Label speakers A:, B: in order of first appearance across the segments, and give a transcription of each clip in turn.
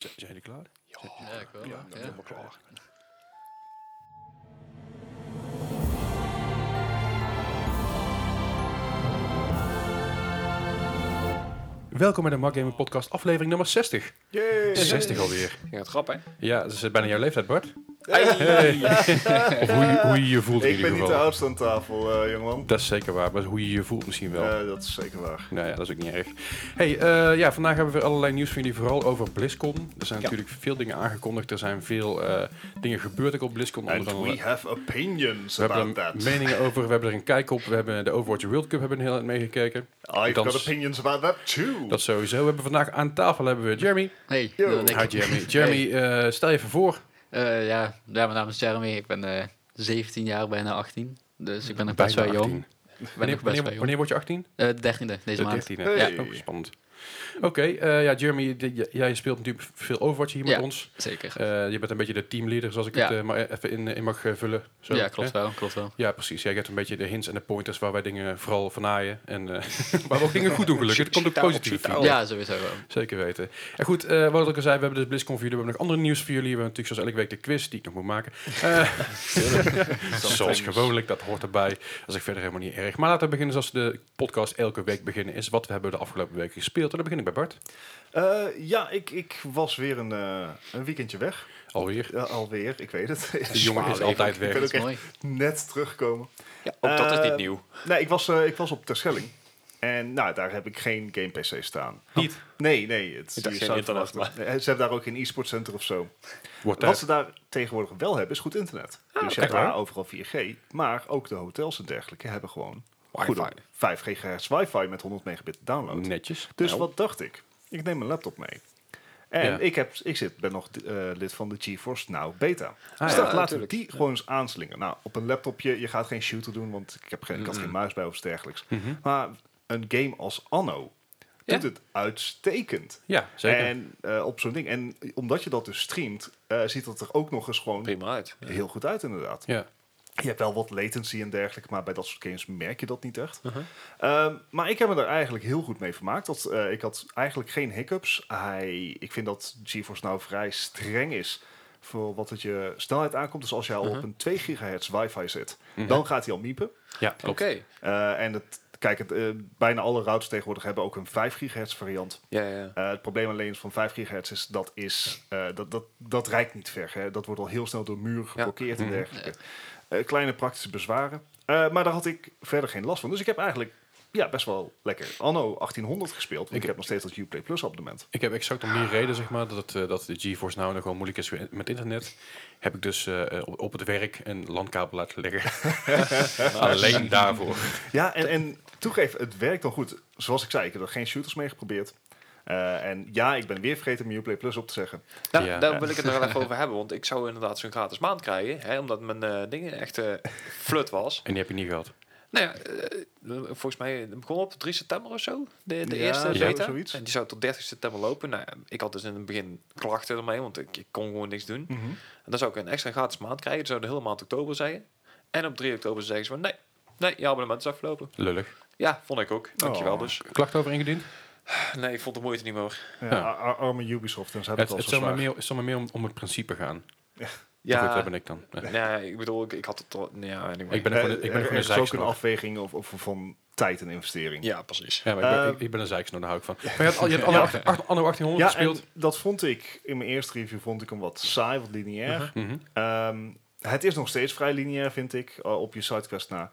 A: Zijn jullie klaar?
B: Ja, ik wel.
A: Ja,
B: Ja,
A: ik ben helemaal klaar. Welkom bij de Mark Gaming Podcast, aflevering nummer 60. 60 alweer.
B: Je gaat grap, hè?
A: Ja, dat is bijna jouw leeftijd, Bart.
C: Hey.
A: Of hoe je hoe je, je voelt in
C: Ik
A: ieder
C: ben niet de
A: geval.
C: oudste aan tafel, eh jongeman.
A: Dat is zeker waar, maar hoe je je voelt misschien wel.
C: Eh, dat is zeker waar.
A: Nou ja, dat is ook niet erg. Hey, eh, ja, vandaag hebben we weer allerlei nieuws van jullie, vooral over BlizzCon. Er zijn natuurlijk veel dingen aangekondigd, er zijn veel eh, dingen gebeurd ook op BlizzCon. onder
C: And
A: andere-
C: we have opinions
A: we hebben
C: about
A: er
C: that.
A: meningen over, we hebben er een kijk op, we hebben de Overwatch World Cup hebben een heel eind meegekeken.
C: I've got
A: Althans,
C: opinions about that too.
A: Dat sowieso. We hebben vandaag aan tafel hebben we Jeremy.
B: Hey,
C: Yo.
B: dan
A: Hi
B: ik.
A: Jeremy. Jeremy, eh, stel je even voor.
B: Eh, ja, ja, mijn naam is Jeremy. Ik ben eh 17 jaar, bijna 18. Dus ik ben nog best wel
A: Bijna
B: jong.
A: 18.
B: Ik ben
A: Wanneer,
B: nog best
A: wanneer,
B: wel jong.
A: wanneer word je 18?
B: Eh, de 13e deze maand.
A: De 13e.
C: Hey.
A: Ja, oh, spannend. Oké, eh, ja, Jeremy, d- j- jij speelt natuurlijk veel Overwatch hier met
B: Ja.
A: ons.
B: Zeker.
A: Eh, je bent een beetje de teamleader, zoals ik
B: Ja.
A: het eh, maar even in, in mag eh, vullen. Zo,
B: ja, klopt
A: hè?
B: wel, klopt wel.
A: Ja, precies. Jij geeft een beetje de hints en de pointers waar wij dingen vooral van naaien. En eh, waar we ook dingen goed doen, gelukkig. Het komt ook positief. feedback.
B: Ja, sowieso wel.
A: Zeker weten. En goed, eh, wat ik ook al zei, we hebben dus BlizzCon voor jullie. We hebben nog andere nieuws voor jullie. We hebben natuurlijk zoals elke week de quiz die ik nog moet maken. Eh, zoals gewoonlijk, dat hoort erbij. Dat is ik verder helemaal niet erg. Maar laten we beginnen zoals de podcast elke week beginnen is. Wat we hebben de afgelopen weken gespeeld. En dan begin ik bij Bart.
C: Eh, ja, ik, ik was weer een, eh, een weekendje weg.
A: Alweer.
C: Ja, alweer, ik weet het.
A: De jongen is
D: leven.
A: altijd
C: ik ben
A: weg.
C: ook echt
B: Mooi.
C: net teruggekomen.
D: Ja, ook dat is
C: Eh,
D: niet nieuw.
C: Nee, ik was, eh, ik was op Terschelling. En nou, daar heb ik geen game PC staan.
A: Niet.
C: Nee, nee. Het,
D: Ik dacht
C: je
D: geen
C: zou het
D: internet,
C: verwachten. Nee, Ze hebben daar ook geen e-sport center of zo.
A: Wordt
C: Wat
A: tijd.
C: ze daar tegenwoordig wel hebben, is goed internet. dus je
A: echt
C: hebt daar
A: waar?
C: overal 4G. Maar ook de hotels en dergelijke hebben gewoon
A: Wifi.
C: goede 5 GHz wifi met 100 megabit download.
A: Netjes.
C: Dus
A: Nou,
C: wat dacht ik? Ik neem mijn laptop mee. En
A: Ja.
C: ik, heb, ik zit, ben nog eh, lid van de GeForce Now Beta. dus
A: Ah, ja,
C: dacht, laten we
D: natuurlijk.
C: die gewoon eens aanslingen. Nou, op een laptopje, je gaat geen shooter doen, want ik, heb geen, ik had geen muis bij of iets dergelijks. Maar een game als Anno doet
A: Mhm. Ja.
C: het uitstekend.
A: Ja, zeker.
C: En eh, op zo'n ding. En omdat je dat dus streamt, eh, ziet dat er ook nog eens gewoon
D: Prima uit.
C: heel goed uit, inderdaad.
A: Ja.
C: Je hebt wel wat latency en dergelijke, maar bij dat soort games merk je dat niet echt.
D: Uh-huh.
C: Ehm, maar ik heb me daar eigenlijk heel goed mee vermaakt. Dat, eh, ik had eigenlijk geen hiccups. Hij, ik vind dat GeForce nou vrij streng is voor wat het je snelheid aankomt. Dus als jij al
D: Uh-huh.
C: op een 2 gigahertz wifi zit,
D: Mhm.
C: dan gaat hij al miepen.
A: Ja,
D: Oké.
A: klopt.
C: Eh, en het, kijk, het, eh, bijna alle routers tegenwoordig hebben ook een 5 gigahertz variant.
D: Ja, ja.
C: Eh, het probleem alleen is van 5 gigahertz is dat is eh, dat, dat, dat reikt niet ver. Hè. Dat wordt al heel snel door muren geblokkeerd
D: Mhm.
C: en dergelijke. Eh, kleine praktische bezwaren. Eh, maar daar had ik verder geen last van. Dus ik heb eigenlijk ja, best wel lekker anno 1800 gespeeld. Want ik, heb nog steeds dat Uplay Plus abonnement.
A: Ik heb exact om die reden, zeg maar, dat, het, eh, dat de GeForce nou nog wel moeilijk is met internet. Heb ik dus eh, op, op het werk een landkabel laten leggen. Alleen daarvoor.
C: Ja, en, en toegeef, het werkt dan goed. Zoals ik zei, ik heb er geen shooters mee geprobeerd. Eh, en ja, ik ben weer vergeten mijn Uplay Plus op te zeggen.
D: Nou,
A: Ja.
D: daar wil ik het nog wel even over hebben, want ik zou inderdaad zo'n gratis maand krijgen, hè, omdat mijn eh ding echt eh flut was.
A: En die heb je niet gehad.
D: Nou ja, eh, volgens mij het begon op 3 september of zo, de, de
C: Ja,
D: eerste
C: zo-
D: beta.
C: zoiets.
D: En die zou tot 30 september lopen. Nou, ja, ik had dus in het begin klachten ermee, want ik, ik kon gewoon niks doen.
C: Mhm.
D: En dan zou ik een extra gratis maand krijgen, dan zou de hele maand oktober zijn. En op 3 oktober zeggen ze van, nee, nee, je abonnement is afgelopen.
A: Lullig.
D: Ja, vond ik ook. Dankjewel
C: Oh.
D: dus.
A: Klacht over ingediend?
D: Nee, ik vond de moeite niet meer.
C: Ja,
A: Ja.
C: ar- ar- arme Ubisoft en ze hebben
A: Het,
C: het,
A: het zou
C: al zo
A: me
C: zwaar.
A: meer, het zou me meer om, om het principe gaan. Ja.
D: Ja.
A: Goed, dat ben ik dan. Ja.
D: Nee, ik bedoel, ik, ik had het al. Ja, anyway.
A: Ik ben gewoon,
C: Eh,
A: ik ben
C: er
A: gewoon een
C: is ook een
A: zeiksnoer.
C: afweging of, of van tijd en investering.
D: Ja, precies.
A: Ja, maar ik, ben,
C: Eh,
A: ik, ik ben een zeiksnoer, daar hou ik van. Maar je hebt, al- je hebt anno, 18 acht- anno 1800
C: Ja,
A: gespeeld.
C: en dat vond ik in mijn eerste review vond ik hem wat saai, wat lineair.
A: Mhm.
C: Ehm, het is nog steeds vrij lineair, vind ik, eh, op je sidequest na.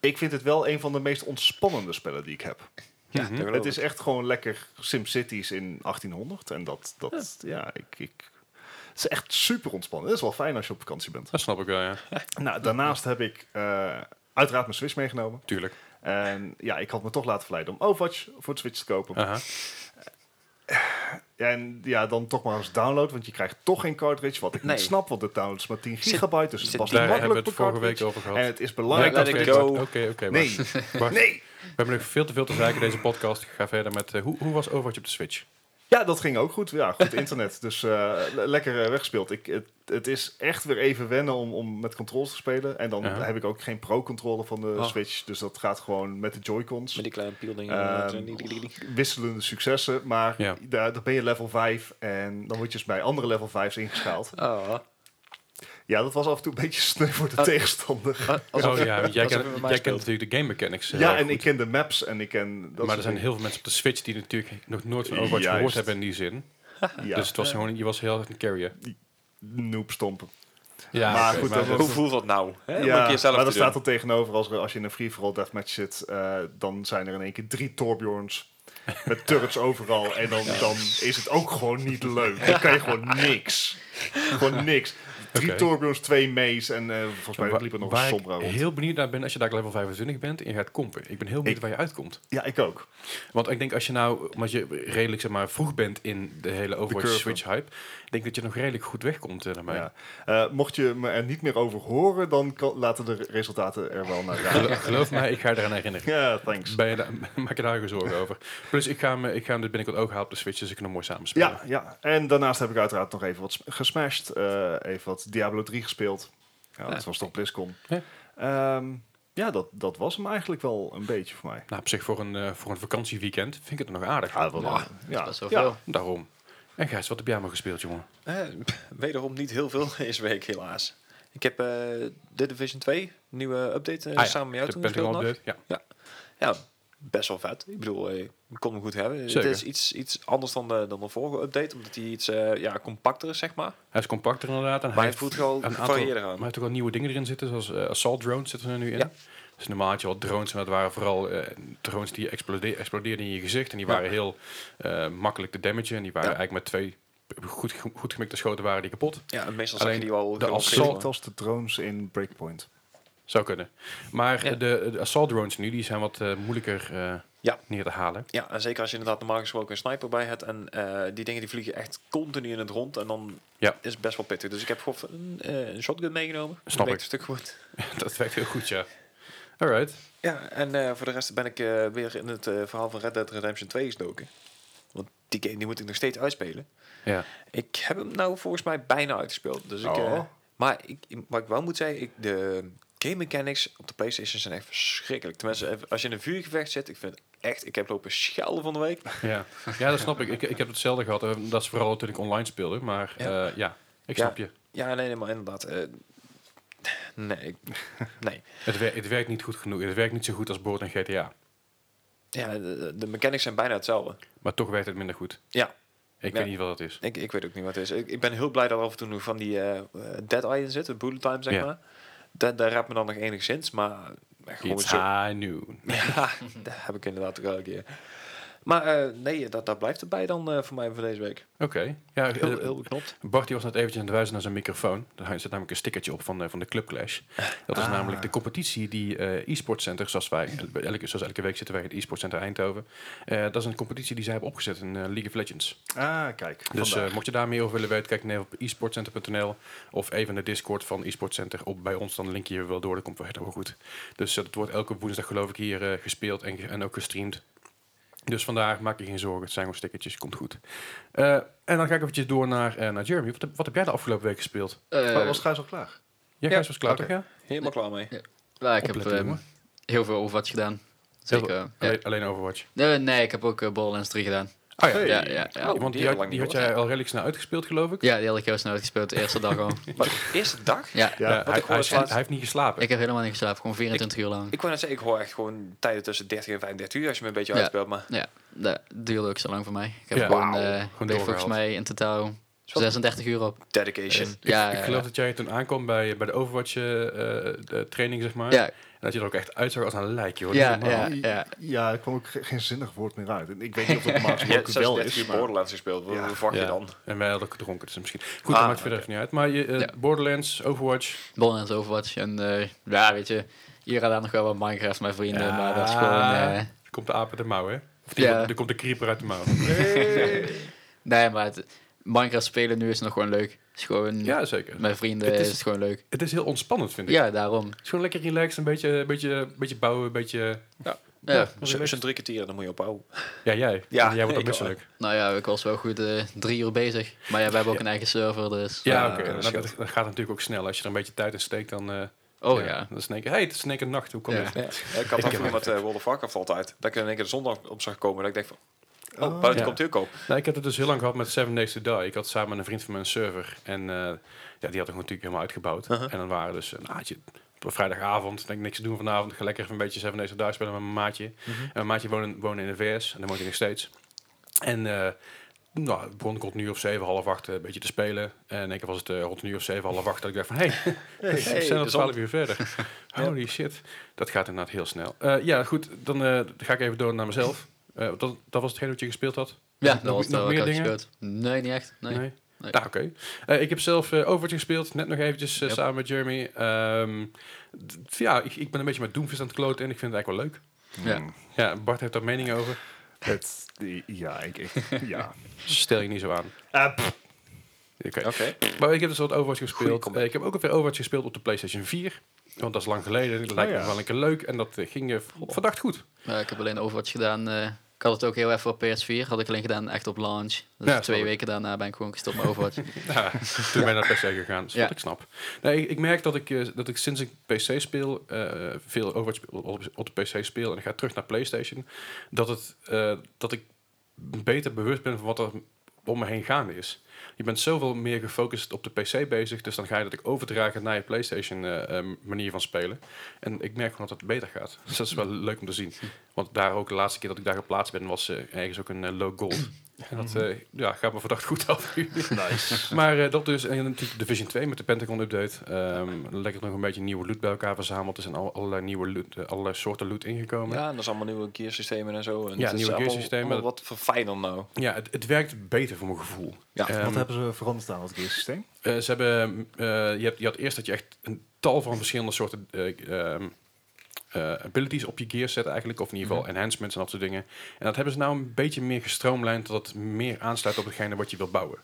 C: Ik vind het wel een van de meest ontspannende spellen die ik heb.
D: Ja,
A: Mhm.
D: dat geloof
C: het
D: ik.
C: is echt gewoon lekker SimCities in 1800. En dat, dat ja, ik, ik... Het is echt super ontspannen. Dat is wel fijn als je op vakantie bent.
A: Dat snap ik wel, ja.
C: Nou, daarnaast heb ik eh, uiteraard mijn Switch meegenomen.
A: Tuurlijk.
C: En ja, ik had me toch laten verleiden om Overwatch voor de Switch te kopen.
A: Aha.
C: En ja, dan toch maar eens download, want je krijgt toch geen cartridge. Wat ik
D: Nee.
C: niet snap, want de download is maar 10
D: Zit-
C: gigabyte, dus het
D: zit
C: was
A: Daar
C: niet
A: hebben we
C: makkelijk
A: het
C: Eh, per
A: vorige week
C: cartridge.
A: over gehad.
C: En het is
A: Ja,
C: belangrijk
A: dat
D: let
C: dat
D: it
A: weet ik.
D: go.
A: Oké, oké.
C: Nee,
A: Bart. Bart,
C: nee!
A: We hebben nog veel te veel te zeiken in deze podcast. Ik ga verder met, eh, hoe, hoe was Overwatch op de Switch?
C: Ja, dat ging ook goed. Ja, goed internet. Dus eh, le- lekker eh, weggespeeld. Ik, het, het is echt weer even wennen om, om met controls te spelen. En dan
A: Ja.
C: heb ik ook geen pro-controller van de
D: Oh.
C: Switch. Dus dat gaat gewoon met de Joy-Cons.
D: Met die kleine eh, pieldingen.
C: Ehm, wisselende successen. Maar
A: Ja.
C: daar, dan ben je level 5 en dan word je dus bij andere level 5's ingeschaald.
D: Oh,
C: Ja, dat was af en toe een beetje sneu voor de
D: Ah.
C: tegenstander.
A: Oh ja, want jij,
D: alsof
A: kent,
D: je met mij
A: jij kent
D: speelt.
A: natuurlijk de game mechanics. eh,
C: ja,
A: heel
C: en
A: goed.
C: ik ken de maps en ik ken...
A: maar er
C: soort
A: zijn
C: dingen.
A: heel veel mensen op de Switch die natuurlijk nog nooit van Overwatch gehoord
C: Juist.
A: hebben in die zin.
C: Ja.
A: Dus het was gewoon, je was heel erg een carrier.
C: noob stompen.
A: Ja,
C: Maar
A: oké,
C: goed, dat
D: Hoe voelt dat nou? Hè? Moet
C: Ja,
D: ik jezelf
C: maar
D: te
C: dat
D: doen?
C: staat er tegenover als, er- als je in een free-for-all deathmatch zit. eh, dan zijn er in één keer drie Torbjorns met turrets overal. En dan, dan is het ook gewoon niet leuk. Dan kan je gewoon niks. Gewoon niks. Drie
A: Oké.
C: Torbjorns, twee Mays en eh, volgens mij liep er nog een
A: Waar
C: Sombra
A: ik
C: rond.
A: heel benieuwd naar ben als je daar level 25 bent en je gaat kompen. Ik ben heel benieuwd
C: Ik-
A: waar je uitkomt.
C: Ja, ik ook.
A: Want ik denk als je nou, omdat je redelijk zeg maar vroeg bent in de hele Overwatch
C: curve.
A: Switch hype, ik denk dat je nog redelijk goed wegkomt eh, naar mij.
C: Ja. Eh, mocht je me er niet meer over horen, dan kan- laten de resultaten er wel naar gaan.
A: Gelo- Geloof mij, ik ga je eraan herinneren.
C: Ja, thanks.
A: Ben je daar- maak je daar geen zorgen over. Plus, ik ga hem, ik ga hem dit binnenkort ook halen op de Switch, dus ik kan hem mooi samenspelen.
C: Ja, ja, en daarnaast heb ik uiteraard nog even wat sm- gesmashed. eh, even wat Diablo 3 gespeeld. Ja, dat was toch BlizzCon.
A: Ja.
C: Ja, ja dat, dat was hem eigenlijk wel een beetje voor mij.
A: Nou, op zich voor een, eh, voor een vakantieweekend vind ik het nog aardig.
C: Ja, Ah, wel,
D: Ah,
B: Nou,
C: ja.
B: Dat is wel
C: Ja.
B: veel.
A: Daarom. En Gijs, wat heb jij allemaal gespeeld, jongen?
D: Eh, pff, wederom niet heel veel deze week, helaas. Ik heb eh The Division 2, nieuwe update, eh,
A: Ah ja,
D: samen met jou
A: de
D: toen
A: Pentagon
D: gespeeld nog.
A: update. Ja.
D: Ja, best wel vet. Ik bedoel, eh, ik kon hem goed hebben.
A: Zeker.
D: Het is iets, iets anders dan de, dan de vorige update, omdat hij iets eh, ja, compacter is, zeg maar.
A: Hij is compacter inderdaad. En
D: Maar
A: hij
D: hij voelt wel
A: een aantal-
D: gevarieerder aan.
A: Maar hij heeft ook wel nieuwe dingen erin zitten, zoals eh, assault drones zitten er nu in.
D: Ja.
A: Dus normaal had je wel drones en dat waren vooral eh, drones die explode- explodeerden in je gezicht. En die waren heel eh, makkelijk te damagen. En die waren
D: Ja.
A: eigenlijk met twee goed, goed gemikte schoten waren die kapot.
D: Ja, en meestal zag
A: Alleen
D: je die wel
A: de
D: gewoon
A: assault-
D: schelen.
C: Klinkt als de drones in Breakpoint.
A: Zou kunnen. Maar
D: Ja.
A: de, de assault drones nu, die zijn wat eh, moeilijker eh,
D: Ja.
A: neer te halen.
D: Ja, en zeker als je inderdaad normaal gesproken een sniper bij hebt. En eh, die dingen die vliegen echt continu in het rond. En dan
A: Ja.
D: is het best wel pittig. Dus ik heb gewoon een, eh, een shotgun meegenomen.
A: Snap ik.
D: Dat werkt Een stuk goed.
A: dat werkt heel goed, ja. Alright.
D: Ja, en eh, voor de rest ben ik eh, weer in het eh, verhaal van Red Dead Redemption 2 gestoken. Want die game die moet ik nog steeds uitspelen.
A: Ja.
D: Ik heb hem nou volgens mij bijna uitgespeeld. Dus ik,
C: Oh.
D: eh, maar ik, wat ik wel moet zeggen, ik, de game mechanics op de PlayStation zijn echt verschrikkelijk. Tenminste, als je in een vuurgevecht zit, ik vind echt, ik heb lopen schelden van de week.
A: Ja. ja, dat snap ik. ik. Ik heb hetzelfde gehad. Eh, Dat is vooral toen ik online speelde. Maar
D: Ja.
A: eh, ja, ik
D: Ja.
A: snap je.
D: Ja, nee, nee maar inderdaad. eh, nee, ik- nee.
A: Het, wer- het werkt niet goed genoeg. Het werkt niet zo goed als Boord en GTA.
D: Ja, de, de mechanics zijn bijna hetzelfde.
A: Maar toch werkt het minder goed.
D: Ja,
A: Ik
D: Ja.
A: weet niet wat dat is.
D: ik, ik weet ook niet wat het is. Ik, ik ben heel blij dat er af en toe nog van die eh, eh, dead eye in zit, de bullet time, zeg
A: Ja.
D: maar. Dat, daar raadt me dan nog enigszins, maar gewoon
A: It's
D: zo-
A: high noon.
D: Ja, dat heb ik inderdaad ook elke keer. Maar eh, nee, dat, dat blijft erbij dan eh, voor mij voor deze week.
A: Oké. Ja,
D: Heel,
A: eh,
D: heel beknopt.
A: Bart die was net eventjes aan het wijzen naar zijn microfoon. Daar zit namelijk een stickertje op van, eh, van de Club Clash. Dat
D: Ah.
A: is namelijk de competitie die eh e-sport center, zoals wij eh, elke, zoals elke week zitten wij in het e-sport center Eindhoven. Eh, dat is een competitie die zij hebben opgezet in eh, League of Legends.
C: Ah, kijk.
A: Dus
C: vandaar.
A: eh, mocht je daar meer over willen weten, kijk dan even op esportcenter.nl of even naar Discord van esportcenter op bij ons. Dan link je wel door, dat komt wel helemaal goed. Dus eh, dat wordt elke woensdag geloof ik hier eh, gespeeld en, ge- en ook gestreamd. Dus vandaar, maak je geen zorgen, het zijn gewoon stickertjes, komt goed. Eh, en dan ga ik eventjes door naar, eh, naar Jeremy. Wat heb, wat heb jij de afgelopen week gespeeld?
B: Eh,
C: Maar Oh, was Gijs al klaar?
A: Jij
D: Ja,
A: Gijs was klaar
C: oké.
A: toch, ja?
D: Helemaal klaar mee.
B: nou, ik heb
A: Opletten,
B: ehm,
A: jongen.
B: heel veel Overwatch gedaan. Zeker.
A: Heel-
B: ja.
A: Alleen, alleen Overwatch.
B: Nee, nee, ik heb ook eh, Borderlands 3 gedaan.
A: Oh ja,
C: Hey.
B: Ja, ja, ja.
A: want
D: Oh.
A: die,
D: die had ik
A: had,
D: lang
A: die
D: niet
A: had jij al redelijk snel uitgespeeld geloof ik?
B: ja, die had ik heel snel uitgespeeld. De eerste dag al.
D: Maar de eerste dag?
B: Ja,
A: Ja,
C: Ja,
A: Eh, hij,
D: want ik hoor
A: hij
D: het
A: sla-
D: laatst-
A: hij heeft niet geslapen.
B: ik heb helemaal niet geslapen. Gewoon 24 uur lang.
D: Ik wou net zeggen, ik hoor echt gewoon tijden tussen 30 en 35 uur als je me een beetje
B: Ja.
D: uitspeelt. Maar
B: Ja, dat duurde ook zo lang voor mij. Ik heb
A: Ja.
B: gewoon,
A: Wauw.
B: eh,
A: Gewoon
B: deed volgens
A: doorgehaald.
B: mij in totaal
D: Zo.
B: 36 uur op.
D: dedication.
B: Dus, ja,
A: ik
B: ja,
A: geloof dat jij toen aankwam bij, bij de Overwatch eh, eh, de training, zeg maar.
B: ja,
A: En dat je er ook echt uitzag als een lijkje. Hoor.
B: ja,
A: Niet normaal.
B: ja, ja.
C: Oh, Ja, er kwam ook ge- geen zinnig woord meer uit. En Ik weet niet of dat normaal
D: je hebt
C: gesproken wel
D: 36
C: is.
D: uur
C: maar-
D: Borderlands gespeeld. Wat
C: Ja.
D: wat verwacht
A: Ja.
D: je dan?
A: En wij hadden ook gedronken, dus misschien... Goed, dat
D: Ah,
A: maakt verder
D: oké.
A: even niet uit. Maar je, eh,
B: Ja.
A: Borderlands, Overwatch...
B: Borderlands Overwatch. En eh, ja, weet je, hier en daar nog wel wat Minecraft, mijn vrienden.
A: Ja.
B: Maar dat is gewoon... eh,
A: Er komt de aap uit de mouw, hè? Of die,
B: Ja.
A: er komt de creeper uit de mouw.
B: nee, maar het, Minecraft spelen nu is nog gewoon leuk. Het is gewoon...
A: ja, zeker.
B: Met vrienden
A: Het is-
B: is, het gewoon leuk.
A: Het is heel ontspannend, vind ik.
B: Ja, daarom.
A: Het is gewoon lekker relaxed, een beetje, een beetje, een beetje bouwen, een beetje...
D: Ja.
B: Ja,
D: Als je- als je drie kwartier, dan moet je ophouden.
A: Ja, jij.
D: Ja,
A: jij wordt ook
D: ik wel.
A: misselijk.
B: Nou ja, ik was wel goed eh, drie uur bezig. Maar ja, we hebben ook een eigen server, dus...
A: Ja,
D: Ja,
A: oké. Nou,
D: oké, dat
A: dat,
D: scheelt.
A: dat gaat natuurlijk ook snel. Als je er een beetje tijd in steekt, dan... eh,
B: Oh ja.
A: Dan is het in één keer, hey, het is in één keer nacht. Hoe kan
B: Ja.
A: dit?
D: Ja. Ik had dat vroeger met eh, World of Warcraft altijd. Dat ik er in één keer de zondag op zag komen. Dat ik denk van, oh, buiten
A: Ja.
D: komt hij ook op.
A: Nou, ik heb het dus heel lang gehad met Seven Days to Die. Ik had samen met een vriend van mijn server. En eh, ja, die had het natuurlijk helemaal uitgebouwd. En dan waren dus een maatje op een vrijdagavond. Denk ik, niks te doen vanavond. Ga lekker even een beetje Seven Days to Die spelen met mijn maatje. En mijn maatje woonde, woonde in de VS. En daar woont hij nog steeds. En eh nou, het begon ik rond een uur of zeven, half acht eh, een beetje te spelen. En ik was het eh, rond een uur of zeven, half acht. Dat ik dacht van, hé, hey, we
D: hey,
A: zijn al
D: de
A: twaalf
D: zon.
A: uur verder. Holy shit. Dat gaat inderdaad heel snel. Eh, ja, goed. Dan eh, ga ik even door naar mezelf. Eh, dat, dat was hetgeen wat je gespeeld had?
B: Ja,
A: Nog-
B: dat was
A: nog
B: daar ook
A: meer
B: uit
A: dingen?
B: gespeeld. Nee, niet echt. Nee.
A: Nee.
B: Nee.
A: Nou, oké. Eh, ik heb zelf eh Overwatch gespeeld, net nog eventjes eh,
B: Yep.
A: samen met Jeremy. Ehm, d- ja, ik, ik ben een beetje met Doomfist aan het kloten en ik vind het eigenlijk wel leuk.
B: Ja.
C: Hmm.
A: Ja, Bart heeft daar mening over.
C: Het, ja, ik, ik- ja.
A: Stel je niet zo aan.
C: Eh, pff,
A: Oké.
D: Oké.
A: Maar ik heb dus wat Overwatch gespeeld.
D: comeback.
A: Eh, ik heb ook weer Overwatch gespeeld op de PlayStation 4. Want dat is lang geleden.
B: Oh
A: Dat lijkt
C: ja.
A: me wel een keer leuk. En dat eh, ging eh, v- verdacht goed.
B: Ja, ik heb alleen Overwatch gedaan. eh, ik had het ook heel even op PS4. Had ik alleen gedaan echt op launch. Dus
A: Ja, snap
B: twee
A: ik.
B: weken daarna ben ik gewoon gestopt met Overwatch.
A: Ja, toen ben ik naar PC gegaan. Dus
B: Ja.
A: wat ik snap. Nee, ik, ik merk dat ik, eh, dat ik sinds ik PC speel, eh, veel Overwatch speel- op, op de PC speel en ik ga terug naar PlayStation, dat, het, eh, dat ik beter bewust ben van wat er om me heen gaande is. Je bent zoveel meer gefocust op de PC bezig, dus dan ga je dat ik overdragen naar je PlayStation eh, eh, manier van spelen. En ik merk gewoon dat het beter gaat. Dus dat is wel leuk om te zien. Want daar ook de laatste keer dat ik daar geplaatst ben, was eh, ergens ook een eh, low gold. En dat eh, ja, gaat me verdacht goed af nu.
C: nice.
A: Maar eh, dat dus, en natuurlijk Division 2 met de Pentagon-update. Ehm, lekker nog een beetje nieuwe loot bij elkaar verzameld. Er zijn al, allerlei nieuwe loot, eh, allerlei soorten loot ingekomen. Ja,
D: Ja, en dat is allemaal nieuwe gearsystemen en zo. En
A: Ja,
D: het is
A: nieuwe
D: allemaal-
A: gearsystemen.
D: allemaal Wat verfijner nou.
A: het, het werkt beter voor mijn gevoel.
D: Ja,
A: Ehm,
C: Wat hebben ze veranderd aan het gearsysteem?
A: eh, ze hebben, eh, je, hebt, je had eerst dat je echt een tal van verschillende soorten eh, ehm, eh, abilities op je gear zet eigenlijk. Of in ieder geval enhancements en dat soort dingen. En dat hebben ze nou een beetje meer gestroomlijnd... dat het meer aansluit op hetgene wat je wilt bouwen.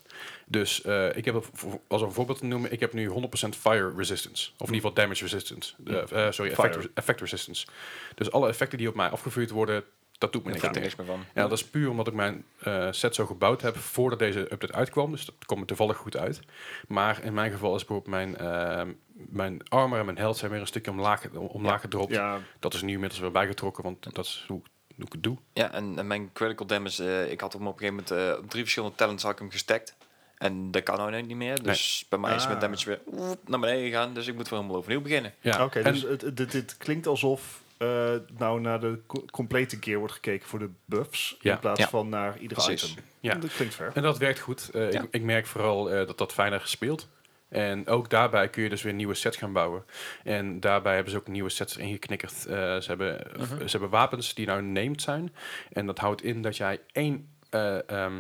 A: Dus eh, ik heb, het voor- als een voorbeeld te noemen... ik heb nu 100% fire resistance. Of in ieder geval damage resistance. Eh, eh, sorry, effect,
C: Fire.
A: effect resistance. Dus alle effecten die op mij afgevuurd worden... dat doet me
D: Ik
A: niks
D: vind er
A: meer.
D: niks meer van.
A: Ja, dat is puur omdat ik mijn eh, set zo gebouwd heb voordat deze update uitkwam. Dus dat komt me toevallig goed uit. Maar in mijn geval is bijvoorbeeld mijn, ehm, mijn armor en mijn health zijn weer een stukje omlaag, omlaag gedropt.
C: Ja,
A: Dat is nu inmiddels weer bijgetrokken, want dat is hoe, hoe ik het doe.
D: Ja, en, en mijn critical damage, eh, ik had hem op een gegeven moment eh, op drie verschillende talents had ik hem gestackt. En dat kan nou niet meer. Dus bij mij is mijn
C: Ah.
D: damage weer oep, naar beneden gegaan. Dus ik moet weer helemaal overnieuw beginnen.
A: Ja.
C: oké.
A: en,
C: dus het- het- dit, dit klinkt alsof eh, nou naar de co- complete gear wordt gekeken voor de buffs.
A: Ja.
C: In plaats
D: Ja.
C: van naar ieder
D: Precies.
C: item.
A: Ja.
C: Dat klinkt ver.
A: en dat werkt goed. Eh,
D: Ja.
A: ik, ik merk vooral eh, dat dat fijner speelt. En ook daarbij kun je dus weer nieuwe sets gaan bouwen. En daarbij hebben ze ook nieuwe sets ingeknikkerd. Eh, ze, hebben,
C: Mhm.
A: ze hebben wapens die nou named zijn. En dat houdt in dat jij één, eh, ehm,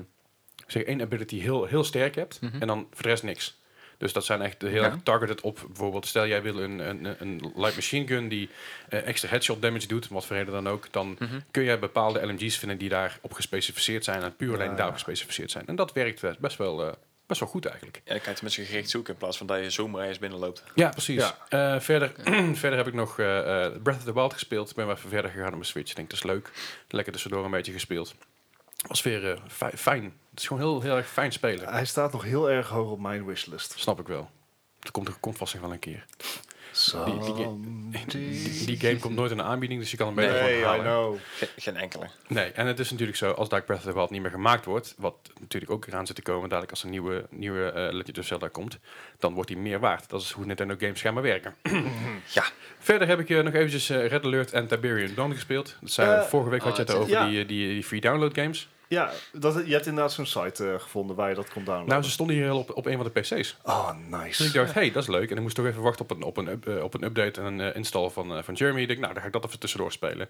A: ik zeg, één ability heel, heel sterk hebt. En dan voor de rest niks. Dus dat zijn echt heel
D: Ja.
A: erg targeted op bijvoorbeeld... stel jij wil een, een, een light machine gun die eh, extra headshot damage doet... om wat voor reden dan ook... dan kun je bepaalde LMG's vinden die daarop gespecificeerd zijn... en puur alleen
C: Ja.
A: daarop gespecificeerd zijn. En dat werkt eh, best wel, eh, best wel goed eigenlijk.
D: En dan kan je tenminste gericht zoeken in plaats van dat je zomaar eens binnenloopt.
A: Ja, precies. Eh, verder, verder heb ik nog eh, eh, Breath of the Wild gespeeld. Ik ben wel even verder gegaan op mijn Switch. Ik denk, dat is leuk. Lekker tussendoor een beetje gespeeld. Was weer eh, fi- fijn. Het is gewoon heel, heel erg fijn spelen.
C: Hij staat nog heel erg hoog op mijn wishlist.
A: Snap ik wel. Het komt, er- komt vast nog wel een keer. die- die-
C: Someday.
A: Die, die game komt nooit in de aanbieding, dus je kan hem beter
C: Nee, nou.
A: gewoon
C: I
A: halen.
C: know.
D: Ge- geen enkele.
A: Nee, en het is natuurlijk zo, als daar Breath of the Wild niet meer gemaakt wordt, wat natuurlijk ook eraan zit te komen, dadelijk als een nieuwe, nieuwe eh Legend of Zelda komt, dan wordt die meer waard. Dat is hoe Nintendo games gaan maar werken.
D: Ja,
A: Verder heb ik eh, nog eventjes eh, Red Alert en Tiberian Dawn gespeeld. Dat zijn,
C: Eh,
A: vorige week had je het
D: oh,
A: over
C: ja.
A: die, eh, die, die free download games.
C: Ja, dat, je hebt inderdaad zo'n site eh, gevonden waar je dat kon downloaden.
A: Nou, ze stonden hier al op, op een van de PC's.
C: oh,
A: Dus ik
C: nice.
A: dacht, hey, dat is leuk. En ik moest toch even wachten op een, op een, up- eh, op een update en een eh, install van, eh, van Jeremy. Ik dacht, nou, dan ga ik dat even tussendoor spelen.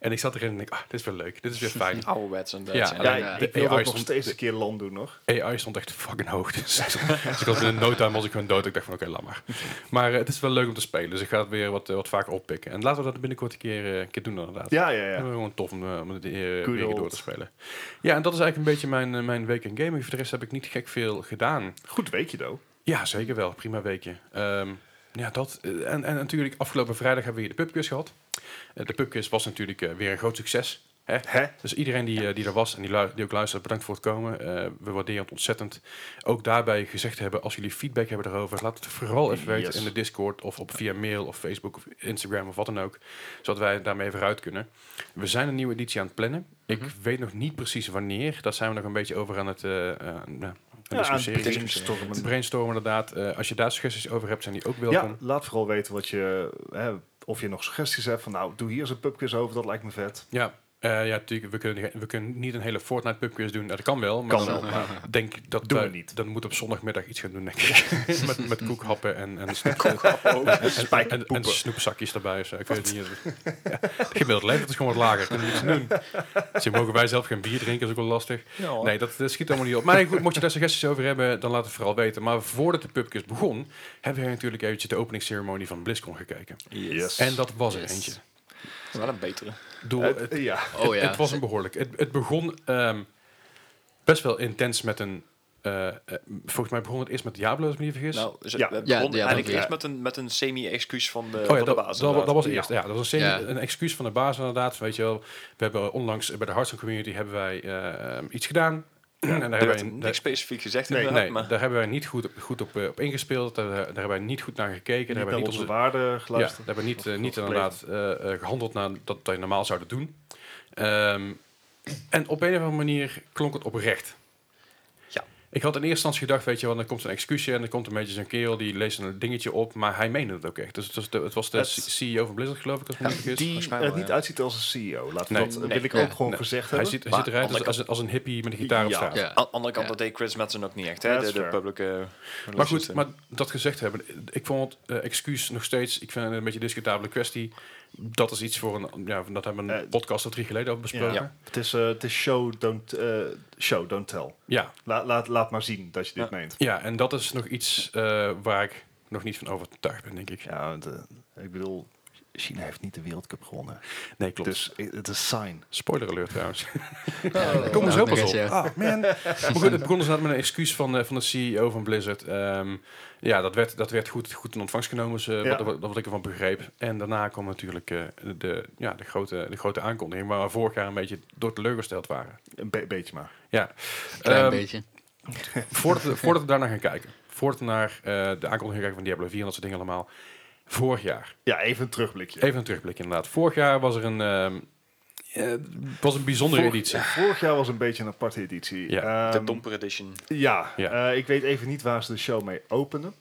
A: En ik zat erin en ik, ah, dit is wel leuk. Dit is weer fijn.
D: ouderwets en dat.
A: Ja,
D: En-
C: Ja,
A: alleen,
C: ik
A: de AI
C: wil dat nog
A: stond-
C: steeds een keer land doen, nog.
A: AI stond echt fucking hoog. Dus, dus ik was in no time was ik gewoon dood. Ik dacht van oké, laat maar. Maar eh, het is wel leuk om te spelen. Dus ik ga het weer wat, eh, wat vaker oppikken. En laten we dat binnenkort een keer, eh, een keer doen inderdaad.
C: Ja, ja,
A: Dat is
C: ja.
A: Gewoon tof om, eh, om het eh, weer
C: Good old.
A: door te spelen. Ja, en dat is eigenlijk een beetje mijn, eh, mijn week in gaming. Voor de rest heb ik niet gek veel gedaan.
C: Goed weekje, though.
A: Ja, zeker wel. Prima weekje. Ehm, ja, dat. eh, En, en natuurlijk, afgelopen vrijdag hebben we hier de pubquiz gehad. Eh, de pubquiz was natuurlijk eh, weer een groot succes. Hè?
C: Hè?
A: Dus iedereen die, eh, die er was en die, lu- die ook luistert, bedankt voor het komen. Eh, we waarderen het ontzettend. Ook daarbij gezegd hebben, als jullie feedback hebben daarover, laat het vooral even weten
C: Yes.
A: in de Discord of op, via mail of Facebook of Instagram of wat dan ook. Zodat wij daarmee vooruit kunnen. We zijn een nieuwe editie aan het plannen.
C: Mhm.
A: Ik weet nog niet precies wanneer. Daar zijn we nog een beetje over aan het eh, eh, aan
C: Ja, aan het
A: discussiëren.
C: brainstormen.
A: Het brainstormen inderdaad. Eh, als je daar suggesties over hebt, zijn die ook welkom.
C: Ja, laat vooral weten wat je, hè, of je nog suggesties hebt. Van nou, doe hier eens een pubquiz over, dat lijkt me vet.
A: Ja, eh, ja natuurlijk. We kunnen, we kunnen niet een hele Fortnite pubquiz doen. Nou, dat kan wel, maar
C: Kan
A: dan
C: wel, maar-
A: denk ik dat
C: Doen we
A: wij-
C: niet.
A: Dan moet op zondagmiddag iets gaan doen, denk ik. met, met koekhappen en, en, snoep- en, en,
C: Spijkerpoepen.
A: snoepzakjes erbij. of zo. Ik weet het niet. Ja, gemiddeld leeftijd is gewoon wat lager. Kunnen we iets doen. Ze mogen wij zelf geen bier drinken, is ook wel lastig. Nee, dat, eh, schiet allemaal niet op. Maar goed, mocht je daar suggesties over hebben, dan laat het vooral weten. Maar voordat de pubquiz begon, hebben we natuurlijk eventjes de openingsceremonie van BlizzCon gekeken.
C: Yes.
A: En dat was er
B: Yes.
A: eentje.
B: Dat is wel een betere.
A: Doel,
C: Eh,
A: het-
C: ja,
B: Oh
A: het,
B: ja.
A: het was een behoorlijk. Het, het begon ehm, best wel intens met een. eh, eh, volgens mij begon het eerst met Diablo, als ik me niet vergis.
D: Nou, ze
C: Ja.
D: we
B: Ja,
D: begonnen
B: ja,
D: eigenlijk
B: dat- ja.
D: eerst met een, met een semi-excuus van de,
A: Oh
D: van
A: ja,
D: de
A: dat,
D: baas.
A: dat, dat
D: inderdaad.
A: was het eerst. Ja, dat was een,
B: Ja.
A: een excuus van de baas inderdaad. Weet je wel, we hebben onlangs bij de Hearthstone Community hebben wij eh, iets gedaan. en daar
D: Er
A: hebben
D: werd
A: wij,
D: niks specifiek gezegd
C: Nee,
D: inderdaad,
A: nee,
D: maar
A: daar hebben wij niet goed, op- goed op, eh, op ingespeeld. Daar, daar hebben wij niet goed naar gekeken.
C: niet
A: daar
C: naar
A: hebben wij niet
C: onze
A: onze
C: waarde
A: Ja,
C: geluisterd.
A: we hebben niet, eh,
C: Of
A: niet
C: gepleegd.
A: inderdaad eh, eh, gehandeld naar dat wij normaal zouden doen. Ehm, en op een of andere manier klonk het oprecht.
D: Ja.
A: Ik had in eerste instantie gedacht, weet je wel, dan komt een excuusje en dan komt een beetje zo'n kerel die leest een dingetje op, maar hij meende het ook echt. Dus het was de, het was de
C: Het-
A: C- CEO van Blizzard, geloof ik, als ik me niet vergis.
C: Die
D: Volgens mij wel,
C: er niet
D: ja.
C: uitziet als een CEO. Laat
A: Nee.
C: dat eh,
D: Nee.
C: wil ik
B: Ja.
C: ook gewoon
A: Nee. Hij
C: gezegd hebben.
A: ziet, hij
D: Maar
A: ziet eruit als,
D: andere
A: als, als een hippie met een gitaar op
C: Ja.
A: straat.
B: Ja.
D: aan de andere kant,
B: Ja.
D: dat deed Chris Madsen ook niet echt,
C: Ja,
D: hè?
C: dat
D: De,
C: is
D: de
C: fair.
D: public eh,
A: Maar
D: relations,
A: goed,
D: eh.
A: maar dat gezegd hebben, ik vond het eh, excuus nog steeds, ik vind het een beetje een discutabele kwestie. Dat is iets voor een, ja, dat hebben we een
C: Eh,
A: podcast of drie geleden over besproken.
C: Ja. Het is, eh, het is show, don't, eh, show, don't tell.
A: ja.
C: La- laat, laat maar zien dat je dit
D: Ja.
C: meent.
A: Ja, en dat is nog iets eh, waar ik nog niet van overtuigd ben, denk ik.
C: Ja, want, eh, ik bedoel, China heeft niet de wereldcup gewonnen.
A: Nee, klopt.
C: Dus eh, het is sign.
A: Spoiler alert trouwens.
B: Ja,
A: Kom er
B: Oh, nou,
A: zo
B: nog
A: pas
B: eens,
A: op.
B: ja.
A: Ah, man. Maar goed, het begon dus inderdaad met een excuus van, eh, van de CEO van Blizzard. Ehm, ja, dat werd, dat werd goed, goed in ontvangst genomen, zo,
C: Ja.
A: wat, wat, wat ik ervan begreep. En daarna kwam natuurlijk eh, de, ja, de, grote, de grote aankondiging, waar we vorig jaar een beetje door teleurgesteld waren.
C: Een be- beetje maar.
A: Ja.
B: Klein
A: Ehm,
B: beetje.
A: voordat, we- voordat we daarna gaan kijken, voordat we naar eh, de aankondiging gaan kijken van Diablo 4 en dat soort dingen allemaal. Vorig jaar,
C: Ja, even een terugblikje.
A: Even een terugblik inderdaad. Vorig jaar was er een, ehm, eh, was een bijzondere
C: Vorig-
A: editie.
C: Vorig jaar was een beetje een aparte editie.
A: Ja.
D: de
C: Ehm,
D: domper edition.
C: Ja,
A: Ja.
C: eh, ik weet even niet waar ze de show mee openen.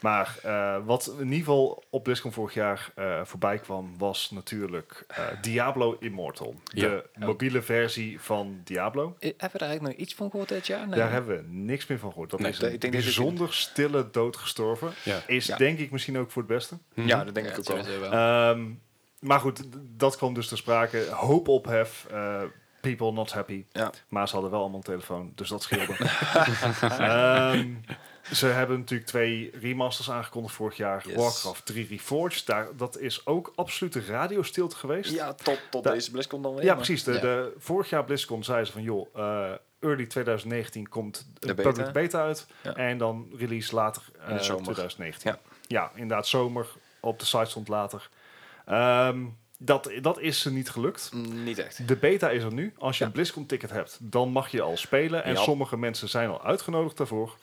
C: Maar eh, wat in ieder geval op BlizzCon vorig jaar eh, voorbij kwam, was natuurlijk eh, Diablo Immortal.
A: Ja.
C: De
D: Oh.
C: mobiele versie van Diablo.
D: Eh, Hebben we daar eigenlijk nog iets van gehoord dit jaar? Nee.
C: Daar hebben we niks meer van gehoord. Dat
A: Nee,
C: is een
D: ik denk dat ik-
C: bijzonder stille dood gestorven.
A: Ja.
C: Is
D: Ja.
C: denk ik misschien ook voor het beste.
A: Mhm.
D: ja, dat denk
B: Ja,
D: ik ook wel.
B: sowieso wel.
C: Ehm, maar goed, d- dat kwam dus ter sprake. Hoop ophef. eh, people not happy.
D: Ja.
C: Maar ze hadden wel allemaal een telefoon, dus dat scheelde. Ehm, ze hebben natuurlijk twee remasters aangekondigd vorig jaar.
D: Yes.
C: Warcraft 3 Reforged. Daar, dat is ook absolute radiostilte geweest.
D: Ja, tot, tot
C: Da-
D: deze BlizzCon dan weer.
C: Ja,
D: maar-
C: precies. De,
B: Ja.
C: de- vorig jaar BlizzCon zeiden ze van, joh, eh, early 2019 komt de
D: De beta.
C: public beta uit.
D: Ja.
C: En dan release later
D: In de
C: eh,
D: zomer.
C: 2019. Ja.
D: Ja.
C: inderdaad, zomer. Op de site stond later. Ehm, dat, dat is ze niet gelukt.
D: Mm, Niet echt.
C: De beta is er nu. Als je
D: Ja.
C: een BlizzCon-ticket hebt, dan mag je al spelen. En
D: Ja.
C: sommige mensen zijn al uitgenodigd daarvoor.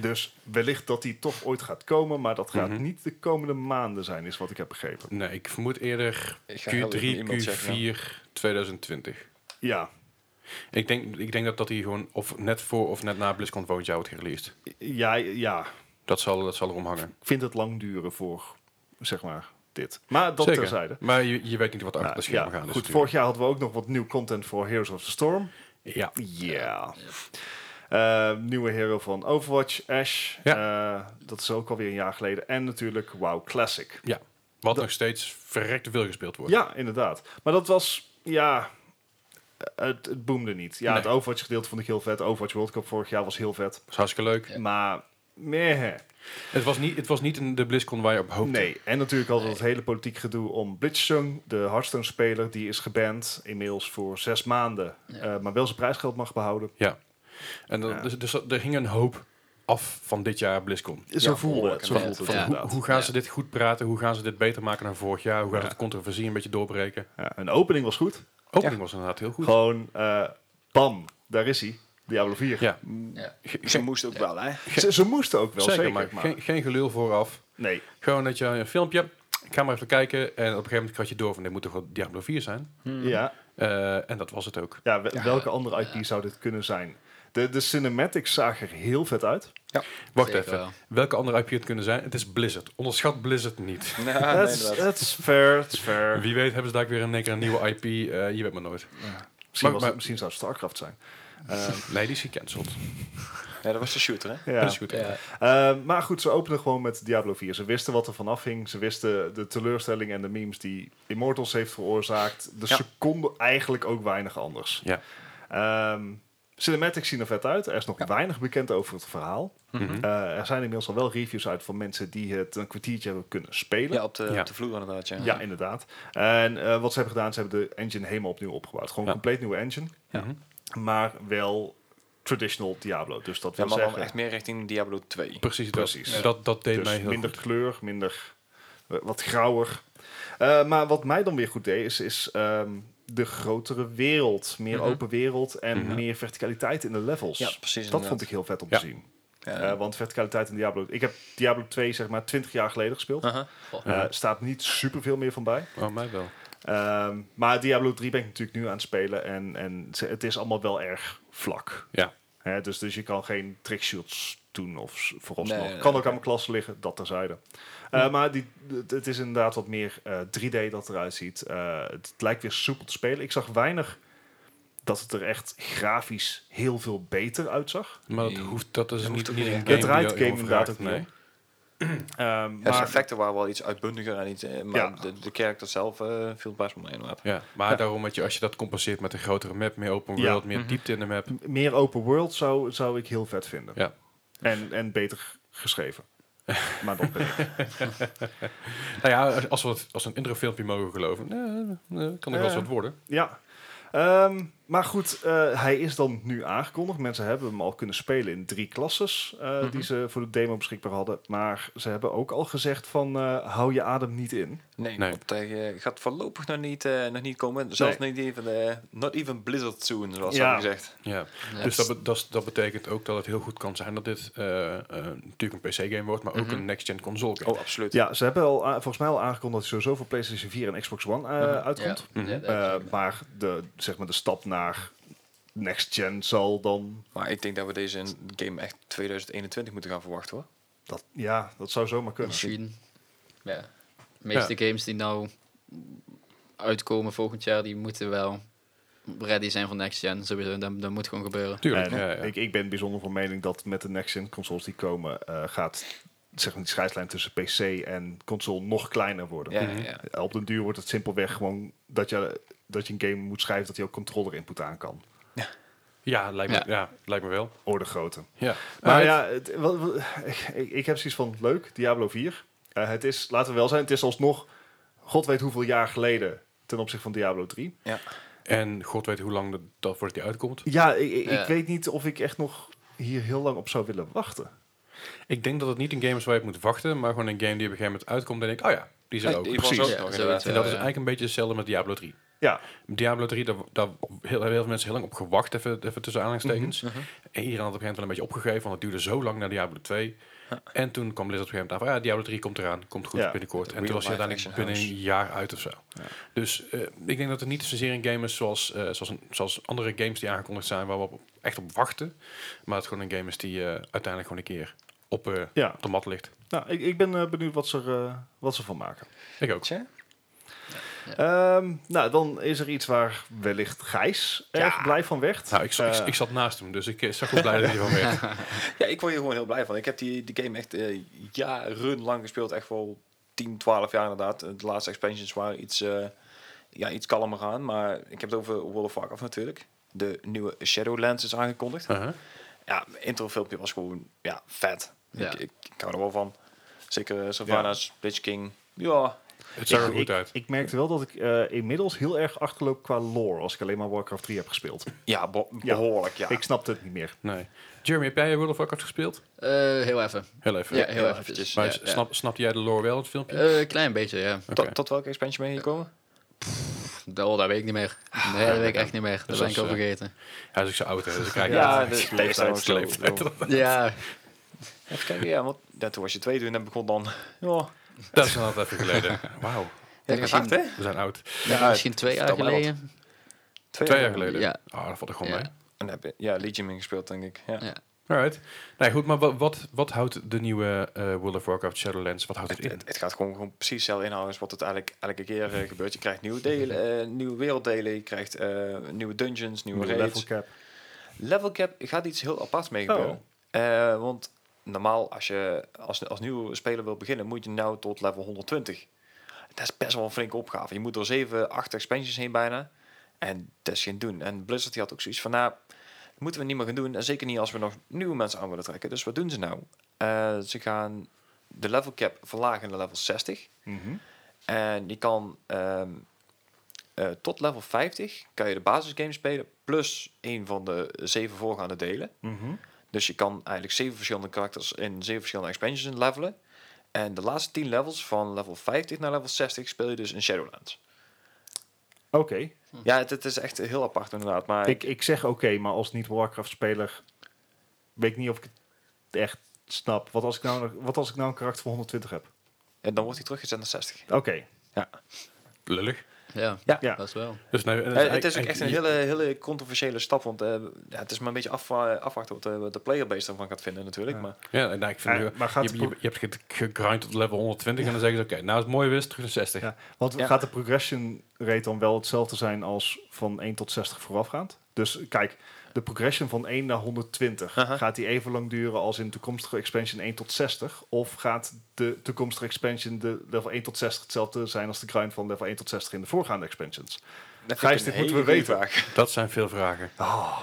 C: Dus wellicht dat die toch ooit gaat komen. Maar dat gaat
A: Mhm.
C: niet de komende maanden zijn, is wat ik heb begrepen.
A: Nee, ik vermoed eerder
D: Ik ga heel
A: Q3,
D: even iemand checken, ja.
A: Q4 2020.
C: Ja,
A: Ik denk, ik denk dat dat hier gewoon of net voor of net na BlizzCon volgend jaar wordt gereleased.
C: ja, ja.
A: Dat zal, dat zal erom hangen.
C: Ik vind het lang duren voor, zeg maar, dit. Maar dat
A: Zeker.
C: terzijde.
A: Maar je, je weet niet wat er achter de
C: Nou,
A: schermen
C: ja,
A: gaan dus is
C: goed,
A: natuurlijk.
C: vorig jaar hadden we ook nog wat nieuw content voor Heroes of the Storm.
A: Ja.
C: Ja. Eh, nieuwe hero van Overwatch, Ash. Eh, dat is ook alweer een jaar geleden. En natuurlijk WoW Classic.
A: Wat nog steeds verrekt veel gespeeld wordt.
C: Ja, inderdaad. Maar dat was, ja, het, het boomde niet. Ja,
A: Nee.
C: het Overwatch gedeelte vond ik heel vet. Overwatch World Cup vorig jaar was heel vet.
A: Dat is hartstikke leuk.
B: Ja.
C: Maar, meh.
A: Het was niet, het was niet een, de BlizzCon waar je op hoopte.
C: Nee, en natuurlijk altijd het hele politiek gedoe om Blitzjung, de Hearthstone-speler, die is geband inmiddels voor zes maanden,
B: Ja.
C: eh, maar wel zijn prijsgeld mag behouden.
A: En dan,
C: Ja.
A: dus, dus er ging een hoop af van dit jaar BlizzCon.
C: Zo
D: Ja,
C: voelde
D: behoorlijk
C: het. Zo
D: inderdaad.
C: voelde het
A: Hoe,
D: Van
C: inderdaad.
A: hoe gaan
B: Ja.
A: ze dit goed praten? Hoe gaan ze dit beter maken dan vorig jaar? Hoe gaan
C: Ja.
A: ze de controversie een beetje doorbreken?
C: Ja, een opening was goed.
A: Opening was inderdaad heel goed.
C: Gewoon, eh, bam, daar is hij. Diablo 4.
A: Ja,
B: Ja.
D: Ze moest ook wel, hè?
C: Ze, ze moesten ook wel,
A: zeker,
C: zeker.
A: maar,
C: maar-
A: Geen, geen gelul vooraf.
C: nee,
A: Gewoon dat je een filmpje, ik ga maar even kijken. En op een gegeven moment krijg je door van dit moet toch wel Diablo 4 zijn?
B: Hmm.
C: ja.
A: Eh, en dat was het ook.
C: Ja, we-
B: Ja,
C: welke andere IP zou dit kunnen zijn? De, de cinematics zagen er heel vet uit.
A: Wacht
B: Zeker
A: even,
B: wel.
A: welke andere IP het kunnen zijn? Het is Blizzard. Onderschat Blizzard niet.
D: Ja,
C: That's, that's fair, that's fair.
A: Wie weet hebben ze daar weer een, een nieuwe IP. eh, je weet maar nooit.
C: Misschien,
A: Maar-
C: was
A: maar-
C: het, misschien zou het Starcraft zijn. Eh,
A: Nee, die is gecanceld.
D: dat was de shooter, hè?
C: Ja.
A: Dat is goed.
B: Ja.
C: Eh, maar goed, ze openden gewoon met Diablo 4. Ze wisten wat er vanaf hing. Ze wisten de teleurstelling en de memes die Immortals heeft veroorzaakt. De
D: Ja.
C: seconde eigenlijk ook weinig anders.
A: Ja.
C: Ehm, cinematics zien er vet uit. Er is nog weinig bekend over het verhaal.
A: Mhm.
C: Eh, er zijn inmiddels al wel reviews uit van mensen die het een kwartiertje hebben kunnen spelen.
D: Ja, op de,
A: Ja.
D: Op de vloer inderdaad, ja.
C: Ja, inderdaad. En eh, wat ze hebben gedaan, ze hebben de engine helemaal opnieuw opgebouwd. Gewoon
A: Ja.
C: een compleet nieuwe engine,
A: Mhm.
C: maar wel traditional Diablo. Dus dat
D: Ja,
C: wil
D: maar dan
C: zeggen,
D: echt meer richting Diablo 2.
A: Precies, dat,
C: Precies. Ja.
A: dat, dat deed mij
C: dus
A: heel
C: minder
A: goed.
C: kleur, minder, eh, wat grauwer. Eh, maar wat mij dan weer goed deed, is, is ehm, de grotere wereld. Meer
B: Mhm.
C: open wereld en
A: Mhm.
C: meer verticaliteit in de levels.
D: Ja, precies.
C: dat vond ik heel vet om te
A: Ja.
C: zien.
D: Ja.
C: Eh, want verticaliteit in Diablo... Ik heb Diablo 2 zeg maar 20 jaar geleden gespeeld.
D: Aha.
C: Eh, staat niet superveel meer van bij.
A: Oh, mij wel.
C: Ehm, maar Diablo 3 ben ik natuurlijk nu aan het spelen en, en ze- het is allemaal wel erg vlak.
A: Ja.
C: Hè, dus, dus je kan geen trickshots doen of s- vooralsnog.
D: Nee, Hm. nee,
C: kan ook
D: oké.
C: aan mijn klassen liggen, dat terzijde. Eh, Maar die, het- het is inderdaad wat meer eh, 3D dat eruit ziet. Eh, het lijkt weer soepel te spelen. Ik zag weinig dat het er echt grafisch heel veel beter uitzag.
A: Maar dat
D: Nee.
A: hoeft, dat is
D: Dat
A: niet,
D: hoeft
A: niet
D: ook
A: een
D: niet.
A: game
C: Het draait
A: die je
C: game inderdaad
A: overvraagt,
C: ook niet Ehm,
D: Ja, de
C: maar
D: effecten waren wel iets uitbundiger en iets, eh, maar
C: Ja.
D: de, de character zelf eh, viel best wel mee. inderdaad.
A: Ja, maar daarom dat je, als je dat compenseert met een grotere map, meer open
C: Ja.
A: world, meer
B: Mhm.
A: diepte in de map.
C: m- meer open world zou, zou ik heel vet vinden.
A: Ja.
C: En, en beter geschreven. maar dat ben ik.
A: Nou ja, als we het, als we een introfilmpje mogen geloven, eh, eh, kan er wel eens
C: Ja.
A: wat worden.
C: Ja. Ehm, maar goed, eh, hij is dan nu aangekondigd. Mensen hebben hem al kunnen spelen in drie klasses eh,
B: Mhm.
C: die ze voor de demo beschikbaar hadden. Maar ze hebben ook al gezegd van eh, hou je adem niet in.
D: Nee,
A: Nee.
D: want hij eh, gaat voorlopig nog niet, eh, nog niet komen. Zelfs
C: Nee.
D: niet even, eh, not even Blizzard soon, zoals ze
C: Ja.
D: hebben gezegd.
A: Ja.
B: Ja.
A: Dus dat, be- dat, is- dat betekent ook dat het heel goed kan zijn dat dit eh, eh, natuurlijk een PC-game wordt, maar ook
B: Mhm.
A: een next-gen console game.
D: Oh, absoluut.
C: Ja, ze hebben al, a- volgens mij al aangekondigd dat hij sowieso voor PlayStation 4 en Xbox One eh, uitkomt.
B: Ja,
A: Mhm.
B: ja, dat
C: Eh,
B: is ook-
C: maar de, zeg maar de stap naar next gen zal dan...
D: Maar ik denk dat we deze in game echt 2021 moeten gaan verwachten hoor.
C: Dat, ja, dat zou zomaar kunnen.
B: Misschien. Ja. De meeste games die nou uitkomen volgend jaar, die moeten wel ready zijn voor next gen. Sowieso, dat, dat moet gewoon gebeuren.
A: Tuurlijk,
C: En
A: ja, ja.
C: Ik, ik ben bijzonder van mening dat met de next-gen consoles die komen, eh, gaat zeg maar, die scheidslijn tussen PC en console nog kleiner worden.
D: Ja,
A: Mhm.
D: ja.
C: Op den duur wordt het simpelweg gewoon dat je, dat je een game moet schrijven dat hij ook controller input aan kan.
A: ja, lijkt me, ja.
B: Ja.
A: lijkt me wel.
C: Orde grootte.
A: Ja.
C: Maar
A: Eh,
C: ja, het- wat- wat- ik, ik heb zoiets van leuk, Diablo 4. Eh, het is, laten we wel zijn, het is alsnog god weet hoeveel jaar geleden ten opzichte van Diablo 3.
A: En god weet hoe lang dat, dat voordat die uitkomt.
C: Ja, ik, ik-
B: Ja.
C: ik weet niet of ik echt nog hier heel lang op zou willen wachten.
A: Ik denk dat het niet een game is waar je op moet wachten, maar gewoon een game die op een gegeven moment uitkomt en denk ik, oh ja, die is er
D: Ja,
A: ook.
D: die was
C: precies.
B: Ja,
D: ook nog,
B: zoiets,
D: inderdaad.
A: En
B: ja.
A: dat is eigenlijk een beetje hetzelfde met Diablo 3.
C: Ja,
A: Diablo 3, daar, daar heel, heel veel mensen heel lang op gewacht, even, even tussen aanhalingstekens.
D: Mhm,
A: En iedereen had op een gegeven moment wel een beetje opgegeven, want het duurde zo lang naar Diablo 2. En toen kwam Blizzard op een gegeven moment aan van, ja, Diablo 3 komt eraan, komt goed
C: Ja.
A: binnenkort. En
D: Real
A: toen was je
D: life
A: uiteindelijk
D: action
A: binnen een jaar uit of zo. Dus eh, ik denk dat het niet zozeer een game is zoals, eh, zoals, een- zoals andere games die aangekondigd zijn, waar we op, echt op wachten. Maar het gewoon een game is die eh, uiteindelijk gewoon een keer op, eh,
C: ja.
A: op de mat ligt.
C: Nou, ik, ik ben eh, benieuwd wat ze, er, eh, wat ze van maken.
A: Ik ook.
D: Tja.
C: Ehm, nou, dan is er iets waar wellicht Gijs erg blij van werd.
A: Nou, ik, zat- ik,
C: Eh,
A: ik zat naast hem, dus ik eh, zag hoe blij dat hij van werd.
D: Ja, ik word hier gewoon heel blij van. Ik heb die, die game echt eh, jarenlang gespeeld. Echt wel 10, 12 jaar inderdaad. De laatste expansions waren iets, eh, ja, iets kalmer aan. Maar ik heb het over World of Warcraft natuurlijk. De nieuwe Shadowlands is aangekondigd.
A: Uh-huh.
D: Ja, mijn introfilmpje was gewoon ja, vet.
B: Ja.
D: Ik, ik, ik hou er wel van. Zeker eh, Savannah's, Lich King. Ja,
A: Het zag er
C: Ik-
A: goed
C: ik,
A: uit.
C: Ik merkte wel dat ik eh, inmiddels heel erg achterloop qua lore als ik alleen maar Warcraft 3 heb gespeeld.
D: Ja, be-
C: Ja.
D: behoorlijk, ja.
C: Ik snapte het niet meer.
A: Nee. Jeremy, heb jij World of Warcraft gespeeld?
B: Eh, heel even.
A: Heel even.
B: Ja, heel
D: heel
B: eventjes.
A: Maar
B: Ja,
A: s-
B: ja.
A: Snap, snapte jij de lore wel, het filmpje?
B: Eh, klein beetje, ja.
A: Oké.
D: tot, tot welke expansion ben je gekomen?
B: Pff, Dat, dat Oh, weet ik niet meer. Nee, dat weet ik echt niet meer. Dat
A: Dus
B: ben
A: als,
B: ik al
A: eh,
B: vergeten.
A: Hij is ook zo oud, hè, dus ik krijg
C: Ja,
A: ja,
D: de-
A: de
D: de leeftijd
A: leeftijd.
D: of zo.
A: leeftijd.
B: Ja,
D: Even kijken, ja, want ja, toen was je twee en dan begon dan... Ja,
A: Dat is al even geleden. Wauw,
D: dat
B: misschien-
D: is hard, hè?
A: we zijn oud.
D: Ja,
B: misschien twee jaar
D: vertel mij wat.
B: geleden.
A: Twee jaar geleden.
B: Ja.
A: Ah, dat valt er gewoon
B: Ja.
A: mee.
D: En heb je, ja, Legion in gespeeld, denk ik. Ja.
B: Ja.
A: Alright. Nee, goed, maar wat, wat, wat houdt de nieuwe eh, World of Warcraft Shadowlands, wat houdt het
D: Het,
A: in?
D: het- het gaat gewoon, gewoon precies hetzelfde inhouden als wat het eigenlijk elke keer eh, gebeurt. Je krijgt nieuwe delen, eh, nieuwe werelddelen, je krijgt eh, nieuwe dungeons, nieuwe,
C: Nieuwe
D: raids.
C: level cap.
D: Level cap gaat iets heel aparts mee
C: Oh.
D: gebeuren. Eh, want normaal, als je als, als nieuwe speler wil beginnen, moet je nou tot level 120. Dat is best wel een flinke opgave. Je moet door 7, 8 expansions heen bijna. En dat is geen doen. En Blizzard die had ook zoiets van, nou, dat moeten we niet meer gaan doen. En zeker niet als we nog nieuwe mensen aan willen trekken. Dus wat doen ze nou? Eh, ze gaan de level cap verlagen naar level 60.
C: Mhm.
D: En je kan ehm, eh, tot level 50 kan je de basisgame spelen, plus één van de zeven voorgaande delen.
C: Mhm.
D: Dus je kan eigenlijk zeven verschillende karakters in zeven verschillende expansions levelen. En de laatste 10 levels van level 50 naar level 60 speel je dus in Shadowlands.
C: Oké,
D: Ja, het, het is echt heel apart inderdaad. Maar
C: ik, ik zeg oké, maar als niet-Warcraft-speler weet ik niet of ik het echt snap. Wat als ik nou, nog- wat als ik nou een karakter van 120 heb?
D: en dan wordt hij teruggezet naar 60.
C: Oké,
A: Lullig.
B: Ja,
D: Ja.
C: Ja.
B: dat is wel.
A: Dus nee,
D: Eh, het is ook echt een hele, hele controversiële stap, want eh, ja, het is maar een beetje af, afwachten wat de, wat de playerbase ervan gaat vinden natuurlijk.
C: Ja.
D: Maar
A: Ja, nee, ik vind
C: Eh,
A: nu-
C: maar gaat
A: je,
C: de
A: je,
C: pro-
A: je hebt ge- gegrind tot level 120 en dan zeggen ze, oké, nou is het mooi weer, is het terug naar 60.
C: ja. want
D: Ja.
C: gaat de progression rate dan wel hetzelfde zijn als van 1 tot 60 voorafgaand? Dus kijk, de progression van 1 naar 120,
D: Aha.
C: gaat die even lang duren als in de toekomstige expansion 1 tot 60? Of gaat de toekomstige expansion de level 1 tot 60 hetzelfde zijn als de grind van level 1 tot 60 in de voorgaande expansions?
D: dat
C: Gijs,
D: vind ik
C: dit
D: een
C: moeten
D: hele
C: we
D: goede
C: weten.
D: vraag.
A: Dat zijn veel vragen.
C: Oh,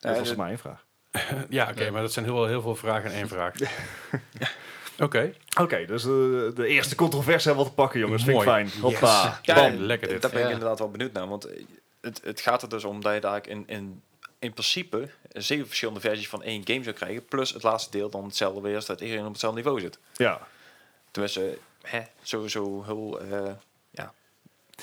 C: dat
D: Ja,
C: was
D: dit-
C: maar één vraag.
A: Ja, oké,
B: Ja.
A: maar dat zijn heel, heel veel vragen in één vraag. Oké,
C: Oké, dus eh, de eerste controverse hebben we al te pakken, jongens. Vind ik
A: Mooi.
C: fijn. Hoppa.
D: Ja,
A: Bam,
D: eh,
A: lekker dit.
D: Daar ben ik
B: Ja.
D: inderdaad wel benieuwd naar. Want eh, het, het gaat er dus om dat je daar in, in, in principe zeven verschillende versies van één game zou krijgen. Plus het laatste deel dan hetzelfde weer, zodat iedereen op hetzelfde niveau zit.
C: Ja.
D: Tenminste, eh, hè, sowieso heel eh, ja,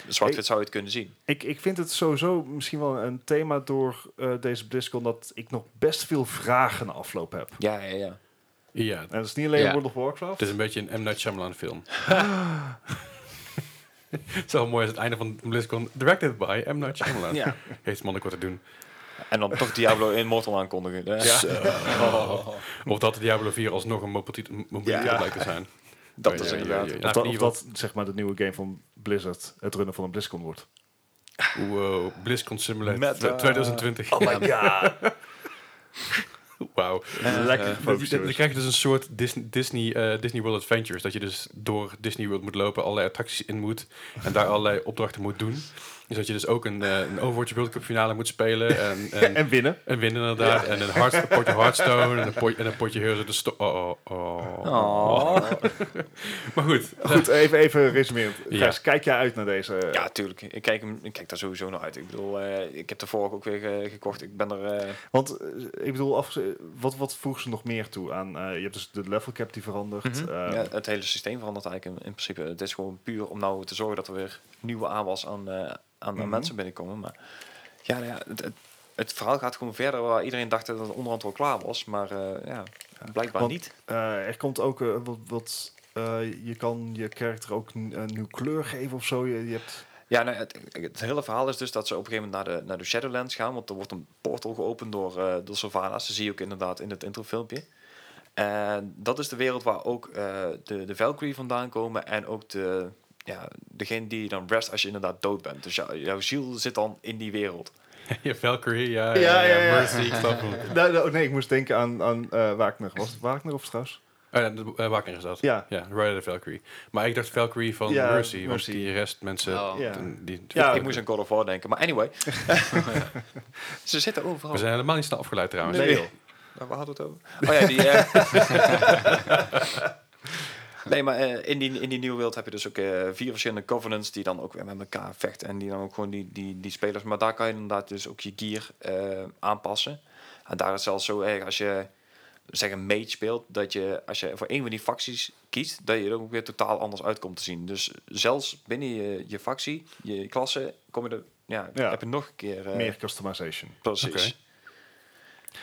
D: zwart-wit zou je het kunnen zien.
C: Ik, ik vind het sowieso misschien wel een thema door eh, deze BlizzCon... dat ik nog best veel vragen na afloop heb.
D: Ja, ja, ja.
A: ja, Dus
C: En dat is niet alleen
B: Ja.
C: World of Warcraft.
A: het is een beetje een M. Night Shyamalan film. Het is wel mooi als het einde van BlizzCon directed by M. Night Shyamalan.
D: ja.
A: Heeft man ook wat te doen.
D: En dan toch Diablo Immortal aankondigen. Eh,
A: Ja.
D: zo.
A: Of dat Diablo 4 alsnog een mobiel tit- mobiel
D: Ja.
A: titel blijkt te zijn.
D: Dat is
A: Ja, ja,
D: inderdaad.
A: ja, ja.
C: of,
A: Nou,
C: dat,
A: in
C: of
A: ieder
C: dat, zeg maar, de nieuwe game van Blizzard... het runnen van een BlizzCon wordt.
A: geval- Wow, BlizzCon Simulator
D: Met, eh,
A: 2020.
B: my
C: Ja.
A: Wauw.
C: Lekker
A: Dan
C: gefocust,
A: dan
C: jongens.
A: krijg je dus een soort Disney, Disney, eh, Disney World Adventures. Dat je dus door Disney World moet lopen, allerlei attracties in moet en daar allerlei opdrachten moet doen. Dus dat je dus ook een, eh, een Overwatch World Cup finale moet spelen en, en,
C: En winnen.
A: en winnen inderdaad. En een, hard, een potje Hearthstone en een, potje- en een potje Heroes of the Storm. Oh, oh, oh.
D: Oh.
A: Maar goed,
C: Goed, even, even resumerend.
A: Ja.
C: Gijs, kijk jij uit naar deze...
D: Ja, tuurlijk. Ik kijk, hem- ik kijk daar sowieso naar uit. Ik bedoel, eh, ik heb de vorige ook weer eh, gekocht. Ik ben er... eh,
C: Want eh, ik bedoel, af, wat, wat voegen ze nog meer toe aan? eh, je hebt dus de level cap die verandert. eh,
D: Mhm. ja, het hele systeem verandert eigenlijk in, in principe. Het is gewoon puur om nou te zorgen dat er weer nieuwe aanwas aan, eh, aan, aan
C: Mhm.
D: mensen binnenkomen. Maar ja, nou ja het, het, het verhaal gaat gewoon verder waar iedereen dacht dat het onderhand wel klaar was. Maar eh, ja, blijkbaar
C: Want-
D: niet.
C: Eh, er komt ook eh, wat. wat eh, je kan je karakter ook een een nieuw kleur geven of zo. Je, je hebt.
D: Ja, nou, het, het hele verhaal is dus dat ze op een gegeven moment naar de, naar de Shadowlands gaan. Want er wordt een portal geopend door, eh door Sylvanas. Dat zie je ook inderdaad in het introfilmpje. En dat is de wereld waar ook eh, de, de Valkyrie vandaan komen. En ook de, ja, degene die je dan rest als je inderdaad dood bent. Dus jou- jouw ziel zit dan in die wereld.
A: je Valkyrie, ja,
C: Ja,
A: ja, ja,
C: ja, ja.
A: Mercy, ik snap hem.
C: Nou, nou, nee, ik moest denken aan, aan eh, Wagner. Was het Wagner of trouwens?
A: Oh, ja, de- eh, Wagner is dat.
C: Ja.
A: Ja, Rider the Valkyrie. Maar ik dacht Valkyrie van
C: Ja,
A: Mercy, want
C: Mercy.
A: die rest mensen...
B: Oh.
C: Ja.
A: ten- die,
C: Ja,
D: ik moest aan God of War denken. Maar anyway. Ze zitten overal.
A: We zijn helemaal niet snel afgeleid trouwens.
D: Nee, joh. Nou, Waar hadden we het over? Oh ja, die... eh, Nee, maar eh, in, die, in die nieuwe wereld heb je dus ook eh, vier verschillende covenants die dan ook weer met elkaar vechten. En die dan ook gewoon die, die, die spelers. Maar daar kan je inderdaad dus ook je gear eh, aanpassen. En daar is het zelfs zo erg als je zeg een mage speelt, dat je als je voor een van die facties kiest, dat je er ook weer totaal anders uitkomt te zien. Dus zelfs binnen je, je factie, je klasse, kom je er, ja,
C: Ja.
D: heb je nog een keer eh,
C: Meer customization.
D: Precies.
A: Oké.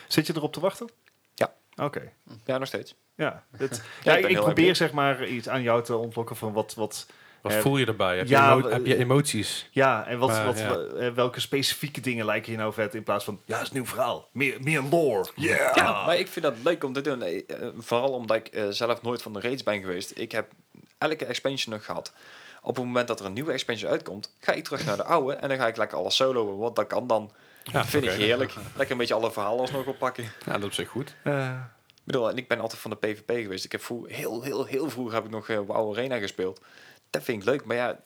C: Zit je erop te wachten?
D: Ja.
C: Oké.
D: Ja, nog steeds.
C: Ja, het,
D: ben
C: ja,
D: heel
C: ik, ik
D: erg
C: probeer
D: benieuwd.
C: zeg maar iets aan jou te ontlokken van wat, wat
A: Wat
C: Eh,
A: voel je erbij? Heb,
C: ja,
A: je, emo-
C: eh,
A: heb je emoties?
C: ja, en wat,
A: Maar,
C: wat,
A: ja.
C: eh, welke specifieke dingen lijken je nou vet in plaats van, ja, het is een nieuw verhaal, meer, meer lore, yeah.
A: Ah.
D: Ja, maar ik vind dat leuk om te doen. Nee, eh, vooral omdat ik eh, zelf nooit van de raids ben geweest. Ik heb elke expansion nog gehad. Op het moment dat er een nieuwe expansion uitkomt, ga ik terug naar de oude en dan ga ik lekker alles soloen. Want dat kan dan.
A: Ja,
D: vind
A: oké.
D: ik heerlijk. Lekker een beetje alle verhalen alsnog oppakken. Ik
A: Ja, dat is op zich goed.
C: Eh,
D: bedoel, en ik ben altijd van de PvP geweest. Ik heb vroeg, heel, heel, heel vroeg heb ik nog eh WoW Arena gespeeld. Dat vind ik leuk, maar ja,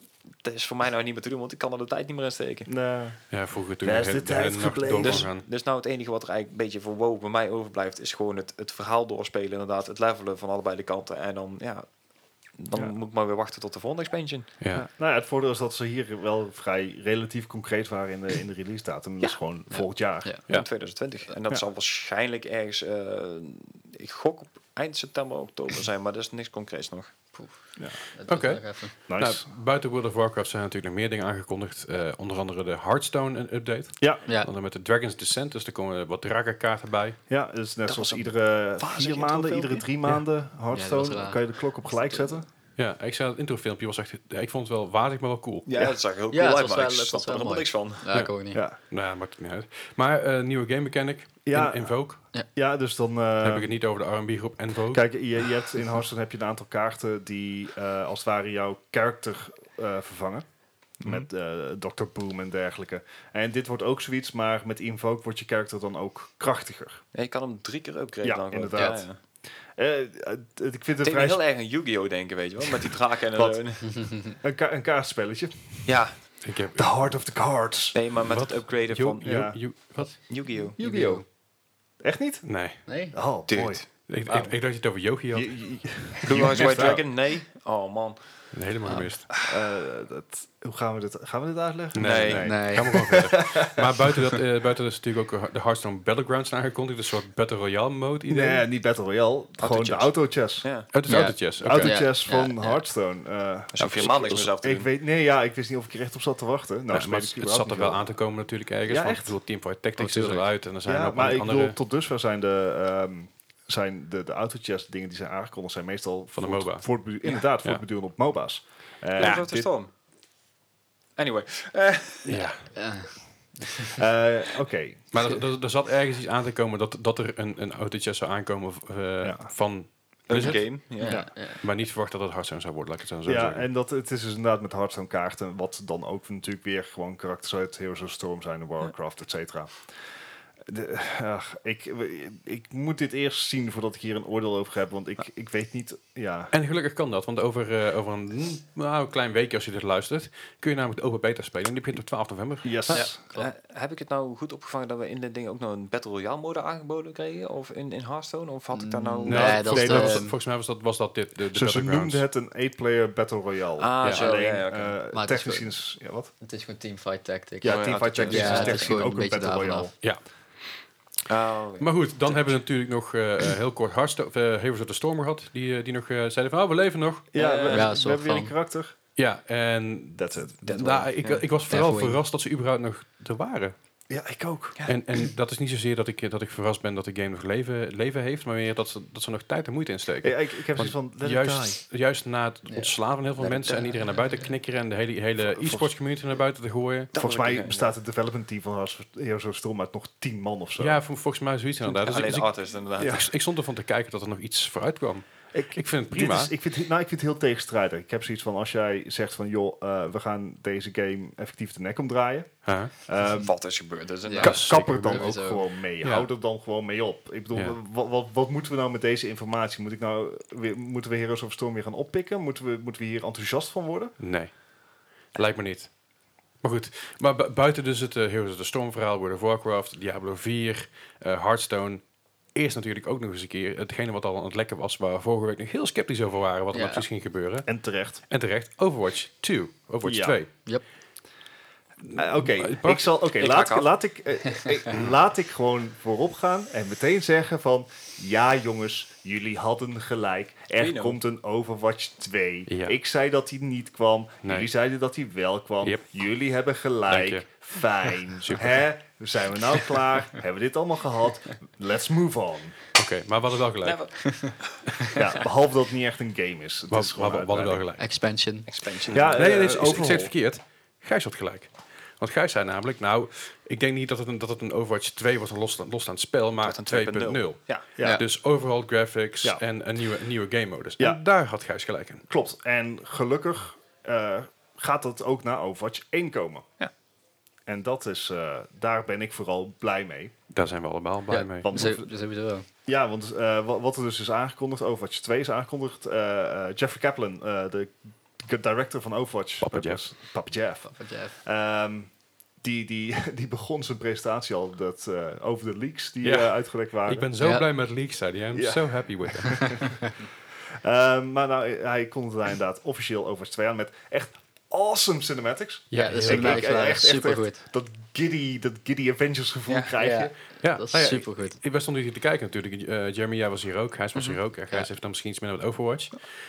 D: dat is voor mij nou niet meer te doen, want ik kan er de tijd niet meer in steken.
C: nou,
A: Ja, vroeger toen
C: Daar
A: je
C: is
A: de hele- de
C: de
A: hele
C: tijd
A: nacht door
C: gebleven.
A: kon
D: Dus,
A: gaan.
D: dus nou het enige wat er eigenlijk een beetje voor wow bij mij overblijft, is gewoon het, het verhaal doorspelen, inderdaad, het levelen van allebei de kanten. En dan, ja, dan
C: Ja.
D: moet ik maar weer wachten tot de volgende expansion.
A: Ja.
C: nou ja, het voordeel is dat ze hier wel vrij relatief concreet waren in de, in de release datum. Dat is gewoon volgend jaar.
B: Ja.
A: Ja.
D: In 2020. En dat
C: Ja.
D: zal waarschijnlijk ergens, eh, ik gok op eind september, oktober zijn, maar dat is niks concreets nog.
B: Dat duurt
A: Oké.
B: nog even.
C: Nice.
A: Nou, buiten World of Warcraft zijn natuurlijk nog meer dingen aangekondigd. Eh, onder andere de Hearthstone-update.
C: Ja,
B: Ja,
A: Dan met de Dragon's Descent, dus er komen wat drakenkaarten bij.
C: ja, dus net
D: Dat
C: zoals
D: was een
C: iedere
D: wazig
C: vier maanden,
D: introfilmpje.
C: iedere drie maanden
B: Ja,
C: Hearthstone,
B: dat was raar.
C: kan je de klok op gelijk zetten.
A: Ja, ik zei dat introfilmpje was echt... ja, ik vond het wel waardig, maar wel cool.
D: Ja, dat zag er heel
B: Ja,
D: cool
B: het
D: uit,
B: was
D: maar ik
B: wel- het
D: snap
B: was
D: er
B: wel
D: helemaal
B: mooi.
D: niks van.
B: ja, ik ook niet.
C: Ja,
A: Nou, ja, maakt het niet uit. Maar eh, nieuwe game mechanic,
C: Ja.
A: in, Invoke.
C: ja dus dan...
A: Dan
C: eh,
A: heb ik het niet over de R&B groep Invoke.
C: Kijk, je, je hebt, in Hearthstone heb je een aantal kaarten die eh, als het ware jouw karakter eh, vervangen. Met eh Dr. Boom en dergelijke. En dit wordt ook zoiets, maar met Invoke wordt je karakter dan ook krachtiger.
D: Ja, je kan hem drie keer upgraden.
C: Ja,
D: dan gewoon.
C: inderdaad.
D: Ja, ja.
C: Eh, het- het- ik vind het
D: Ik
C: een
D: denk
C: vrij
D: heel erg aan Yu-Gi-Oh! denken, weet je wel, met die draken en...
C: Wat?
D: eh,
C: een, ka- een kaartspelletje.
D: ja,
A: Ik heb...
C: The Heart of the Cards.
D: nee, maar met
A: Wat?
D: het upgraden
A: Yo-
D: van
A: yo-
C: Ja.
A: yo- wat?
D: Yu-Gi-Oh!
B: Yu-Gi-Oh!
C: Echt niet?
A: Nee.
B: Nee?
C: Oh,
D: Dude.
C: mooi.
A: Ik, ik,
D: Wauw.
A: ik dacht je het over Yogi had.
C: Je- je- je-
D: Blue Eyes White
C: Ja.
D: Dragon? Nee. Oh man.
A: Nee, Helemaal gemist.
C: eh, dat, hoe gaan we dit, gaan we dit uitleggen?
A: Nee, nee.
D: nee.
B: Nee.
A: Ga maar gewoon verder. Maar buiten dat, eh, buiten dat is natuurlijk ook de Hearthstone Battlegrounds aangekondigd. Een soort Battle Royale mode idee.
C: Nee, niet Battle Royale. Gewoon de
D: chess.
C: autochess.
D: Ja.
A: Oh, het is
B: Ja.
A: autochess. Oké.
B: Auto-
C: Autochess
B: Ja,
C: van
B: ja, ja.
C: Hearthstone. eh,
D: Dus hoef je helemaal niks meer zelf te
C: Ik
D: doen.
C: weet, nee, ja, ik wist niet of ik er echt op zat te wachten. Nou,
A: Ja, maar
C: speel ik
A: het, het
C: überhaupt
A: zat er
C: niet
A: wel
C: veel.
A: aan te komen natuurlijk ergens.
C: Ja,
A: want
C: echt?
A: Ik bedoel, Teamfight Tactics
B: Oh,
A: is
B: tuurlijk.
A: eruit en er zijn
C: Ja,
A: ook
C: maar
A: nog
C: ik
A: andere...
C: bedoel, tot dusver zijn de, ehm, zijn de, de autochess dingen die zijn aangekondigd zijn meestal
A: Van de
C: voort-
A: MOBA.
C: voortbedu- inderdaad,
A: Ja.
C: voortbedurend op MOBA's. Eh,
D: Ja, dat
C: dit-
D: is Storm. Anyway.
A: ja.
B: Ja.
C: eh, Oké,
A: Maar er, er- er zat ergens iets aan te komen dat, dat er een, een autochess zou aankomen eh,
C: Ja.
A: van...
D: Een
A: Blizzard.
D: game. Ja.
B: Ja. ja.
A: Maar niet verwacht dat het Hearthstone zou worden, laat ik het zo
C: ja,
A: zeggen.
C: en dat, het is dus inderdaad met Hearthstone kaarten, wat dan ook natuurlijk weer gewoon karakters uit Heroes of Storm zijn, en Warcraft, et cetera. De- ach, ik, ik moet dit eerst zien voordat ik hier een oordeel over heb, want ik, ik weet niet, ja.
A: En gelukkig kan dat, want over, eh, over een mm, nou, klein weekje als je dit luistert, kun je namelijk de open beta spelen. En die begint op 12 november.
C: Yes.
B: Ja. Klopt.
D: Eh, heb ik het nou goed opgevangen dat we in dit ding ook nog een Battle Royale mode aangeboden kregen? Of in, in Hearthstone? Of had ik daar nou...
B: Nee,
A: Nou,
B: dat
A: volgens-
B: is
A: nee,
B: de-
A: volgens mij was dat, was dat dit, de, de
C: Ze, ze
A: Battlegrounds.
C: noemden het een 8-player Battle Royale.
D: Ah,
A: Ja,
D: zo.
C: Alleen,
D: ja, ja, oké.
C: eh,
B: Maar het is
C: technisch
B: wel-
C: gezien is... Ja, wat?
B: Het is gewoon teamfight tactic.
C: Ja,
D: ja,
C: Team Fight
D: dat-
C: Tactics
D: ja,
C: is
D: het is
C: technisch gezien
B: gewoon
C: ook
B: een
C: een
B: beetje
C: Battle
B: daarvan
C: Royale.
B: af.
A: Ja,
D: Ah, oké.
A: maar goed, dan hebben we natuurlijk nog eh, eh, heel kort Hearthstone, of, eh, Heroes of the Storm gehad, die, eh, die nog eh, zeiden van, oh, we leven nog.
C: Ja,
D: Eh,
C: we,
D: ja,
C: we
B: soort
C: hebben weer een
B: van.
C: karakter.
A: Ja, en
C: That's it.
D: Dead
A: nou,
D: Wing,
A: ik,
D: ja.
A: ik was vooral
B: Deathwing.
A: verrast dat ze überhaupt nog er waren.
C: Ja, ik ook.
D: Ja.
A: En, en dat is niet zozeer dat ik, eh, dat ik verrast ben dat de game nog leven, leven heeft, maar meer dat ze, dat ze nog tijd en moeite insteken.
C: Ja, ik, ik heb
A: Want
C: zoiets van, let it die.
A: Juist, juist na het
B: Ja.
A: ontslaan van heel veel
D: Let it
A: mensen en
D: die,
A: iedereen
B: ja,
A: naar buiten knikkeren en de hele, hele
C: Volgens-
A: e-sports community naar buiten te gooien.
D: Dat
C: Volgens
D: was
C: mij
D: ik-
C: bestaat het development team van Heroes of Storm uit nog tien man of zo.
A: Ja, vol- volgens mij zoiets inderdaad. Dus ik-
D: alleen
A: dus
D: de
A: ik,
D: artist, inderdaad.
C: Ja.
D: Ja.
A: ik, ik stond ervan te kijken dat er nog iets vooruit kwam. Ik vind het
C: dit
A: prima.
C: Is, ik, vind, nou, ik vind het heel tegenstrijdig. Ik heb zoiets van, als jij zegt van, joh, eh, we gaan deze game effectief de nek omdraaien.
A: Huh?
C: ehm,
D: Wat is gebeurd? Dat is een eh,
B: Ja.
C: ka-
A: zeker
C: kapper dan ook
B: gebeurd. Sowieso.
C: gewoon mee.
A: Ja.
C: Hou er dan gewoon mee op. Ik bedoel,
A: Ja.
C: wa- wa- wat, wat moeten we nou met deze informatie? Moet ik nou weer, moeten we Heroes of Storm weer gaan oppikken? Moeten we, moeten we hier enthousiast van worden?
A: Nee, lijkt me niet. Maar goed, maar bu- buiten dus het eh, Heroes of the Storm verhaal, World of Warcraft, Diablo 4, eh, Hearthstone, eerst natuurlijk ook nog eens een keer hetgene wat al aan het lekken was, waar we vorige week nog heel sceptisch over waren, wat er
B: Ja.
A: nou precies ging gebeuren.
C: En terecht.
A: En terecht, Overwatch 2. Overwatch
C: Ja.
A: 2.
B: Yep.
C: Eh, Oké,
A: Pak.
C: ik zal. Oké,
D: Ik
C: laat,
D: haak af.
C: laat ik, eh, eh, laat ik gewoon voorop gaan en meteen zeggen van. Ja, jongens, jullie hadden gelijk. Er
D: Reno.
C: komt een Overwatch 2.
A: Ja.
C: Ik zei dat hij niet kwam.
A: Nee.
C: Jullie zeiden dat hij wel kwam.
A: Yep.
C: Jullie hebben
A: Dank
C: gelijk.
A: je.
C: Fijn.
A: Super.
C: Hè? Zijn we nou klaar? hebben we dit allemaal gehad? Let's move on.
A: Oké, maar we hadden wel gelijk.
D: Never.
C: Ja, behalve dat het niet echt een game is. Het
A: We, we-
C: is
A: we-
C: gewoon
A: we hadden wel
C: uitbreiding.
A: gelijk.
B: Expansion.
D: Expansion.
C: Ja,
A: Nee,
C: eh,
A: nee, ik- ik, ik
C: overhaul.
A: zei het verkeerd. Gijs had gelijk. Want Gijs zei namelijk, nou, ik denk niet dat het een, dat het een Overwatch 2 wordt, een losstaand los spel, maar
D: Wordt een
A: 2.0.
D: 2.0. Ja.
C: Ja.
B: Ja.
A: Dus overall graphics
C: Ja.
A: en een nieuwe, nieuwe game modus.
C: Ja.
A: En daar had Gijs gelijk in.
C: Klopt. En gelukkig eh, gaat dat ook naar Overwatch 1 komen.
D: Ja.
C: En dat is, eh, daar ben ik vooral blij mee.
A: Daar zijn we allemaal blij
B: Ja.
A: mee.
C: Want,
B: Zo- Sowieso wel.
C: ja, want eh, wa- wat er dus is aangekondigd, Overwatch 2 is aangekondigd. eh, eh, Jeffrey Kaplan, eh, de g- director van Overwatch.
A: Papa
C: dat
A: Jeff.
C: was- Papa Jeff.
B: Wat Jeff.
C: Ehm, die, die, die begon zijn presentatie al dat, eh, over de leaks die
A: Ja.
C: eh, uitgelekt waren.
A: Ik ben zo
B: Ja.
A: blij met Leaks, zei hij. I'm
C: Ja.
A: so happy with it.
C: Ehm, maar nou, hij kondigde daar inderdaad officieel Overwatch 2 aan met echt awesome cinematics.
B: Ja, dat is
C: Ik-
B: een
C: ik-
B: lijst.
C: echt- echt-
B: Supergoed.
C: dat giddy, dat giddy Avengers gevoel
B: Ja,
C: krijg
B: ja.
C: je.
A: Ja,
B: Dat
A: nou
B: is
A: ja,
B: supergoed.
A: Ik, ik stond hier te kijken natuurlijk. Eh, Jeremy, jij was hier ook. Gijs was hier ook. En Gijs
B: Ja.
A: heeft dan misschien iets minder met Overwatch.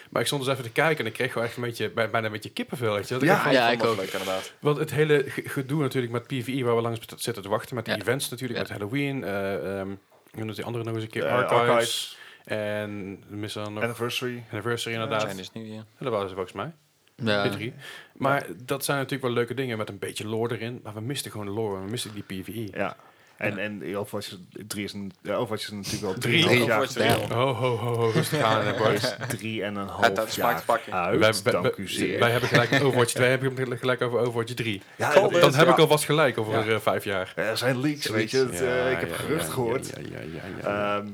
A: Maar ik stond dus even te kijken en ik kreeg gewoon echt een beetje, bij- bijna een beetje kippenvel. Weet je. wel. Dat Ah, ik
C: Ja.
A: echt-
B: Ja, ik ook.
D: Leuk, inderdaad.
A: want het hele ge- gedoe natuurlijk met PvE waar we langs zitten- zitten te wachten. Met die
B: Ja.
A: events natuurlijk,
B: Ja.
A: met Halloween. eh ehm, hoe noemt die andere nog eens een keer?
C: Eh,
A: Archives.
C: Archives.
A: En missen dan nog
C: Anniversary.
A: Anniversary
D: Ja.
A: inderdaad.
D: Zijn dus nu, ja.
A: dat waren ze volgens mij. Die
B: Ja.
A: drie. Maar dat zijn natuurlijk wel leuke dingen met een beetje lore erin. Maar we misten gewoon lore. We misten die E. PvE.
C: Ja. En, en Overwatch 3 is, een, ja, Overwatch is natuurlijk wel
A: Drie.
C: drie,
D: Overwatch
C: jaar
D: is drie.
C: geleden.
A: Ho, ho, ho, ho, rustig aan, hè, boys.
C: Drie en een
D: Het
C: half
D: had smaak
C: jaar
D: te pakken.
C: uit.
A: Wij- wij-
C: Dank u
A: wij-
C: zeer.
A: Wij hebben gelijk over Overwatch 2, hebben we gelijk over Overwatch 3.
C: Ja,
D: Kom
C: dat
D: in.
C: is-
A: Dan heb
D: ja.
A: ik alvast gelijk over eh, vijf jaar.
C: er zijn leaks, weet je. Het, eh, ik heb gerucht gehoord.
A: Ja, ja, ja, ja,
C: Ehm,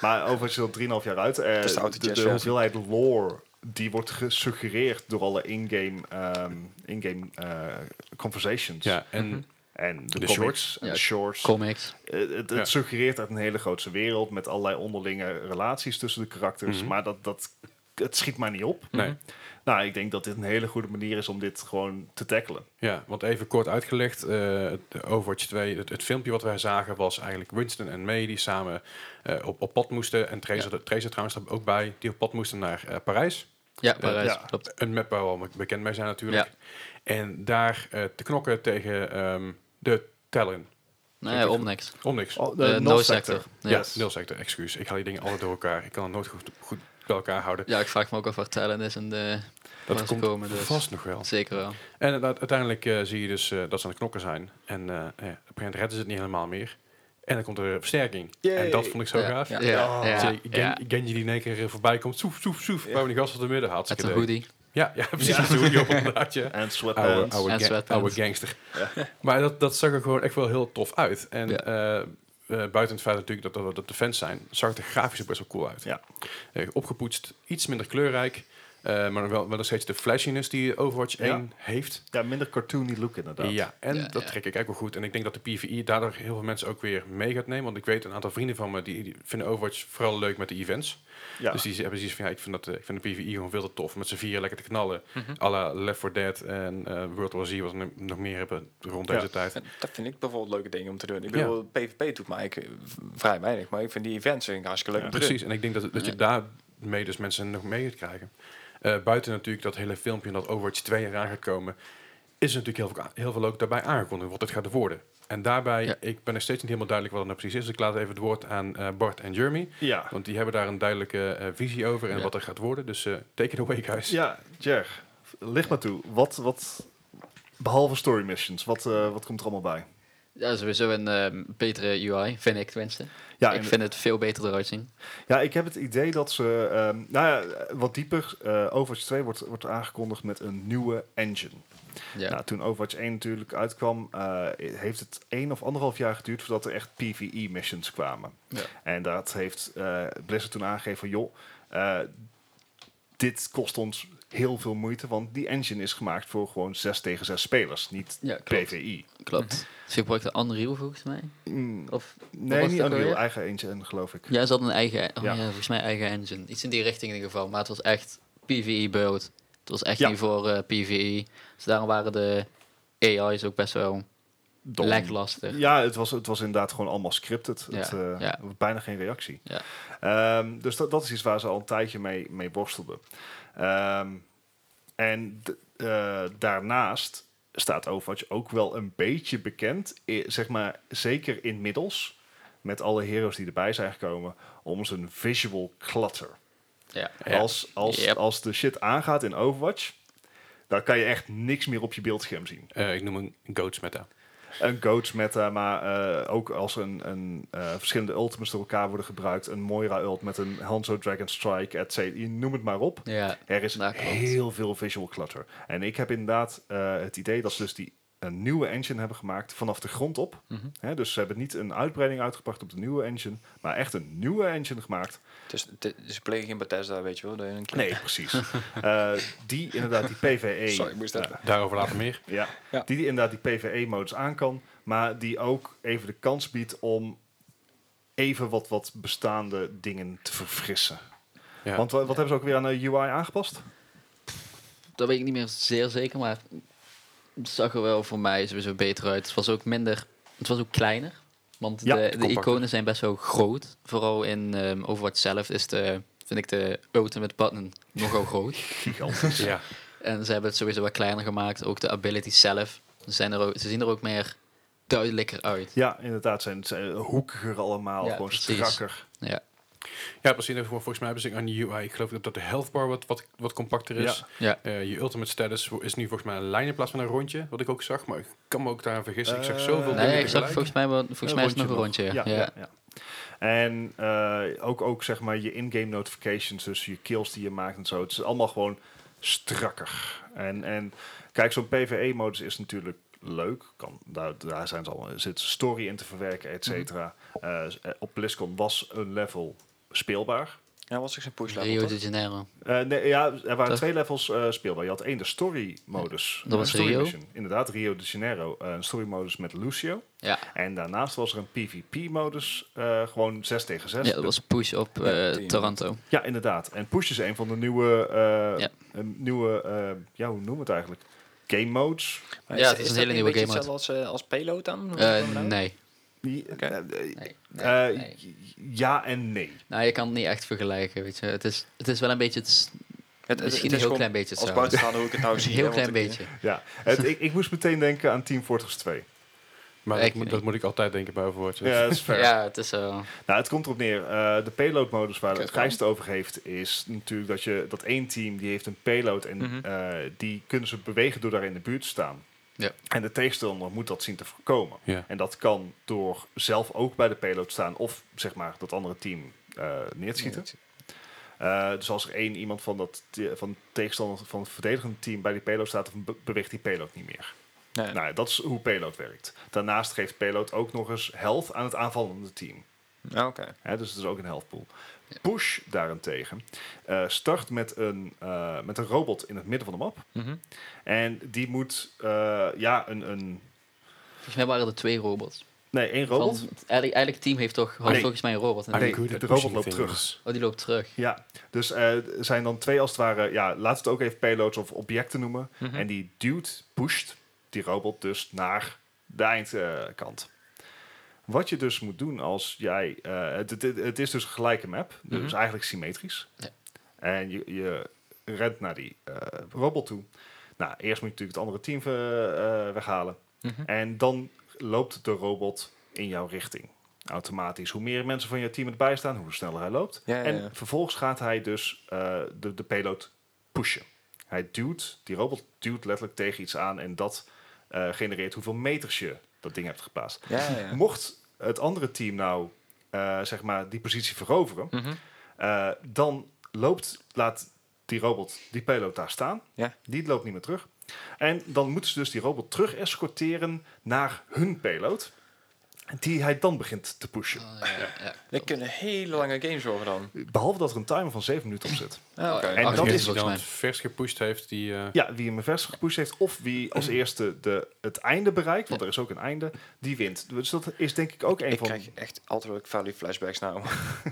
C: maar Overwatch is al drieënhalf jaar uit. Eh,
D: is de oude
C: de, de
D: jazz.
C: hoeveelheid lore die wordt gesuggereerd door alle in-game ehm, in-game eh, conversations.
A: Ja, en
C: En de,
A: De
C: shorts. En
B: Ja,
C: de shorts.
B: Comics.
C: Eh, het, het
A: Ja.
C: suggereert uit een hele grootse wereld met allerlei onderlinge relaties tussen de karakters.
A: Mhm.
C: Maar dat, dat het schiet mij niet op.
A: nee.
C: Nou, ik denk dat dit een hele goede manier is om dit gewoon te tackelen.
A: Ja, want even kort uitgelegd, eh, het Overwatch 2, het, het filmpje wat wij zagen was eigenlijk Winston en May die samen eh, op, op pad moesten. En Tracer, Tracer trouwens daar ook bij, die op pad moesten naar eh, Parijs.
B: Ja, Parijs.
C: ja.
B: Klopt.
A: Een map waar we al bekend mee zijn natuurlijk. En daar eh, te knokken tegen ehm, de Talon.
B: Nee, Omnex.
A: Om niks.
C: Oh,
B: Eh, No Sector.
A: Ja,
B: Ja.
C: Yes.
A: nul sector, excuus. Ik haal die dingen alle door elkaar. Ik kan het nooit goed, goed bij elkaar houden.
B: Ja, ik vraag me ook af waar Talent is en de... waar
A: dat
B: ze
A: komt
B: komen, dus.
A: vast nog wel.
B: Zeker wel.
A: En eh, dat- uiteindelijk eh, zie je dus eh, dat ze aan de knokken zijn. En eh, ja, op een gegeven moment redden ze het niet helemaal meer. En dan komt er een versterking.
D: Yay.
A: En dat vond ik zo
B: ja.
A: gaaf. Oh.
B: Ja.
A: Ja.
B: Ja.
A: Zie je
B: Ja.
A: Gen- Genji die in één keer eh, voorbij komt. Soef, soef, soef. Waar we die gast op de midden had.
B: Met een hoodie.
A: Ja, ja, precies. Met een hoodie op inderdaad, ja.
C: En
A: Oude,
C: sweatpants.
A: oude,
B: En
A: ga-
B: sweatpants.
A: oude gangster. Maar dat, dat zag er gewoon echt wel heel tof uit. En
B: Ja.
A: eh, eh, buiten het feit natuurlijk dat, dat, dat de fans zijn, zag het er grafisch ook best wel cool uit.
C: Ja.
A: Eh, opgepoetst, iets minder kleurrijk. eh, maar wel, wel nog steeds de flashiness die Overwatch
C: Ja.
A: 1 heeft.
C: Ja, minder cartoony look inderdaad.
A: Ja, en
B: Ja,
A: dat
B: ja.
A: trek ik eigenlijk wel goed. En ik denk dat de PvE daardoor heel veel mensen ook weer mee gaat nemen. Want ik weet een aantal vrienden van me, die, die vinden Overwatch vooral leuk met de events.
C: Ja.
A: Dus die hebben zoiets van, ja, ik vind, dat, eh, ik vind de PvE gewoon veel te tof. Met z'n vieren lekker te knallen.
C: Mhm.
A: à la Left 4 Dead en eh, World War Z, wat we nu- nog meer hebben rond
C: Ja.
A: deze tijd.
D: En Dat vind ik bijvoorbeeld leuke dingen om te doen. Ik bedoel, PvP doet mij eh, v- vrij weinig, maar ik vind die events vind ik hartstikke leuk. om te doen.
A: Precies, en ik denk dat, dat je daarmee dus mensen nog mee gaat krijgen. Eh, buiten natuurlijk dat hele filmpje en dat Overwatch 2 eraan gaat komen, is er natuurlijk heel veel, heel veel ook daarbij aangekondigd wat het gaat worden. En daarbij,
B: Ja.
A: ik ben nog steeds niet helemaal duidelijk wat het nou precies is. Ik laat even het woord aan eh, Bart en Jeremy,
C: Ja.
A: want die hebben daar een duidelijke eh, visie over en
B: Ja.
A: wat er gaat worden. Dus eh, take it away, guys.
C: Ja, Jer, licht maar toe. Wat, wat, behalve story missions, wat, eh, wat komt er allemaal bij?
B: Ja, sowieso een eh, betere UI, vind ik tenminste.
C: Ja,
B: ik
C: en-
B: vind het veel beter eruit zien.
C: Ja, ik heb het idee dat ze, ehm, nou ja, wat dieper, eh, Overwatch 2 wordt, wordt aangekondigd met een nieuwe engine.
B: Ja.
C: Nou, toen Overwatch 1 natuurlijk uitkwam, eh, heeft het één of anderhalf jaar geduurd voordat er echt PvE-missions kwamen.
B: Ja.
C: En dat heeft eh Blizzard toen aangegeven van, joh, eh, dit kost ons heel veel moeite, want die engine is gemaakt voor gewoon 6 tegen 6 spelers, niet E.
B: Ja, klopt.
C: PvI.
B: klopt. Ze gebruikten Unreal volgens mij.
C: Mm,
B: Of,
C: Nee,
B: was
C: niet
B: het ook
C: Unreal,
B: alweer?
C: eigen engine, geloof ik.
B: ja, ze hadden een eigen, oh
C: Ja.
B: ja. volgens mij eigen engine. Iets in die richting in ieder geval. Maar het was echt PvE build. Het was echt
C: Ja.
B: niet voor eh, PvE. Dus daarom waren de AI's ook best wel
C: Dom.
B: leklastig.
C: Ja, het was, het was inderdaad gewoon allemaal scripted.
B: Ja,
C: Het, eh,
B: ja.
C: er was Bijna geen reactie.
B: Ja.
C: Ehm, dus dat, dat is iets waar ze al een tijdje mee, mee worstelden. Ehm, en d- eh, daarnaast staat Overwatch ook wel een beetje bekend, eh, zeg maar, zeker inmiddels, met alle heroes die erbij zijn gekomen, om zijn visual clutter.
B: Ja.
A: Ja.
C: Als, als,
B: Yep.
C: als de shit aangaat in Overwatch, dan kan je echt niks meer op je beeldscherm zien
A: Eh, ik noem een goats meta.
C: een goats meta, maar eh, ook als een, een eh, verschillende ultimates door elkaar worden gebruikt. Een Moira ult met een Hanzo Dragon Strike, et cetera. Je Noem het maar op.
B: Ja.
C: Er is
B: Nou, klopt.
C: heel veel visual clutter. En ik heb inderdaad eh, het idee dat ze dus die een nieuwe engine hebben gemaakt vanaf de grond op.
B: Mhm.
C: Hè, dus ze hebben niet een uitbreiding uitgebracht op de nieuwe engine, maar echt een nieuwe engine gemaakt.
D: Dus ze plegen geen Bethesda, weet je wel. dat je een keer-
C: Nee, precies. Eh, die inderdaad, die E, PvE.
D: Sorry, ik moest dat-
C: Ja,
A: Daarover later meer.
C: Ja.
D: Ja.
C: Die, die inderdaad die PvE-modus aan kan, maar die ook even de kans biedt om even wat, wat bestaande dingen te verfrissen.
A: Ja.
C: Want wa- wat hebben ze ook weer aan de UI aangepast?
B: Dat weet ik niet meer zeer zeker, maar het zag er wel voor mij sowieso beter uit. Het was ook minder, het was ook kleiner. Want
C: Ja,
B: de, de
A: compacter.
B: iconen zijn best wel groot. Vooral in ehm, Overwatch zelf is de, vind ik de ultimate button nogal groot.
C: Gigantisch.
A: ja.
B: En ze hebben het sowieso wat kleiner gemaakt. Ook de abilities zelf. Ze, zijn er ook, ze zien er ook meer duidelijker uit.
C: Ja, inderdaad, zijn, zijn hoekiger allemaal,
B: Ja,
C: gewoon
B: precies.
C: strakker.
B: Ja,
A: ja, precies. Vol- Volgens mij hebben ze aan die UI, ik geloof dat de health bar wat, wat, wat compacter is.
C: Ja.
B: ja.
A: Eh, je ultimate status wo- is nu volgens mij een lijn in plaats van een rondje, wat ik ook zag. Maar ik kan me ook daaraan vergissen. ik zag
C: Eh,
A: zoveel
C: Nee,
A: dingen
B: Nee, ik zag
A: tegelijk.
B: volgens mij, wel- volgens
C: Een
B: mij is het nog
C: rondje
B: een rondje. Ja.
C: Ja,
B: Ja.
C: ja. En eh, ook, ook zeg maar je in-game notifications, dus je kills die je maakt en zo. Het is allemaal gewoon strakker. En, en kijk, zo'n PvE-modus is natuurlijk leuk. Kan, daar, daar zijn ze al, er zit story in te verwerken, et
B: Mhm.
C: cetera. Eh, s- eh, op BlizzCon was een level speelbaar.
D: Ja, was ik zijn push level,
B: Rio
D: toch?
B: de Janeiro.
C: Eh, nee, ja, er waren
B: Toch?
C: twee levels eh, speelbaar. Je had één de story-modus.
B: Dat was
C: Een story
B: Rio.
C: mission. Inderdaad, Rio de Janeiro. eh, een story-modus met Lucio.
B: Ja.
C: En daarnaast was er een PvP-modus, eh, gewoon 6 tegen 6.
B: ja, dat was push op eh,
D: team.
B: Toronto.
C: Ja, inderdaad. En Push is een van de nieuwe, eh,
B: Ja.
C: een nieuwe eh, ja, hoe noem het eigenlijk? Game modes.
D: Maar
B: Ja, het is een hele nieuwe
D: beetje
B: game
D: hetzelfde als, eh, als payload dan? Hoe
B: Eh,
D: noemen we dat?
B: nee.
C: Die-
D: Oké.
C: eh, eh,
B: Nee,
C: eh,
B: nee, nee.
C: Ja en nee.
B: Nou, je kan het niet echt vergelijken, weet je. Het is, het is wel een beetje... Het is
D: Het-
B: Misschien
D: het- het is
B: een heel
D: gewoon
B: klein beetje
D: Als
B: hetzelfde.
D: buitenstaander hoe ik het nou
B: een
D: zie.
B: heel
D: hè, want
B: klein
D: ik-
B: beetje.
C: Ja. Het, ik, ik moest meteen denken aan Team Fortress 2.
A: Maar dat,
B: Ik-
A: moet, dat moet ik altijd denken bij Overwatch.
C: Ja, dat is fair.
B: Ja, het is zo.
C: Nou, het komt erop neer. eh, de payload modus waar het
D: Kijk,
C: Gijs het over heeft, is natuurlijk dat je dat één team die heeft een payload en
D: Mhm.
C: eh, die kunnen ze bewegen door daar in de buurt te staan.
B: Ja.
C: En de tegenstander moet dat zien te voorkomen.
A: Ja.
C: En dat kan door zelf ook bij de payload te staan of zeg maar dat andere team eh, neer te schieten. Eh, dus als er één iemand van dat te- van de tegenstander van het verdedigende team bij die payload staat, dan be- beweegt die payload niet meer.
D: Nee.
C: Nou, ja, dat is hoe payload werkt. Daarnaast geeft payload ook nog eens health aan het aanvallende team.
D: Ja, Nou, Oké.
C: Hè, dus het is ook een health pool. Push daarentegen eh, start met een, eh, met een robot in het midden van de map.
D: Mhm.
C: En die moet, eh, ja, een, een...
B: Volgens mij waren er twee robots.
C: Nee, één
B: Want
C: robot.
B: eigenlijk, eigenlijk het team heeft toch had
C: Nee.
B: volgens mij een robot.
A: I'm
C: Nee,
A: good
C: de
A: at
C: robot
A: pushing
C: loopt terug.
A: things.
B: Oh, die loopt terug.
C: Ja, dus eh, er zijn dan twee als het ware, ja, laat het ook even payloads of objecten noemen.
D: Mhm.
C: En die duwt, pusht die robot dus naar de eindkant. Wat je dus moet doen als jij, eh, het, het, het is dus een gelijke map, dus
D: Mhm.
C: eigenlijk symmetrisch.
B: Ja.
C: En je, je rent naar die eh, robot toe. Nou, eerst moet je natuurlijk het andere team eh, eh, weghalen.
D: Mhm.
C: En dan loopt de robot in jouw richting. Automatisch. Hoe meer mensen van jouw team erbij staan, hoe sneller hij loopt.
D: Ja, ja,
C: en
D: ja.
C: vervolgens gaat hij dus eh, de, de payload pushen. Hij duwt, die robot duwt letterlijk tegen iets aan en dat eh, genereert hoeveel meters je dat ding hebt geplaatst.
D: Ja, ja, ja.
C: Mocht het andere team nou, eh, zeg maar, die positie veroveren,
D: Mhm.
C: eh, dan loopt, laat die robot die payload daar staan.
D: Ja.
C: Die loopt niet meer terug. En dan moeten ze dus die robot terug escorteren naar hun payload. die hij dan begint te pushen.
B: Oh, ja, ja,
D: Daar kunnen hele lange games over dan.
C: Behalve dat er een timer van 7 minuten op zit.
D: Ah, oké.
C: En
B: Acht
C: dat
A: Degene
B: minuten
A: die
C: is
B: volgens
A: dan
B: mij.
A: het vers gepusht heeft, die... eh,
C: Ja, wie hem vers gepusht heeft of wie als eerste de, het einde bereikt, want er is ook een einde, die wint. Dus dat is denk ik ook een
D: Ik
C: van...
D: krijg echt altijd wel Valley flashbacks nou.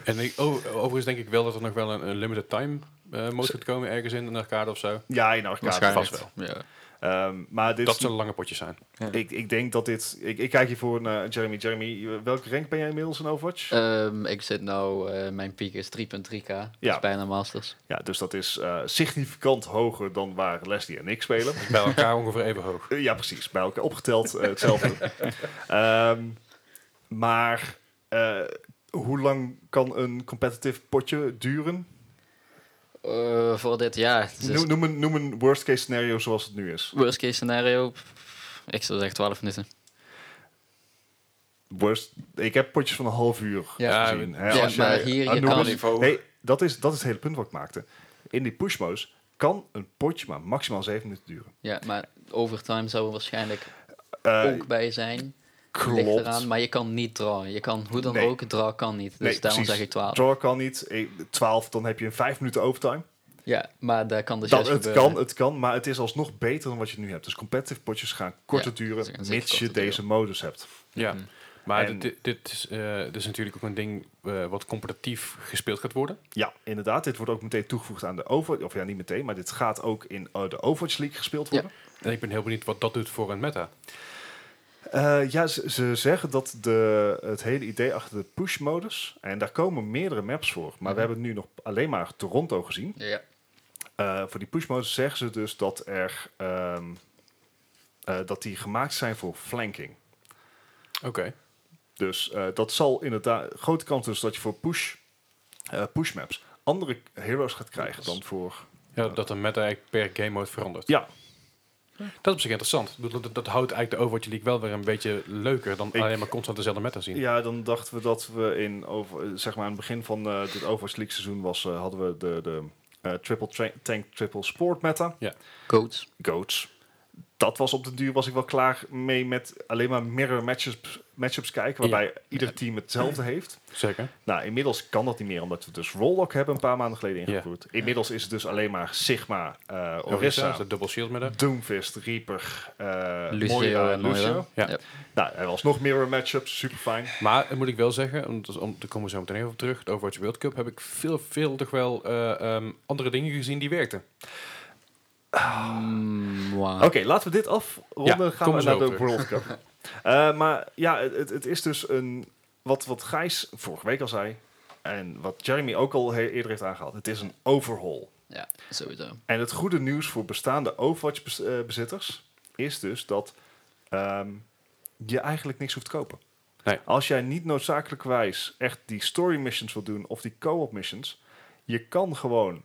A: En ik, oh, overigens denk ik wel dat er nog wel een, een limited time eh mode gaat komen ergens in een arcade of zo.
C: Ja, in arcade
B: Waarschijnlijk.
C: vast wel.
B: Ja.
C: Ehm, maar dit
A: Dat
C: is-
A: zullen lange potjes zijn.
C: ik, ik denk dat dit... Ik, ik kijk hiervoor naar Jeremy. Jeremy, welke rank ben jij inmiddels in Overwatch?
B: Ehm, ik zit nou, eh, mijn piek is 3.3k. Dat
C: Ja.
B: is bijna Masters.
C: Ja, dus dat is eh, significant hoger dan waar Leslie en ik spelen.
A: Bij elkaar ongeveer even hoog.
C: Eh, ja, precies. Bij elkaar opgeteld eh, hetzelfde. Ehm, maar eh, hoe lang kan een competitive potje duren?
B: Eh, voor dit jaar. Dus
C: Noem, noem, een, noem een worst case scenario zoals het nu is.
B: Worst case scenario, pff, ik zou zeggen 12 minuten.
C: Worst, ik heb potjes van een half uur
A: Ja,
C: gezien. hè.
B: ja,
C: Als
B: maar
C: jij-
B: hier, je
C: ah, noem
B: kan-
C: eens-
D: niveau.
C: Nee, dat is, dat is het hele punt wat ik maakte. In die pushmo's kan een potje maar maximaal zeven minuten duren.
B: Ja, maar overtime zou er waarschijnlijk
C: Eh,
B: ook bij zijn. Ligt eraan,
C: klopt.
B: maar je kan niet drawen. Je kan hoe dan
C: Nee.
B: ook, draw kan niet. Dus
C: Nee,
B: daarom
C: precies.
B: zeg ik 12.
C: Draw kan niet. Eh, 12, dan heb je een vijf minuten overtime.
B: Ja, maar daar kan dus
C: dat,
B: juist
C: het
B: gebeuren.
C: kan, het kan, maar het is alsnog beter dan wat je nu hebt. Dus competitive potjes gaan korter
B: Ja,
C: duren,
B: ze gaan zeker
C: mits je
B: korter
C: deze modus hebt.
A: Ja.
B: Mhm.
A: Maar
C: Mm. En-
A: dit, dit, is, eh, dit is natuurlijk ook een ding eh, wat competitief gespeeld gaat worden.
C: Ja, inderdaad. Dit wordt ook meteen toegevoegd aan de Overwatch. Of ja, niet meteen, maar dit gaat ook in eh, de Overwatch League gespeeld worden.
A: En ik ben heel benieuwd wat dat doet voor een meta.
C: Eh, ja, ze, ze zeggen dat de, het hele idee achter de push-modus... en daar komen meerdere maps voor... maar we hebben nu nog alleen maar Toronto gezien.
B: Ja.
C: Eh, voor die push-modus zeggen ze dus dat er... ehm, eh, dat die gemaakt zijn voor flanking.
A: Oké.
C: Dus eh, dat zal inderdaad... Grote kans dus dat je voor push, eh, push-maps andere heroes gaat krijgen dan voor...
A: Ja, dat een meta eigenlijk per game mode verandert.
C: Ja,
A: Dat is op zich interessant. Ik bedoel, Dat, dat houdt eigenlijk de Overwatch League wel weer een beetje leuker dan
C: Ik-
A: alleen maar constant dezelfde meta zien.
C: Ja, dan dachten we dat we in over, eh, zeg maar aan het begin van eh, dit Overwatch League seizoen was, eh, hadden we de, de eh, triple tra- tank triple sport meta,
B: Coach.
C: goats. Dat was op de duur was ik wel klaar mee met alleen maar mirror matchups, matchups kijken, waarbij ieder team hetzelfde heeft.
A: Zeker.
C: Nou, inmiddels kan dat niet meer, omdat we dus Rollock hebben een paar maanden geleden
A: Ja.
C: ingevoerd. Inmiddels is het dus alleen maar Sigma, eh
A: Orissa,
C: Orisa,
A: de double shield meta.
C: Doomfist, Reaper, eh
B: Lucio
C: Moira,
B: en Moira.
C: Lucio.
A: Ja.
B: Ja.
C: Nou, er was nog mirror matchups, super fijn.
A: Maar eh, moet ik wel zeggen, om, om, daar komen we zo meteen even op terug, de Overwatch World Cup heb ik veel, veel toch wel eh, ehm, andere dingen gezien die werkten.
B: Mm,
C: Oké,
B: wow.
C: laten we dit afronden.
A: eh. Ja,
C: gaan
A: kom
C: we
A: zo
C: naar de
A: terug.
C: World Cup. Eh, maar ja, het, het- het is dus een... Wat, wat Gijs vorige week al zei... en wat Jeremy ook al he- eerder heeft aangehaald... het is een overhaul.
B: Ja, sowieso.
C: En het goede nieuws voor bestaande Overwatch-bezitters... is dus dat ehm, je eigenlijk niks hoeft te kopen.
A: Nee.
C: Als jij niet noodzakelijkwijs echt die story missions wil doen... of die co-op missions... je kan gewoon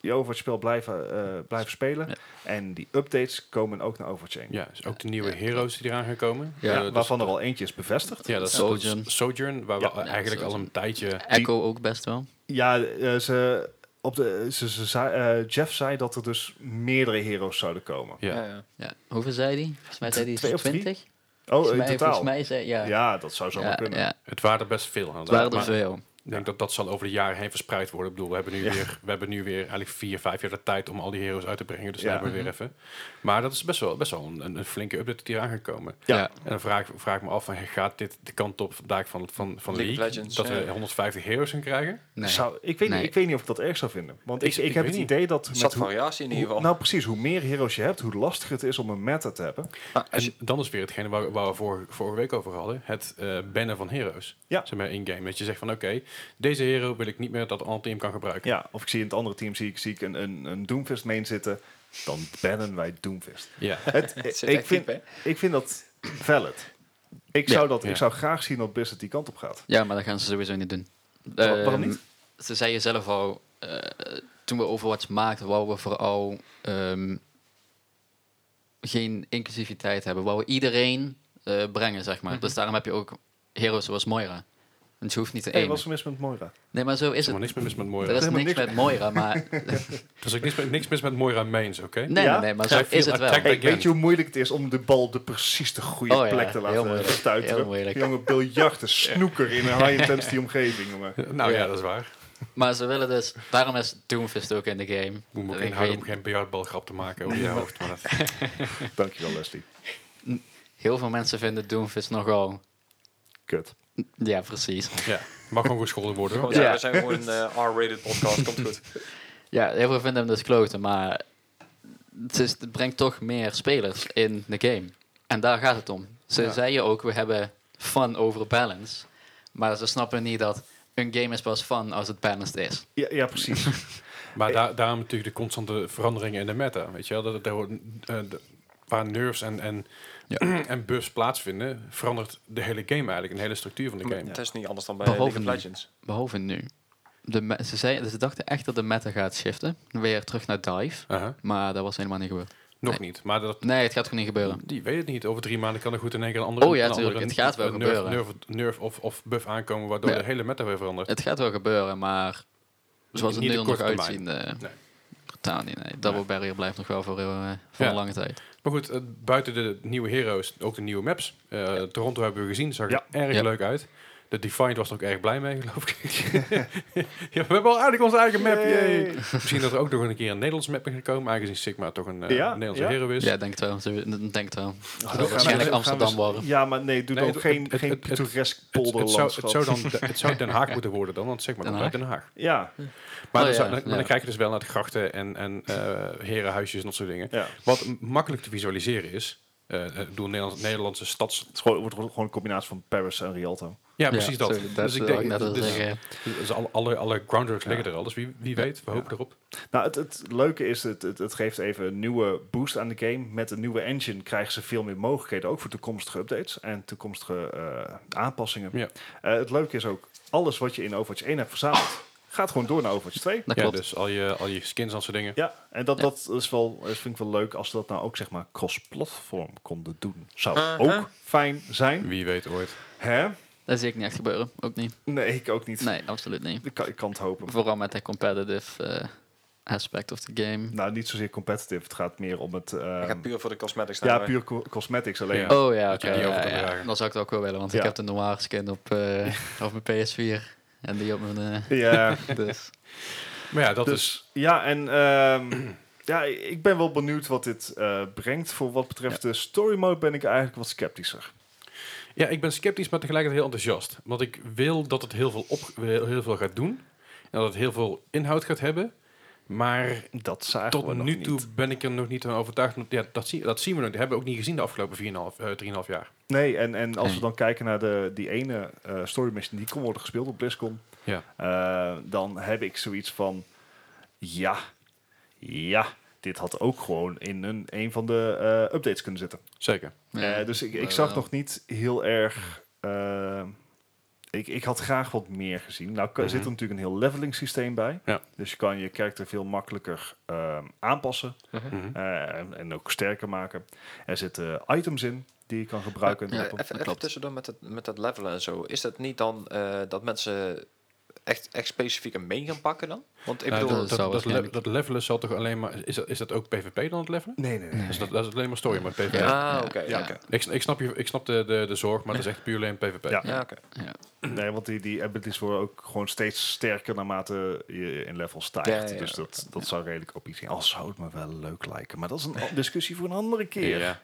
C: je Overwatch-spel blijven, eh, blijven spelen...
B: Ja.
C: en die updates komen ook naar Overwatch 1.
A: Ja, dus ook de nieuwe
B: Ja.
A: heroes die eraan gaan komen.
B: Ja,
A: Eh,
C: Ja,
A: dat is-
C: waarvan er al eentje is bevestigd.
A: Ja, dat is
B: Sojourn.
A: Sojourn. Sojourn, waar
C: Ja.
A: we eigenlijk al een tijdje...
B: Echo ook best wel.
C: Ja, eh, ze, op de, ze, ze zei- eh, Jeff zei dat er dus meerdere heroes zouden komen.
A: Ja.
B: Ja. Hoeveel zei die? Volgens mij zei die
C: Twee of drie?
B: 20.
C: Oh,
B: volgens,
C: in
B: mij, volgens
C: totaal.
B: mij zei ja.
C: Ja, dat zou zomaar
B: ja,
C: kunnen.
B: ja.
A: Het waren er best veel.
B: Het
A: inderdaad,
B: waren er
A: maar
B: veel.
A: Ik denk dat dat zal over de jaren heen verspreid worden. Ik bedoel, we hebben nu,
C: Ja.
A: weer, we hebben nu weer eigenlijk vier, vijf jaar de tijd om al die heroes uit te brengen. Dus
C: Ja.
A: daar hebben we weer even. Maar dat is best wel, best wel een, een- een flinke update die eraan gaat komen.
C: Ja.
B: Ja.
A: En dan vraag, ik- vraag ik me af, van, gaat dit de kant op vandaag van, van, van
D: League
A: League?
D: of Legends,
A: dat
D: ja.
A: we 150 heroes gaan krijgen?
B: Nee.
C: Zou, ik, weet
B: Nee.
C: niet, ik weet niet of ik dat erg zou vinden. Want ik,
A: Ik-
C: ik,
A: ik
C: heb
A: weet
C: het
A: niet.
C: idee dat...
D: Er
C: met
D: zat
C: hoe-
D: variatie in ieder
C: hoe-
D: geval.
C: nou precies, hoe meer heroes je hebt, hoe lastiger het is om een meta te hebben.
D: nou, eh,
A: En dan is weer hetgene waar, waar we vorige, vorige week over hadden. Het eh bannen van heroes.
C: Ja.
A: Zeg maar in-game. Dat je zegt van, oké, deze hero wil ik niet meer dat een team kan gebruiken.
C: Ja, of ik zie in het andere team zie ik, zie ik een, een, een Doomfist main zitten. Dan bannen wij Doomfist.
A: Ja.
C: Het,
D: Het zit
C: ik,
D: echt
C: vind,
D: diep,
C: ik vind dat valid. Ik
B: Ja.
C: zou, dat,
A: Ja.
C: ik zou graag zien dat Blizzard die kant op gaat.
B: Ja, maar dat gaan ze sowieso niet doen.
C: Wa- waarom
B: Ehm,
C: niet?
B: Ze zeiden zelf al, eh, toen we Overwatch maakten, wou we vooral ehm, geen inclusiviteit hebben. Wou we iedereen eh, brengen, zeg maar. Dus daarom heb je ook heroes zoals Moira. Het hoeft niet te
C: Hey,
B: één.
C: wat is er mis met Moira?
B: Nee, maar zo is
A: Er
B: het.
A: is niks meer mis met
B: Er
A: Moira.
B: is
C: Helemaal
B: niks
C: niks.
B: met Moira, maar...
A: Er is ook niks, met- niks mis met Moira Mains, oké?
B: Nee,
C: Ja?
B: nee, nee, maar zo
A: Kijk,
B: is het wel.
A: kijk,
C: Hey,
A: Again.
C: weet je hoe moeilijk het is om de bal de precies de goede
B: Oh ja,
C: plek te
B: heel
C: laten
B: moeilijk.
C: stuiten?
B: Heel moeilijk.
C: Jonge biljarten, snoeker in een high-intensity omgeving, jongen.
A: Nou ja.
B: Ja.
A: dat is waar.
B: Maar ze willen dus... Daarom is Doomfist ook in de game.
A: Moet me ook
B: Ik
A: inhouden om
B: weet-
A: geen biljartbalgrap te maken over je hoofd. Maar dat,
C: Dankjewel, Leslie.
B: Heel veel mensen vinden Doomfist nogal...
C: Kut.
B: Ja, precies.
A: ja, mag gewoon gescholden worden. hoor.
D: Gewoon, ja,
B: Ja.
D: we zijn gewoon een eh, R-rated podcast, komt goed.
B: Ja, heel veel vinden hem dus kloten, maar... Het, is, het brengt toch meer spelers in de game. En daar gaat het om. Ze
C: Ja.
B: zeiden ook, we hebben fun over balance. Maar ze snappen niet dat een game is pas fun als het balanced is.
C: Ja, ja precies.
A: Maar da- daarom natuurlijk de constante veranderingen in de meta. Weet je wel, dat, dat, dat- eh, de- waar nerves en, en, en buffs plaatsvinden, verandert de hele game eigenlijk. Een hele structuur van de game.
D: Het is niet anders dan bij
B: Behalve
D: League of
B: nu.
D: Legends.
B: Behalve nu. De me- ze, zei, ze dachten echt dat de meta gaat shiften. Weer terug naar dive.
A: Aha.
B: Maar dat was helemaal niet gebeurd.
A: Nog
B: Nee.
A: niet, maar dat,
B: Nee, het gaat gewoon niet gebeuren.
A: die weet het niet. Over drie maanden kan er goed in één keer een andere...
B: Oh ja,
A: een andere
B: tuurlijk, het gaat wel
A: nerf,
B: gebeuren.
A: Nerf, nerf of, of buff aankomen, waardoor
B: Ja.
A: de hele meta weer verandert.
B: Het gaat wel gebeuren, maar zoals het
A: Niet
B: nu
A: op
B: er nog
A: korte termijn.
B: uitziet, eh
A: Nee.
B: totaal niet. Nee. Double Barrier blijft nog wel voor, heel, eh, voor
A: Ja.
B: een lange tijd.
A: Maar goed, eh, buiten de nieuwe heroes, ook de nieuwe maps. Eh, Toronto hebben we gezien, zag er erg
B: Ja.
A: leuk uit. De Defiant was er ook erg blij mee, geloof ik. ja, we hebben al eigenlijk onze eigen map,
C: Yay.
A: yay. Misschien dat er ook nog een keer een Nederlands map is gekomen, aangezien Sigma toch een eh,
C: Ja,
A: Nederlandse
C: ja.
A: hero is.
B: Ja, denk het wel. Ze- Denk het wel.
C: gaan
B: wel
C: we-
B: waarschijnlijk
C: gaan we-
B: Amsterdam worden.
C: Ja, maar nee, doe
A: Nee,
C: dan
A: het-
C: geen,
A: het-
C: geen
A: het- het-
C: pittoresk
A: Het, het zou,
C: polderlandschap.
A: het, zou dan, het zou Den Haag moeten worden dan, want Sigma
B: Den
A: komt uit Den Haag.
C: Ja,
A: Maar, dan,
B: Oh ja,
A: zou- dan- maar
B: ja.
A: dan kijk je dus wel naar de grachten en, en eh, herenhuisjes en dat soort dingen.
C: ja.
A: Wat m- makkelijk te visualiseren is, eh eh, ik bedoel, Nederlandse, Nederlandse stads...
C: Het is gewoon, wordt gewoon een combinatie van Paris en Rialto.
A: Ja, precies dat.
B: Dus ik denk net al
A: dus-
B: zeggen.
A: Dus alle, alle, alle grounders liggen er al, dus wie, wie weet, we hopen erop.
C: Nou, het, het leuke is, het, het, het geeft even een nieuwe boost aan de game. Met een nieuwe engine krijgen ze veel meer mogelijkheden, ook voor toekomstige updates en toekomstige eh, aanpassingen.
A: Ja.
C: Eh, het leuke is ook, alles wat je in Overwatch 1 hebt verzameld, gaat gewoon door naar Overwatch 2.
B: Dat
A: Ja,
B: klopt.
A: dus al je, al je skins en dat soort dingen.
C: Ja, en dat,
B: Ja.
C: dat is wel, dat vind ik wel leuk als ze dat nou ook zeg maar cross-platform konden doen. Zou
D: Uh-huh.
C: ook fijn zijn.
A: Wie weet ooit.
C: Hè?
B: Dat zie ik niet echt gebeuren. Ook niet.
C: Nee, ik ook niet.
B: Nee, absoluut niet.
C: Ik, kan, ik kan het hopen.
B: Vooral met de competitive eh, aspect of the game.
C: Nou, niet zozeer competitive. Het gaat meer om het... ehm,
D: Ik ga puur voor de cosmetics
C: ja,
D: naar, eh,
C: puur co- cosmetics alleen.
A: Ja.
B: Oh ja,
A: Dat
B: oké.
A: je die over
B: ja,
A: kan
B: ja.
A: dragen.
B: Dat zou ik het ook wel willen, want
C: Ja.
B: ik heb de noir skin op, eh, op mijn PS4. En die op mijn... eh,
C: Ja,
B: dus.
A: Maar ja, dat is...
C: dus, ja en ehm, ja, ik ben wel benieuwd wat dit eh, brengt. Voor wat betreft de story mode ben ik eigenlijk wat sceptischer.
A: Ja, ik ben sceptisch, maar tegelijkertijd heel enthousiast. Want ik wil dat het heel veel, op, heel, heel veel gaat doen. En dat het heel veel inhoud gaat hebben. Maar
C: Dat zagen we
A: tot
C: nog
A: nu
C: niet.
A: toe ben ik er nog niet van overtuigd. Ja, dat, zie, dat zien we nog. Dat hebben we ook niet gezien de afgelopen 4,5, eh, 3,5 jaar.
C: Nee, en, en als we
B: Nee.
C: dan kijken naar de, die ene eh, story mission die kon worden gespeeld op BlizzCon,
A: Ja.
C: eh, dan heb ik zoiets van, ja, ja, dit had ook gewoon in een, een van de eh, updates kunnen zitten.
A: Zeker.
B: Ja.
C: Eh, dus ik, ik
B: maar
C: zag
B: wel.
C: nog niet heel erg. eh, ik, ik had graag wat meer gezien. Nou kan- zit
A: Mhm.
C: er natuurlijk een heel leveling systeem bij.
A: Ja.
C: Dus je kan je karakter veel makkelijker eh, aanpassen
A: Mhm.
C: eh, en, en ook sterker maken. Er zitten items in die je kan gebruiken.
B: Ja,
D: Eh,
B: ja.
D: even-
B: dat
D: even
B: klopt.
D: tussendoor met dat, met dat levelen en zo. Is dat niet dan eh, dat mensen echt, echt specifiek een main gaan pakken dan? Want ik
A: Nou,
D: bedoel,
A: dat,
B: dat
A: dat,
B: zou
A: dat, le-
B: waarschijnlijk-
A: dat levelen zal toch alleen maar... Is dat, is dat ook PvP dan het levelen?
C: Nee, nee, nee.
A: Dus dat, dat is alleen maar story, maar PvP.
B: Ja.
D: ah, oké.
C: Ja.
D: oké.
A: Ik, ik snap, je, ik snap de, de, de zorg, maar dat is echt puur alleen PvP.
C: Ja.
D: Ja, oké.
B: Ja.
C: Nee, want die, die abilities worden ook gewoon steeds sterker naarmate je in level stijgt.
D: Ja, ja,
C: dus
D: ja.
C: dat, dat zou redelijk op iets zijn. Al zou het me wel leuk lijken. Maar dat is een al- discussie voor een andere keer.
A: Ja.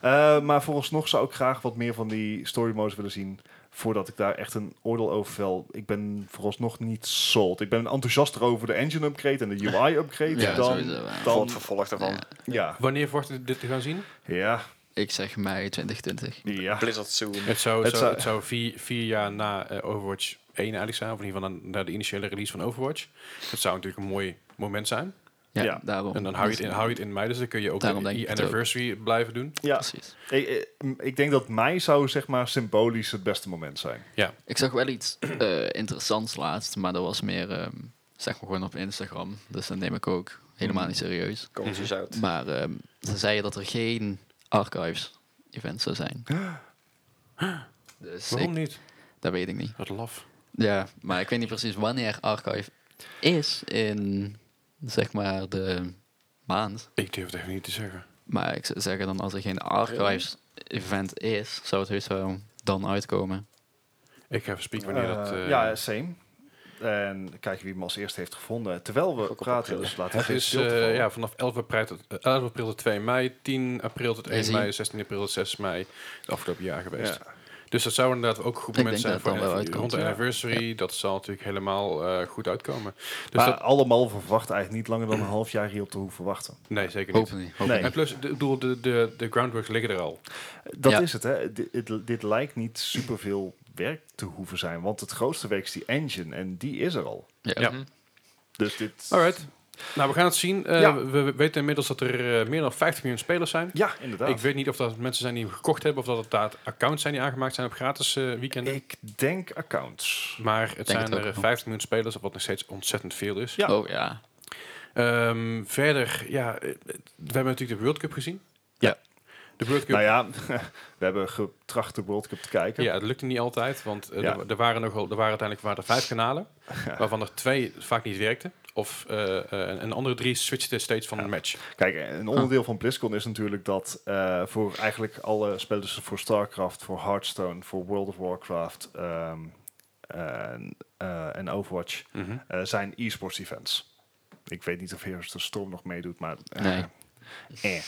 C: Eh, maar vooralsnog zou ik graag wat meer van die story modes willen zien. Voordat ik daar echt een oordeel over vel. Ik ben vooralsnog niet sold. Ik ben enthousiaster over de engine upgrade en de UI upgrade.
B: Ja,
C: dan,
B: sowieso, ja.
D: Voor
C: dan,
D: het vervolg daarvan.
B: Ja.
C: ja,
A: Wanneer verwacht je dit te gaan zien?
C: ja,
B: Ik zeg mei 2020.
C: ja.
D: Blizzard Soon.
A: Het zou,
C: Het
A: zou,
C: zou-
A: het zou vier, vier jaar na eh, Overwatch 1 eigenlijk zijn. Of in ieder geval na, na de initiële release van Overwatch. Dat zou natuurlijk een mooi moment zijn.
B: Ja,
C: Ja.
B: daarom.
A: En dan hou je het in, hou je het in mei. Dus dan kun je ook
B: Daarom
A: die-
B: denk
A: die
B: ik het ook.
A: anniversary blijven doen.
C: ja.
B: Precies.
C: Ik, eh, ik denk dat mei zou zeg maar symbolisch het beste moment zijn.
A: Ja,
B: Ik zag wel iets eh, interessants laatst, maar dat was meer, ehm, zeg maar gewoon op Instagram. Dus dat neem ik ook helemaal niet serieus.
D: Komt dus uit.
B: Maar ehm, ze zeiden dat er geen archives events zou zijn. Dus
A: waarom
B: ik-
A: niet?
B: Dat weet ik niet.
A: Wat laf.
B: Ja, maar ik weet niet precies wanneer Archive is in, zeg maar, de maand.
A: Ik durf het echt niet te zeggen.
B: Maar ik zou zeggen dan, als er geen Archives-event is, zou het heus wel dan uitkomen.
A: Ik ga speak wanneer dat...
C: Eh,
A: eh,
C: ja, same. En kijken wie hem als eerste heeft gevonden. Terwijl we
D: Gok op
C: praten,
D: april.
C: dus laten we
A: het
C: geen
A: is
C: stilte
A: eh,
C: vallen.
A: ja, vanaf 11 april, tot, eh, 11 april tot 2 mei, 10 april tot 1
B: Is-ie.
A: mei, 16 april tot 6 mei, het afgelopen jaar geweest.
C: Ja.
A: Dus dat zou inderdaad ook een goed
B: Ik
A: moment
B: denk
A: zijn
B: dat
A: voor
B: het dan wel
A: een- rond
B: uitkomt,
A: de
C: ja.
A: anniversary. Dat zal natuurlijk helemaal eh, goed uitkomen. Dus
C: maar
A: dat,
C: allemaal verwacht eigenlijk niet langer dan een half jaar hierop te hoeven wachten.
A: nee, zeker niet.
B: Hopelijk niet.
C: Nee.
B: Hopelijk
A: En plus, de- ik bedoel, de, de, de groundworks liggen er al.
C: Dat
B: Ja.
C: is het, hè. Dit, dit- dit lijkt niet superveel werk te hoeven zijn. Want het grootste werk is die engine en die is er al.
B: niet. Ja.
A: Ja.
B: Mhm.
C: Dus dit...
A: Alright. Nou, we gaan het zien. Eh,
C: Ja.
A: we, we weten inmiddels dat er eh, meer dan 50 miljoen spelers zijn.
C: Ja, inderdaad.
A: Ik weet niet of dat mensen zijn die hem gekocht hebben of dat het daad accounts zijn die aangemaakt zijn op gratis eh, weekenden.
C: Ik denk accounts.
A: maar het
B: denk
A: zijn
B: het ook
A: er
B: wel.
A: 50 miljoen spelers, wat nog steeds ontzettend veel is.
C: Ja.
B: Oh ja.
A: Ehm, verder, ja, eh, we hebben natuurlijk de World Cup gezien.
C: Ja.
A: De World Cup,
C: Nou ja, we hebben getracht de World Cup te kijken.
A: ja, het lukte niet altijd, want eh,
C: Ja.
A: er, er waren nogal, er waren uiteindelijk waren er vijf kanalen, waarvan er twee vaak niet werkten. Of eh, eh, en, en de andere drie switchten steeds van een match.
C: Kijk, een onderdeel van BlizzCon is natuurlijk dat eh, voor eigenlijk alle spellen, dus voor StarCraft, voor Hearthstone, voor World of Warcraft ehm, en, eh, en Overwatch
A: Mhm.
C: eh, zijn e-sports events. Ik weet niet of Heroes de Storm nog meedoet, maar... eh,
B: Nee.
C: eh.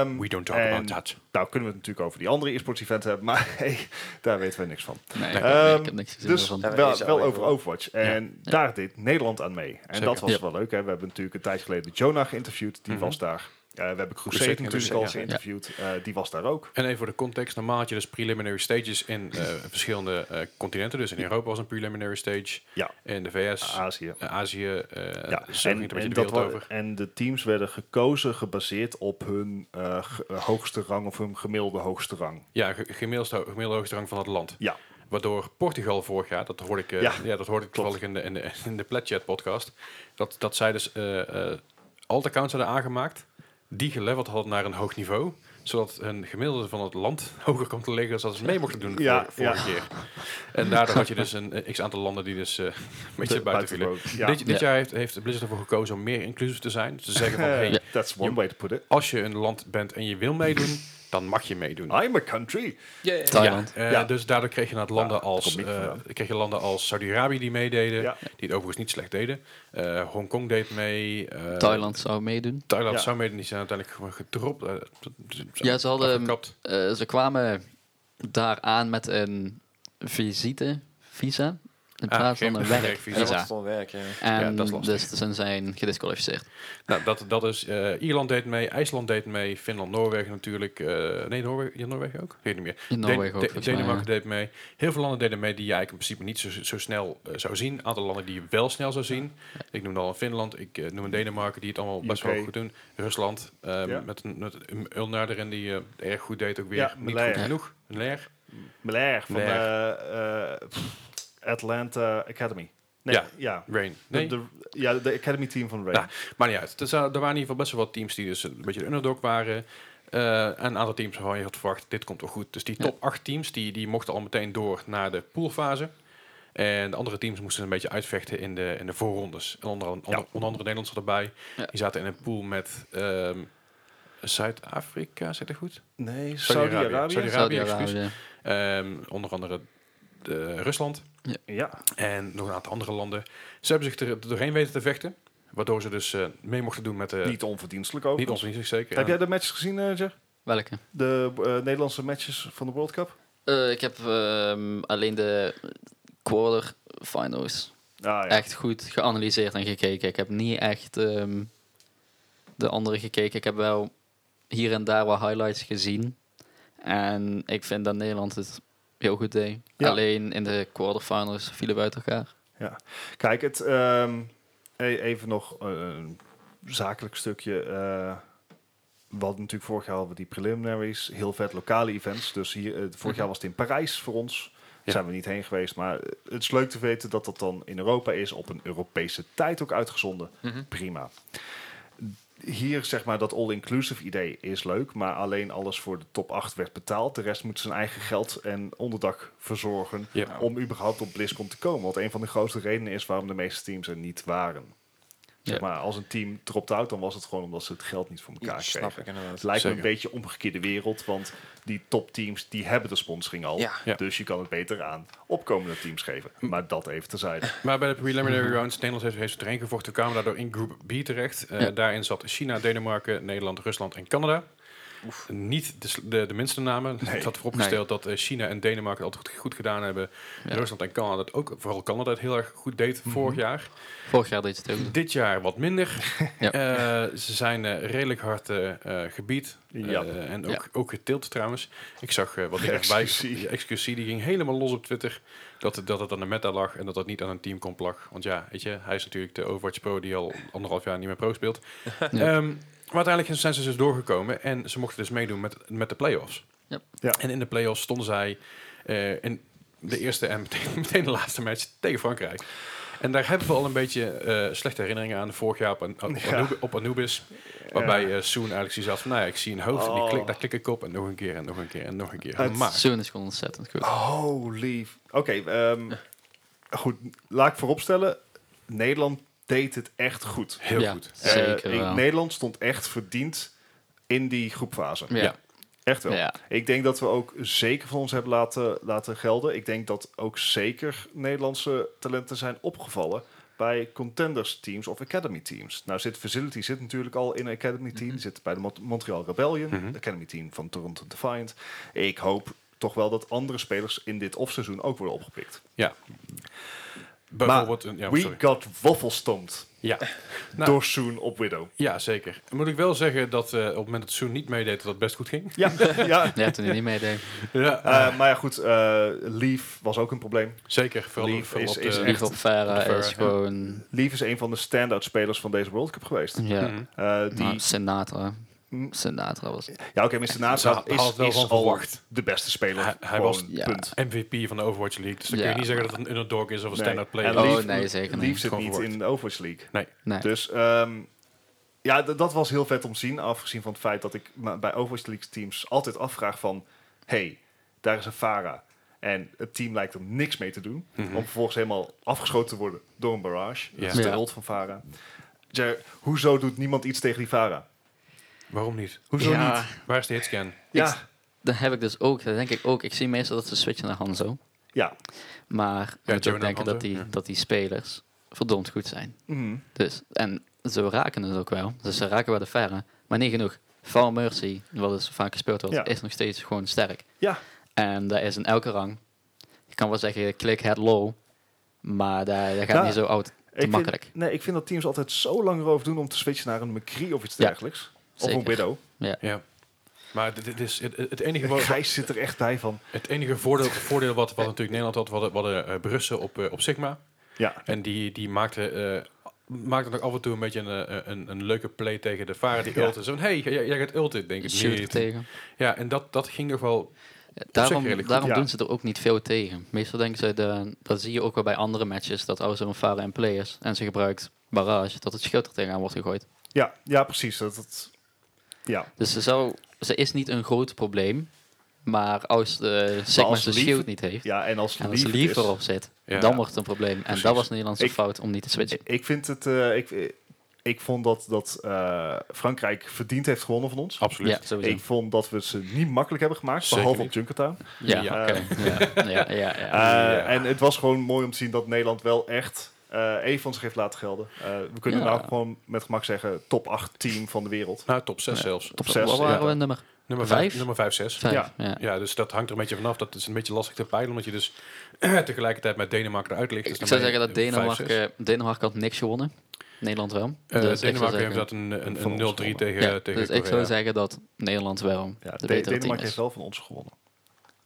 C: Ehm,
A: We don't talk
C: en-
A: about that.
C: Nou kunnen we het natuurlijk over die andere e-sports event hebben, maar hey, daar weten we niks van.
B: Nee, ik,
C: Ehm,
B: heb, ik heb niks gezien
C: Dus
B: daarvan.
D: Ja, maar
C: wel,
D: deze
C: wel
D: al
C: over
D: even.
C: Overwatch. En daar deed Nederland aan mee. En
A: Zeker.
C: dat was
B: Ja.
C: wel leuk. Hè? We hebben natuurlijk een tijd geleden Jonah geïnterviewd. Die
A: Mhm.
C: was daar. Eh, we hebben Crusade,
A: Crusade
C: natuurlijk
A: Crusade, ja.
C: al geïnterviewd. Eh, die was daar ook.
A: En even voor de context, normaal had je dus preliminary stages in eh, verschillende eh, continenten. Dus in Europa was een preliminary stage,
C: Ja,
A: in de VS,
C: Azië.
A: eh, Azië, eh
C: Ah, Ja,
A: zo ging het een beetje de
C: dat
A: wereld
C: wa-
A: over.
C: en de teams werden gekozen gebaseerd op hun eh, ge- eh, hoogste rang of hun gemiddelde hoogste rang.
A: Ja, ge- gemiddeld ho- gemiddelde hoogste rang van het land.
C: Ja.
A: Waardoor Portugal vorig jaar, dat hoorde ik, eh,
C: Ja,
A: ja. dat hoorde ik toevallig in de, in de, in de Pledchat podcast, dat, dat zij dus eh eh alt accounts hadden aangemaakt, die geleveld hadden naar een hoog niveau, zodat hun gemiddelde van het land hoger kwam te liggen dan dat ze mee mochten doen de
C: Ja,
A: vor- vorige keer. En daardoor had je dus een eh, x-aantal landen die dus eh, een beetje buiten vielen.
C: buiten- ja.
A: Dit, dit
B: Ja.
A: jaar heeft, heeft Blizzard ervoor gekozen om meer inclusief te zijn. Ze zeggen van,
C: Eh,
A: hey,
C: That's one way to put it.
A: als je een land bent en je wil meedoen, dan mag je meedoen.
C: I'm a country.
B: Thailand.
A: Ja, eh,
C: Ja.
A: Dus daardoor kreeg je, naar landen
C: Ja, daar
A: als,
C: kom ik
A: eh,
C: vandaan.
A: kreeg je landen als Saudi-Arabië die meededen,
C: Ja.
A: die het overigens niet slecht deden. Eh, Hongkong deed mee. eh,
B: Thailand zou meedoen.
A: Thailand
C: Ja.
A: zou meedoen, die zijn uiteindelijk gewoon gedropt. eh, t- t- zijn
B: Ja, ze hadden-
A: afgekapt.
B: Eh, ze kwamen daar aan met een visite, visa, in
A: Ah,
B: plaats
A: geen
B: van een
A: werkvisa.
D: Ja, dat was
B: werkvisa.
D: het dan werk, ja.
A: Ja,
B: En
A: dat is lastig.
B: dus ze zijn gedisqualificeerd.
A: Nou, dat, dat is, eh, Ierland deed mee, IJsland deed mee, Finland, Noorwegen natuurlijk. eh, nee, Noorwegen, ja, Noorwegen ook? Weet niet meer. Den-
B: In Noorwegen ook.
A: De-
B: volgens mij,
A: Denemarken
B: ja.
A: deed mee. Heel veel landen deden mee die je eigenlijk in principe niet zo, zo snel eh, zou zien. Een aantal landen die je wel snel zou zien. Ik noem al Finland, ik eh, noem een Denemarken die het allemaal best
C: UK.
A: wel goed doen. Rusland eh,
C: Ja.
A: met, een, met een Ulnar erin die eh, erg goed deed ook weer.
C: Ja,
A: niet
C: Blair.
A: goed genoeg. Leer.
C: Blair van
A: Blair.
C: eh, eh, pff, Atlanta Academy. Nee,
A: Ja.
C: ja.
A: Rain.
C: De-
A: Nee,
C: De, ja, de Academy team van Ray.
A: Nou, maar niet uit. Dus, eh, er waren in ieder geval best wel wat teams die dus een beetje de underdog waren. Eh, en een aantal teams waarvan je had verwacht, dit komt wel goed. Dus die
B: Ja.
A: top 8 teams, die, die mochten al meteen door naar de poolfase. En de andere teams moesten een beetje uitvechten in de, in de voorrondes. En onder, onder, onder andere Nederland zat erbij.
B: Ja.
A: Die zaten in een pool met ehm, Zuid-Afrika, zit dat goed?
C: nee,
A: Saudi-Arabië.
C: Saudi-Arabië.
A: Saudi-Arabië.
B: Saudi-Arabië.
A: Ehm, onder andere eh, Rusland.
C: ja,
A: En nog een aantal andere landen. Ze hebben zich er doorheen weten te vechten. Waardoor ze dus eh, mee mochten doen met de...
C: niet onverdienstelijk ook.
A: niet ons niet zeker.
C: Heb jij de matches gezien, eh, Jer?
B: Welke?
C: De eh, Nederlandse matches van de World Cup?
B: Eh, ik heb ehm, alleen de quarterfinals
C: Ah, ja.
B: echt goed geanalyseerd en gekeken. Ik heb niet echt ehm, de andere gekeken. Ik heb wel hier en daar wat highlights gezien. En ik vind dat Nederland het heel goed deed.
C: Ja.
B: Alleen in de quarterfinals vielen we uit elkaar.
C: Kijk, het, ehm, e- even nog eh, een zakelijk stukje. eh we hadden natuurlijk vorig jaar hadden we die preliminaries, heel vet lokale events. Dus hier, eh, vorig jaar was het in Parijs voor ons. Daar
A: Ja.
C: zijn we niet heen geweest, maar eh, het is leuk te weten dat dat dan in Europa is, op een Europese tijd ook uitgezonden.
D: Mhm.
C: Prima. hier zeg maar dat all-inclusive idee is leuk, maar alleen alles voor de top 8 werd betaald. De rest moet zijn eigen geld en onderdak verzorgen
A: Yep.
C: om überhaupt op BlizzCon te komen. Wat een van de grootste redenen is waarom de meeste teams er niet waren. Zeg
B: Ja.
C: maar als een team dropt out, dan was het gewoon omdat ze het geld niet voor elkaar
D: Ja,
C: kregen.
D: snap ik inderdaad.
C: Het lijkt me
A: Zeker.
C: een beetje omgekeerde wereld, want die topteams die hebben de sponsoring al.
D: Ja.
A: Ja.
C: Dus je kan het beter aan opkomende teams geven. Maar dat even terzijde.
A: Maar bij de preliminary rounds, Nederland heeft, heeft erin gevochten, kwamen daardoor in groep B terecht. Eh,
B: Ja.
A: Daarin zat China, Denemarken, Nederland, Rusland en Canada. Niet de, sl- de, de minste namen.
C: Nee.
A: Ik had vooropgesteld dat eh, China en Denemarken het altijd goed gedaan hebben.
B: Ja.
A: Rusland en Canada, het ook, vooral Canada, het heel erg goed deed vorig jaar.
B: Vorig jaar deed je
C: Ah.
B: het ook.
A: Dit jaar wat minder.
B: Ja.
A: Eh, ze zijn eh, redelijk hard eh, eh, gebied. Eh,
C: Ja.
A: en ook,
B: Ja.
A: ook getild trouwens. Ik zag eh, wat
C: De
A: erbij.
C: XQC.
A: De XQC die ging helemaal los op Twitter. Dat, het- dat het aan de meta lag en dat dat niet aan een team kon lag. Want ja, weet je, hij is natuurlijk de Overwatch Pro die al anderhalf jaar niet meer pro speelt. Ehm, maar uiteindelijk zijn ze dus doorgekomen en ze mochten dus meedoen met, met de playoffs.
B: Ja.
C: Ja.
A: En in de playoffs stonden zij eh, in de eerste en meteen, meteen de laatste match tegen Frankrijk. En daar hebben we al een beetje eh, slechte herinneringen aan. Vorig jaar op, An- op,
C: Ja.
A: Anubis, op Anubis. Waarbij eh, Soon eigenlijk zoiets had van, nou ja, ik zie een hoofd en die
C: Oh.
A: klik, daar klik ik op. En nog een keer en nog een keer en nog een keer.
C: Het-
A: maar
B: Soon is gewoon ontzettend goed.
C: Oh,
D: Oh,
C: Holy. Oké, ehm, goed. Laat ik vooropstellen. Nederland deed het echt goed.
A: heel
B: ja,
A: goed.
C: Eh,
B: Zeker
C: ik-
B: wel.
C: Nederland stond echt verdiend in die groepfase.
B: ja.
A: ja.
C: Echt wel.
B: Ja.
C: Ik denk dat we ook zeker van ons hebben laten, laten gelden. Ik denk dat ook zeker Nederlandse talenten zijn opgevallen bij contenders teams of academy teams. Nou zit Facility zit natuurlijk al in een academy team. Die zit bij de Mont- Montreal Rebellion,
A: Mhm.
C: academy team van Toronto Defiant. Ik hoop toch wel dat andere spelers in dit offseizoen ook worden opgepikt.
A: Bijvoorbeeld, een- ja,
C: We
A: sorry.
C: got waffelstompt
A: Ja. Nou.
C: door Soon op Widow.
A: ja, zeker. Moet ik wel zeggen dat eh, op het moment dat Soon niet meedeed, dat het best goed ging.
C: Ja, ja.
B: Ja, toen hij niet meedeed.
A: Ja,
C: Eh, maar ja, goed. eh Leaf was ook een probleem.
A: zeker. Vooral,
C: Leaf
A: vooral
C: is-
A: op
C: is
A: de-
B: Lief op Vera
A: Vera,
B: is
A: ja.
B: gewoon...
C: Leaf is een van de standout spelers van deze World Cup geweest.
B: Ja.
A: Mhm.
C: Eh, die,
B: Nou, Sinatra.
C: Mm.
B: Sinatra was het.
C: Ja, oké, Mr. Nasa
A: Ze had
C: is,
A: het wel
C: is
A: van
C: al
A: verwacht.
C: de beste speler.
A: Hij- hij
C: Gewoon,
A: was-
B: Ja.
C: punt.
A: MVP van de Overwatch League. Dus dan kun
B: Ja.
A: je niet zeggen dat het een underdog is of een
C: Nee.
A: standout player.
C: En
B: Oh,
C: Leaf-
B: nee, zeker niet.
C: Leaf zit
A: Gewoon
C: niet
A: verwacht.
C: in de Overwatch League.
B: Nee.
C: Dus ehm, ja, d- dat was heel vet om te zien. Afgezien van het feit dat ik me bij Overwatch League teams altijd afvraag van... hey, daar is een Farah. En het team lijkt er niks mee te doen. Om vervolgens helemaal afgeschoten te worden door een barrage.
A: Mhm. Ja.
C: Dat is de
B: Ja.
C: rol van Farah. Jer, hoezo doet niemand iets tegen die Farah?
A: Waarom niet?
C: Hoezo
B: ja,
C: niet?
A: Waar is de hitscan?
C: Ja,
B: dat heb ik dus ook. Dat denk ik ook. Ik zie meestal dat ze switchen naar Hanzo.
C: ja.
B: Maar je moet
A: Jonah
B: ook denken
A: Hanzo,
B: dat die,
A: ja.
B: dat die spelers verdomd goed zijn.
C: Mhm.
B: Dus, en ze raken het ook wel. Dus ze raken wel de verre. Maar niet genoeg. Val Mercy, wat dus vaak gespeeld wordt,
C: Ja.
B: is nog steeds gewoon sterk.
C: Ja.
B: En dat is in elke rang. Je kan wel zeggen, klik het low. Maar dat, dat gaat
C: Nou,
B: niet zo oud.
C: Ik vind-
B: makkelijk.
C: nee, ik vind dat teams altijd zo lang erover doen om te switchen naar een McCree of iets
B: Ja,
C: dergelijks. Of
B: zeker.
C: een Widow.
A: Ja. Maar dit, dit is het, het enige,
C: En
A: wa-
C: Gijs zit er echt bij van.
A: het enige voordeel, voordeel wat, wat natuurlijk Nederland had, wat hadden eh, Brussen op, eh, op Sigma.
C: Ja,
A: En die, die maakte, eh, maakte nog af en toe een beetje een, eh, een, een leuke play tegen de vader die
C: Ja.
A: ulten. Zo van, hey, jij, jij gaat ulten. Ik Denk
B: Je
A: ik
B: shoot er
A: niet.
B: tegen.
A: Ja, en dat, dat ging nog wel...
B: Daarom,
A: redelijk goed.
B: daarom
C: Ja.
B: doen ze er ook niet veel tegen. Meestal denken ze, de, dat zie je ook wel bij andere matches, dat als er een fare en play is en ze gebruikt barrage, dat het schild er tegenaan wordt gegooid.
C: ja, ja precies. Dat, dat, ja.
B: Dus ze, zou, ze is niet een groot probleem, maar als de Sigma
C: als
B: zijn
C: lief-
B: shield niet heeft,
C: ja, en als
B: en als
C: lief
B: ze
C: het
B: liever
C: is-
B: op zit,
A: Ja.
B: dan wordt het een probleem. En
A: Precies.
B: dat was Nederlandse
C: Ik-
B: fout om niet te switchen.
C: Ik vind het... eh, ik, ik vond dat, dat eh, Frankrijk verdiend heeft gewonnen van ons.
A: Absoluut.
B: Ja, sowieso.
C: Ik vond dat we ze niet makkelijk hebben gemaakt,
A: Zeker
C: behalve
A: niet.
C: op Junkertown.
B: ja,
A: ja.
B: oké. ja, ja, ja, ja.
A: Ja.
C: Eh, En het was gewoon mooi om te zien dat Nederland wel echt eh even van zich heeft laten gelden. Eh, we kunnen
B: Ja.
C: nou gewoon met gemak zeggen top 8 team van de wereld.
A: Nou, top 6
B: Ja.
A: zelfs.
C: Top
B: Wat
C: 6.
B: waren we nummer
A: Nummer 5,
B: Vijf?
A: nummer 5 6.
B: vijf?
C: Ja.
B: Ja.
A: Ja, dus dat hangt er een beetje vanaf. Dat is een beetje lastig te peilen, omdat je dus tegelijkertijd met Denemarken eruit ligt. Dus
B: Ik
A: dan
B: zou
A: ben je
B: zeggen dat
A: vijf, zes.
B: Denemarken, Denemarken had niks gewonnen. Nederland wel.
A: Eh,
B: Dus ik zou
A: Denemarken heeft
B: zeggen-
A: dat een, een,
C: Van
A: een
C: ons
A: 0-3 tegen,
C: gewonnen.
B: Ja,
A: tegen
B: dus ik
A: Korea.
B: zou zeggen dat Nederland wel
C: Ja,
B: de
C: De-
B: betere team
C: Denemarken
B: is
C: heeft wel van ons gewonnen.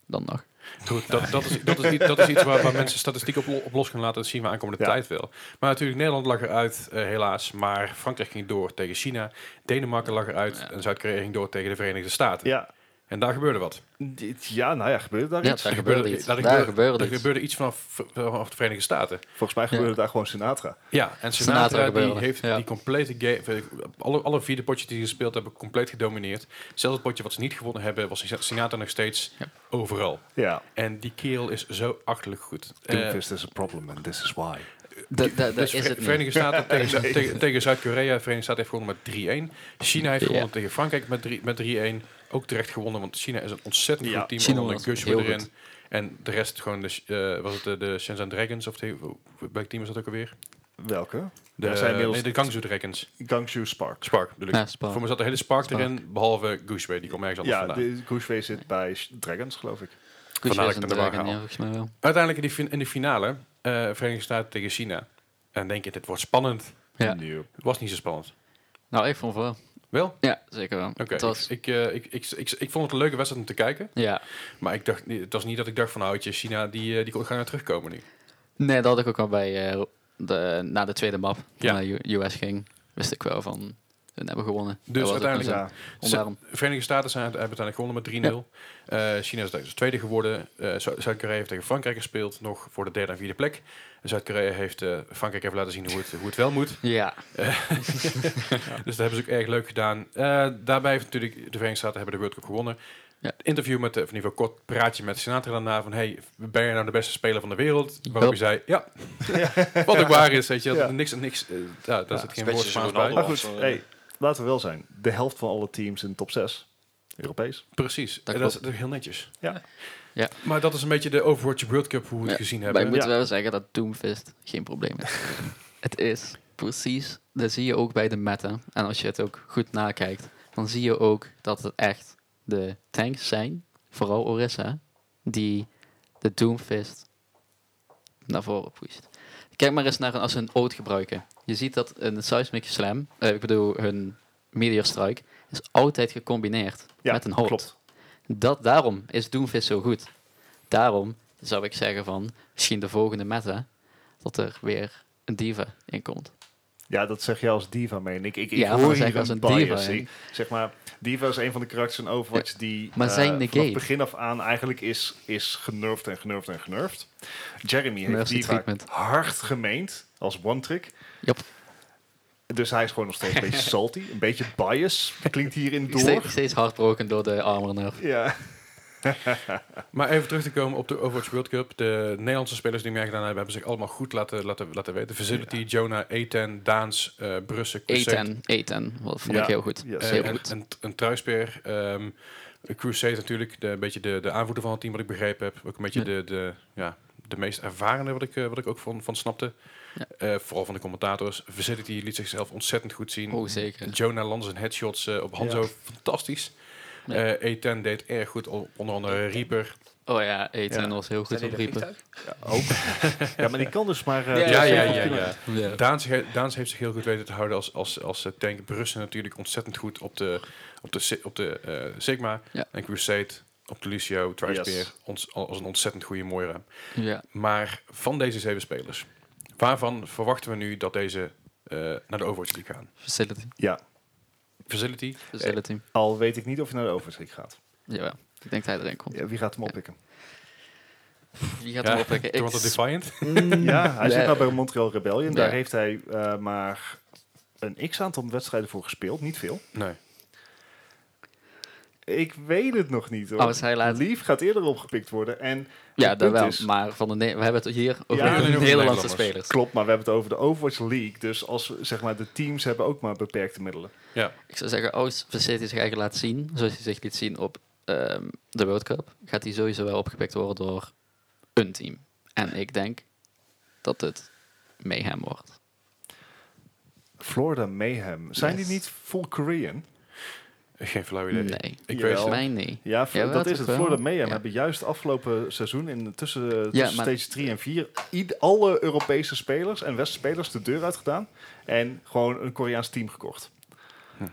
B: dan nog.
A: Goed, dat, dat, is, dat, is, iets- dat is iets waar, waar mensen statistiek op, lo- op los gaan laten. Dat zien we aankomende
C: Ja.
A: tijd wel. Maar natuurlijk, Nederland lag eruit, eh, helaas. Maar Frankrijk ging door tegen China. Denemarken lag eruit.
B: Ja.
A: En Zuid-Korea ging door tegen de Verenigde Staten.
C: Ja,
A: En daar gebeurde wat.
C: Dit- Ja, nou ja, gebeurde daar
B: Ja,
C: iets?
B: daar gebeurde
A: Gebeurde-
B: iets.
A: daar
B: Daar
A: gebeurde-
B: gebeurde
A: Er
B: iets.
A: gebeurde iets vanaf, vanaf de Verenigde Staten.
C: Volgens mij gebeurde daar gewoon Sinatra.
A: Ja, en
B: Sinatra
A: Sinatra, die
B: gebeurde,
A: heeft
B: ja.
A: die complete game... Alle, alle vier de potjes die ze gespeeld hebben, compleet gedomineerd. Zelfs het potje wat ze niet gewonnen hebben, was Sinatra nog steeds
B: Ja.
A: overal.
C: Ja.
A: En die kerel is zo achterlijk goed. Eh,
C: Doomfist is a problem and this is why.
B: Dat dat- dat
A: dus
B: is
A: Ver-
B: het niet.
A: Verenigde Staten tegen, Zu- tegen, tegen Zuid-Korea. Verenigde Staten heeft gewonnen met 3-1. China heeft
B: Ja.
A: gewonnen tegen Frankrijk met, drie- met 3-1. Ook terecht gewonnen, want China is een ontzettend
C: Ja,
A: goed team.
B: China
A: Onder
B: was
A: Gush
B: heel
A: erin.
B: goed.
A: En de rest gewoon, de, Ch- eh, was het de, de Shenzhen Dragons? Of de, welk team is dat ook alweer?
C: Welke?
A: De,
C: Ja, zijn inmiddels-
A: nee, de Guangzhou Dragons.
C: Gangshu Spark.
A: Spark bedoel ik.
B: Ja, Spark.
A: Voor me zat de hele Spark,
B: Spark.
A: erin, behalve Gushway. Die kwam ergens anders
C: Ja,
A: vandaan.
C: de Kushway zit bij Sh- Dragons, geloof ik.
B: Kus
A: Vandaar
B: is
A: dat ik
B: een
A: het erbij
B: dragon, ja,
A: haal.
B: volgens mij wel.
A: Uiteindelijk in die, fin- in de finale, eh, Verenigde Staten tegen China. En dan denk je, dit wordt spannend.
B: Ja.
C: Nope.
A: Het was niet zo spannend.
B: Nou, ik vond het wel.
A: Wel?
B: Ja, zeker wel.
A: Oké,
B: Het was,
A: ik, ik, eh, ik, ik, ik, ik vond het een leuke wedstrijd om te kijken.
B: ja.
A: Maar ik dacht, niet- het was niet dat ik dacht van, houtje, China, die, eh, die gaan naar terugkomen nu.
B: Nee, dat had ik ook al bij eh, de, na de tweede map,
A: Ja.
B: ja. naar U- US ging, wist ik wel van, hun hebben gewonnen.
A: Dus
B: Dat was ook
A: uiteindelijk-
B: maar
C: Ja.
B: zo. Om daarom-
A: De Verenigde Staten zijn, hebben uiteindelijk gewonnen met 3-0. Eh, China is dus tweede geworden. Eh, Zu- Zuid-Korea heeft tegen Frankrijk gespeeld, nog voor de derde en vierde plek. Zuid-Korea heeft eh, Frankrijk even laten zien hoe het, hoe het wel moet.
B: Ja,
A: Dus dat hebben ze ook erg leuk gedaan. Eh, daarbij heeft natuurlijk de Verenigde Staten hebben de World Cup gewonnen.
B: Ja.
A: Interview met, eh, of in ieder geval kort praatje met Sinatra daarna van, hey, ben jij nou de beste speler van de wereld? Waarop
B: Yup.
A: hij zei, ja. Wat ook waar is, weet je.
C: Ja.
A: Niks, niks, eh, ja, daar zit
D: een
A: geen
D: beetje
A: woord
D: zo'n
A: Spaans
D: Ronaldo.
A: bij.
C: Maar goed,
D: Sorry.
C: hey, laten we wel zijn. De helft van alle teams in de top 6. Europees.
A: Precies.
B: Dat
A: en dat is
B: klopt.
A: natuurlijk heel netjes.
C: Ja.
B: Ja.
A: Maar dat is een beetje de Overwatch World Cup, hoe we het
B: Ja,
A: gezien
B: maar
A: hebben.
B: ik moet
C: Ja.
B: wel zeggen dat Doomfist geen probleem is. het is precies, dat zie je ook bij de meta. En als je het ook goed nakijkt, dan zie je ook dat het echt de tanks zijn, vooral Orisa, die de Doomfist naar voren pusht. Kijk maar eens naar hun- als ze een oot gebruiken. Je ziet dat een seismic slam, eh, ik bedoel hun meteor strike, is altijd gecombineerd
C: Ja,
B: met een hoot.
C: klopt.
B: Dat, daarom is Doomfist zo goed. Daarom zou ik zeggen van, misschien de volgende meta, dat er weer een diva in komt.
C: Ja, dat zeg je als diva, meen ik. Ik, ik
B: Ja, maar
C: hoor
B: dat zeg
C: hier
B: ik als
C: een
B: een
C: bias
B: diva,
C: in. Zeg maar, diva is een van de karakters in Overwatch die
B: maar
C: eh,
B: zijn
C: vanaf
B: negate.
C: begin af aan eigenlijk is, is genurfd en genurfd en genurfd. Jeremy heeft
B: Mercy
C: diva
B: treatment.
C: hard gemeend als one-trick.
B: Yep.
C: Dus hij is gewoon nog steeds een beetje salty, een beetje bias. Klinkt hierin door.
B: Steeds, steeds hardbroken door de armor nerf.
C: Ja.
A: Maar even terug te komen op de Overwatch World Cup. De Nederlandse spelers die meegedaan hebben, hebben zich allemaal goed laten, laten, laten weten. Facility, Jonah, Eten, Daans, eh Brussen, Crusade.
B: Eten, eten. Wat vond
C: Ja,
B: ik heel goed.
C: ja,
B: Ja,
A: Eh,
B: heel
A: en,
B: goed.
A: en, een Truispeer. ehm, Crusade natuurlijk, de, een beetje de, de aanvoerder van het team, wat ik begrepen heb. Ook een beetje
B: Ja.
A: de, de, ja, de meest ervarende, wat ik, eh, wat ik ook van, van snapte.
B: Ja.
A: Eh, vooral van de commentators. Facility liet zichzelf ontzettend goed zien.
B: Oh, zeker.
A: Jonah Lans en headshots eh, op Hanzo,
C: Ja.
A: fantastisch.
B: Ja.
A: Eh Eten deed erg goed, o- onder andere Reaper.
B: Oh ja, eten
C: Ja.
B: was heel goed op riepen.
C: Ook. ja, maar die kan dus maar... eh,
A: Ja,
B: Ja,
A: ja,
B: zeker.
A: ja. ja.
B: Ja.
A: Daans, he- Daans heeft zich heel goed weten te houden als, als, als eh, tank. Brussen natuurlijk ontzettend goed op de, op de, Si- op de eh, Sigma.
B: Ja.
A: En Crusade op de Lucio, Trispear.
C: Yes.
A: Ons, als een ontzettend goede Moira.
B: Ja.
A: Maar van deze zeven spelers, waarvan verwachten we nu dat deze eh, naar de Overwatch League gaan?
B: Facility.
C: ja,
A: Facility?
B: Facility.
C: al weet ik niet of je naar de Overwatch gaat.
B: Jawel. Ik denk dat hij erin komt.
C: Ja, wie gaat hem oppikken?
B: Wie gaat hem oppikken? Ik
A: Toronto Defiant?
B: Mm,
C: Ja, hij zit
B: nee.
C: nou bij Montreal Rebellion. Daar
B: Ja.
C: heeft hij eh, maar een x-aantal wedstrijden voor gespeeld. Niet veel.
A: Nee.
C: Ik weet het nog niet hoor.
B: Oh, is hij laat-
C: Lief gaat eerder opgepikt worden. En
B: Ja,
C: het
B: dat
C: punt
B: wel.
C: is-
B: Maar van de ne- we hebben het hier over
C: Ja,
B: de
A: nee, over
B: Nederlandse
A: Nederlanders.
B: spelers.
C: Klopt, maar we hebben het over de Overwatch League. Dus als we, zeg maar, de teams hebben ook maar beperkte middelen.
A: Ja.
B: Ik zou zeggen, oh, als Facility zich eigenlijk laat zien, zoals hij zich liet zien op ehm, de World Cup, gaat hij sowieso wel opgepikt worden door een team. En ik denk dat het Mayhem wordt.
C: Florida Mayhem. Zijn
B: Yes.
C: die niet full Korean?
A: Geen flauw idee.
B: Nee.
A: Ik
C: Jawel.
A: weet
B: Volgens mij niet.
C: Ja, Fl-
B: Ja,
C: dat
B: wel,
C: is het.
B: toch wel.
C: Florida Mayhem
B: Ja.
C: hebben juist afgelopen seizoen in tussen, eh, tussen
B: maar-
C: stage 3 en 4 ied- alle Europese spelers en Westspelers de deur uitgedaan. En gewoon een Koreaans team gekocht.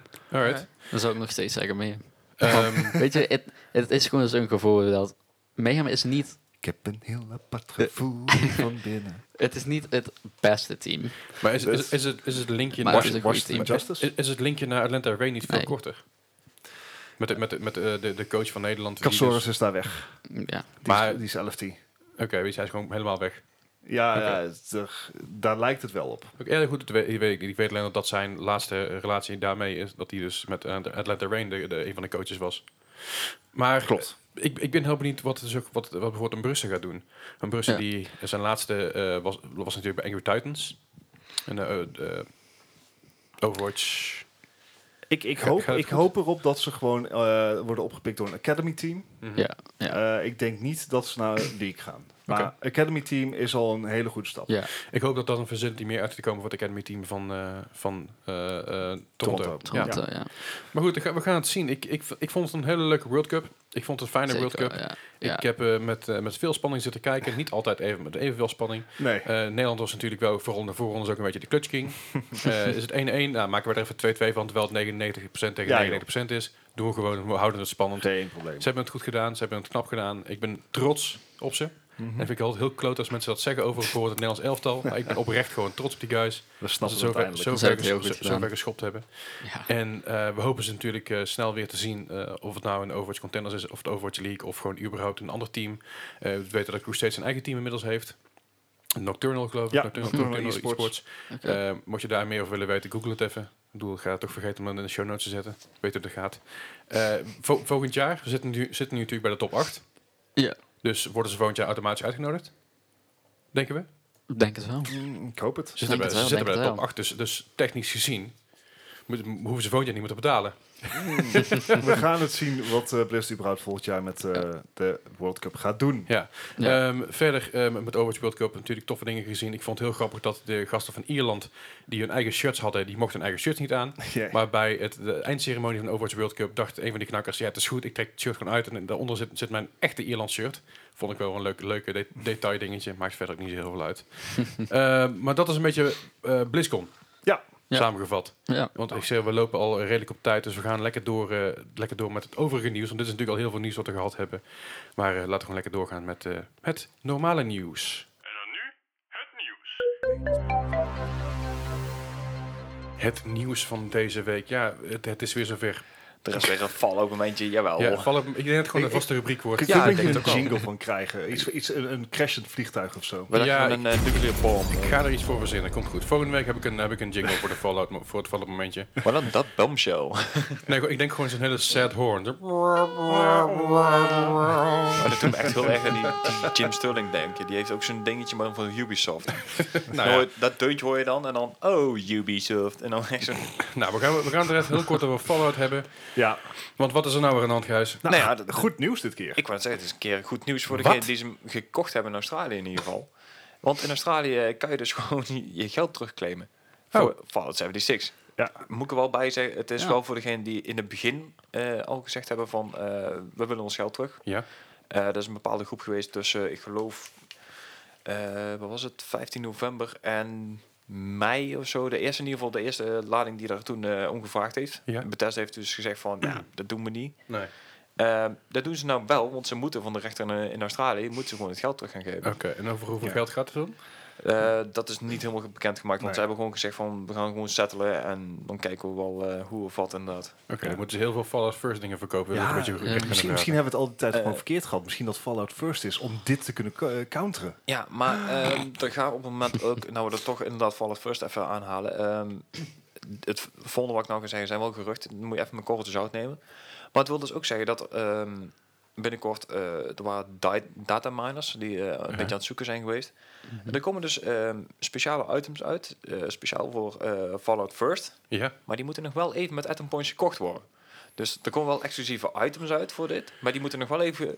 A: Alright.
B: Dan zou ik nog steeds zeggen Mayhem.
A: Ehm,
B: Weet je, het, het is gewoon zo'n gevoel dat... Mayhem is niet,
C: Ik heb een heel apart gevoel van binnen.
B: het is niet het beste team.
A: maar is, is, is, het, is het linkje
B: Maar
A: naar...
B: het is een goed
A: Washington-
C: team.
A: Is, is het linkje naar Atlanta Ray niet veel
B: Nee.
A: korter? Met, de, met, de, met eh, de, de coach van Nederland. die
C: Casores
A: dus-
C: is daar weg.
B: Ja.
C: Die,
A: Maar-
C: is, die is 11 Ja,
A: Oké, weet je, hij is gewoon helemaal weg.
C: ja het, eh, daar lijkt het wel op.
A: Ook erg goed, dat weet, ik weet ik niet. Ik weet alleen dat dat zijn laatste eh, relatie daarmee is. Dat hij dus met eh, de Atlanta Rain de, de- een van de coaches was. Maar
C: Klopt.
A: eh, ik, ik ben heel benieuwd wat, dus ook- wat, wat bijvoorbeeld een Brussen gaat doen. Een Brussen
B: Ja.
A: die zijn laatste eh, was, was natuurlijk bij Angry Titans. En eh, eh, de Overwatch.
C: Ik, ik,
A: Ga-
C: hoop,
A: gaat het
C: ik
A: goed?
C: hoop erop dat ze gewoon eh, worden opgepikt door een Academy team.
A: Mhm.
B: Ja, ja,
C: Eh, ik denk niet dat ze naar League gaan. Maar
A: Oké.
C: Academy team is al een hele goede stap.
B: ja.
A: Ik hoop dat dat een facility meer uit te komen voor het Academy team van, eh, van eh, eh, Toronto.
C: Toronto.
A: Ja.
B: Toronto, ja.
A: Maar goed, we gaan- we gaan het zien. Ik, ik, ik vond het een hele leuke World Cup. Ik vond het een fijne World Cup.
B: Zeker, ja. Ja.
A: Ik heb eh, met, eh, met veel spanning zitten kijken. Niet altijd even met evenveel spanning.
C: Nee.
A: Eh, Nederland was natuurlijk wel vooral de voorrondes ook een beetje de clutch king. Eh, is het 1-1? Nou, maken we er even 2-2 van, terwijl het 99% tegen
C: Ja,
A: 99% is. Doen we gewoon, we houden het spannend.
C: Geen probleem.
A: Ze hebben het goed gedaan, ze hebben het knap gedaan. Ik ben trots op ze.
C: Mhm.
A: En vind ik altijd heel kloot als mensen dat zeggen over bijvoorbeeld het Nederlands elftal. Maar ik ben oprecht gewoon trots op die guys.
C: We
A: Dat ze
C: snappen het
A: zover,
C: uiteindelijk.
B: Ze hebben
A: zover,
B: het heel goed
A: ges-
B: gedaan.
A: zover geschopt hebben.
B: Ja.
A: En eh, we hopen ze natuurlijk eh, snel weer te zien eh, of het nou een Overwatch Contenders is of de Overwatch League of gewoon überhaupt een ander team. Eh, we weten dat Crusade zijn eigen team inmiddels heeft. Nocturnal geloof ik.
C: Ja,
A: Nocturnal,
C: Nocturnal
A: Nocturnal
C: eSports.
B: Oké.
A: Eh, mocht je daar meer over willen weten, google het even. Ik bedoel, ik ga het toch vergeten om dat in de show notes te zetten. Ik weet hoe dat gaat. Eh, vo- volgend jaar, we zitten nu, zitten nu natuurlijk bij de top 8.
B: Ja.
A: Dus worden ze volgend jaar automatisch uitgenodigd? Denken we?
B: Ik Denk het wel.
C: Mm, ik hoop het.
A: Ze zitten bij,
B: het wel,
A: ze zitten
B: denk
A: bij de
B: het
A: top
B: wel.
A: 8, dus, dus technisch gezien moet- hoeven ze volgend jaar niet meer te betalen.
C: We gaan het zien wat eh Brest überhaupt volgend jaar met eh, de World Cup gaat doen.
A: Ja.
B: Ja.
A: Ehm, verder ehm, met Overwatch World Cup natuurlijk toffe dingen gezien. Ik vond het heel grappig dat de gasten van Ierland die hun eigen shirts hadden, die mochten hun eigen shirts niet aan.
C: Ja.
A: Maar bij het, de eindceremonie van Overwatch World Cup dacht een van die knakkers, ja het is goed, ik trek het shirt gewoon uit en daaronder zit, zit mijn echte Ierland shirt. Vond ik wel een leuk, leuke de- detail dingetje, maakt verder ook niet zo heel veel uit. Ehm, maar dat is een beetje eh BlizzCon.
C: Ja.
B: Ja.
A: Samengevat.
B: Ja.
A: Want ik zeg, we lopen al redelijk op tijd, dus we gaan lekker door, eh, lekker door met het overige nieuws. Want dit is natuurlijk al heel veel nieuws wat we gehad hebben. Maar eh, laten we gewoon lekker doorgaan met eh, het normale nieuws.
E: En dan nu het nieuws.
A: Het nieuws van deze week. Ja, het, het is weer zover.
D: Er is weer een val op momentje, jawel.
A: Ja, val op- ik denk dat het gewoon een
C: Ik-
A: vaste rubriek wordt.
C: Ik
D: Ja,
C: ja,
D: Oh. ik
C: er
D: denk
C: een
D: het ook wel.
C: jingle van krijgen. Iets, iets, een, een crashend vliegtuig of zo.
D: We
A: Ja,
D: ja, een eh, nuclear bom.
A: Ik ga er iets voor verzinnen, komt goed. Volgende week heb ik een, heb ik een jingle voor, de fallout, mo- voor het vallen momentje.
D: Wat dan dat bombshell.
A: Nee, ik denk gewoon zo'n hele sad horn. Zo-
D: Maar dat doet me echt heel erg aan die, die Jim Sterling denken. Die heeft ook zo'n dingetje maar van Ubisoft.
A: Nou,
D: nou,
A: ja.
D: Dat deuntje hoor je dan en dan, oh Ubisoft. En dan echt zo'n...
A: Nou, we gaan, we gaan het er echt heel kort over Fallout hebben.
C: Ja.
A: Want wat is er nou weer aan de hand, Gijs?
C: Nou,
D: Nee, ja, dat-
C: goed nieuws dit keer.
D: Ik wou net zeggen, het is een keer goed nieuws voor
A: Wat?
D: degenen die ze hem gekocht hebben in Australië in ieder geval. Want in Australië kan je dus gewoon je- je geld terugclaimen. Voor
A: Oh.
D: Fallout 76.
C: Ja.
D: Moet ik er wel bij zeggen, het is
B: Ja.
D: wel voor degenen die in het begin eh, al gezegd hebben van... eh, we willen ons geld terug.
A: Ja.
D: Eh dat is een bepaalde groep geweest tussen, ik geloof, eh, wat was het, 15 november en mei of zo. De eerste, in ieder geval de eerste eh, lading die daar toen eh, om gevraagd heeft.
A: Ja.
D: Bethesda heeft dus gezegd van, ja, dat doen we niet.
A: Nee.
D: Eh, dat doen ze nou wel, want ze moeten van de rechter in, in Australië, moeten ze gewoon het geld terug gaan geven.
A: Oké, en over hoeveel geld gaat het dan?
D: Eh, dat is niet helemaal bekendgemaakt, want
C: Nee.
D: ze hebben gewoon gezegd van, we gaan gewoon settelen en dan kijken we wel eh, hoe of wat inderdaad.
A: Oké, dan moeten ze heel veel Fallout First dingen verkopen.
C: Ja, eh,
A: Ja, dat je
B: ja,
C: Misschien, misschien hebben we het al die tijd
D: Eh,
C: gewoon verkeerd gehad. Misschien dat Fallout First is om dit te kunnen co- eh, counteren.
D: Ja, maar ehm er gaat op het moment ook, nou we dat toch inderdaad Fallout First even aanhalen. Ehm, het volgende wat ik nou ga zeggen zijn wel geruchten, dan moet je even mijn korreltjes zout nemen. Maar het wil dus ook zeggen dat ehm, binnenkort eh, er waren di- data miners die eh, een beetje aan het zoeken zijn geweest. En er komen dus ehm, speciale items uit, eh, speciaal voor eh, Fallout First.
A: Ja,
D: Maar die moeten nog wel even met Atom Points gekocht worden. Dus er komen wel exclusieve items uit voor dit, maar die moeten nog wel even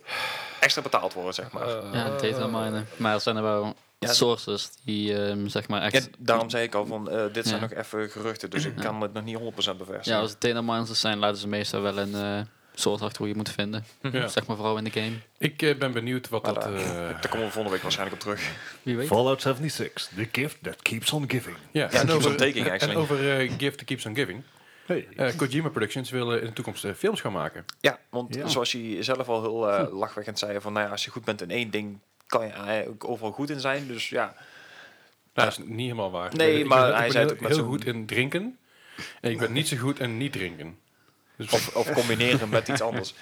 D: extra betaald worden, zeg maar.
B: Ja, data minen. Eh, Maar er zijn er wel
D: Ja,
B: sources die ehm, zeg maar
D: Ja,
B: echt...
D: daarom zei ik al van, eh, dit zijn
B: Ja.
D: nog even geruchten, dus ik kan het nog niet 100% bevestigen.
B: Ja, als het data miners zijn, laten ze meestal wel een eh soort achter hoe je het moet vinden.
D: Mhm.
A: Ja.
B: Zeg maar vooral in de game.
A: ik eh, ben benieuwd wat
D: Maar
A: dat...
D: daar,
A: eh,
D: daar komen we volgende week waarschijnlijk op terug.
B: Wie weet.
C: Fallout 76, the gift that keeps on giving.
A: ja,
D: keeps on taking,
A: en
D: actually.
A: over eh, Gift Keeps on Giving. Eh, Kojima Productions willen in de toekomst eh, films gaan maken.
D: Ja, want
C: Ja.
D: zoals je zelf al heel eh, lachwekkend zei, van nou ja, als je goed bent in één ding, kan je eigenlijk ook overal goed in zijn. Dus ja,
A: Nou, dat is niet helemaal waar.
D: Nee,
A: Ik ben-
D: maar
A: ik ben
D: hij zei
A: heel,
D: het ook met
A: heel
D: zo'n-
A: goed in drinken. En ik ben niet zo goed in niet drinken. Dus
D: Of, of combineren met iets anders.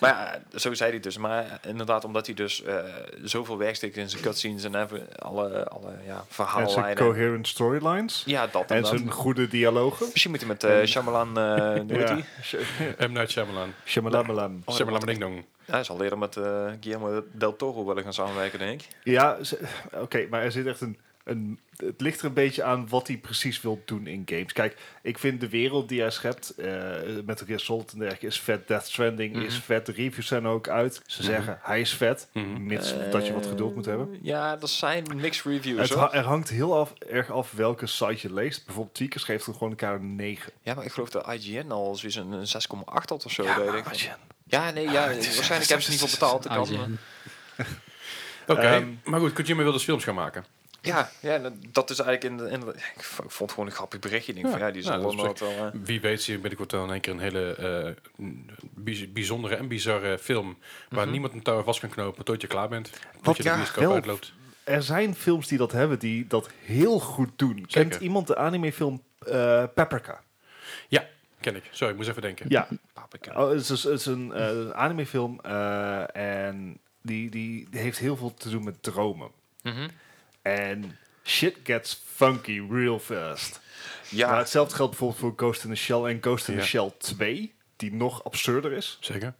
D: Maar ja, zo zei hij dus. Maar inderdaad, omdat hij dus eh, zoveel werk steekt in zijn cutscenes en even alle, alle ja,
C: En zijn
D: verhaallijnen.
C: coherent storylines.
D: Ja, dat
C: En
D: inderdaad.
C: zijn goede dialogen.
D: Misschien moet hij met eh Shyamalan, eh hoe heet
C: Ja.
D: die?
A: M. Night Shyamalan.
C: Shamalamalam.
A: Shyamalan Ding Dong.
D: Hij zal leren met eh, Guillermo del Toro willen gaan samenwerken, denk ik.
C: Ja, ze- oké, maar er zit echt een, een... Het ligt er een beetje aan wat hij precies wil doen in games. Kijk, ik vind de wereld die hij schept, eh Metal Gear Solid en dergelijke, is vet. Death Stranding is vet. De reviews zijn er ook uit. Ze zeggen, hij is vet,
A: Mhm.
C: mits dat je wat geduld moet hebben.
D: Eh, Ja, dat zijn mixed reviews,
C: Het
D: hoor.
C: ha- er hangt heel af, erg af welke site je leest. Bijvoorbeeld Tweakers geeft er gewoon een kader 9.
D: Ja, maar ik geloof dat IGN al zoiets een een 6,8 had of zo. deed ik. Ja, nee, ja, waarschijnlijk hebben ze niet voor betaald. dat kan, eh.
B: IGN.
A: Oké,
C: Ehm,
A: maar goed, Kojima wil dus films gaan maken.
D: Ja, ja, dat- dat is eigenlijk in de, in de- Ik v- vond het gewoon een grappig berichtje. Ik denk van
A: Ja,
D: ja, die is
A: nou,
D: nou,
A: dat is
D: wel... eh,
A: Wie weet zie je binnenkort dan in één keer een hele eh, n- bijz- bijzondere en bizarre film... waar niemand een touw aan vast kan knopen tot je klaar bent. Tot je de
C: Mhm. ja,
A: bioscoop
C: wel.
A: uitloopt.
C: Er zijn films die dat hebben, die dat heel goed doen. Kent iemand de animefilm eh Paprika?
A: Ja, ken ik. Sorry, ik moest even denken.
C: Ja,
D: paprika.
C: Oh, het, is, het is een eh, animefilm eh, en die, die, die heeft heel veel te doen met dromen.
D: Mhm.
C: En shit gets funky real fast. Maar
D: Ja,
C: hetzelfde geldt bijvoorbeeld voor Ghost in the Shell en Ghost in
A: Ja.
C: the Shell 2, die nog absurder is.
A: Zeker.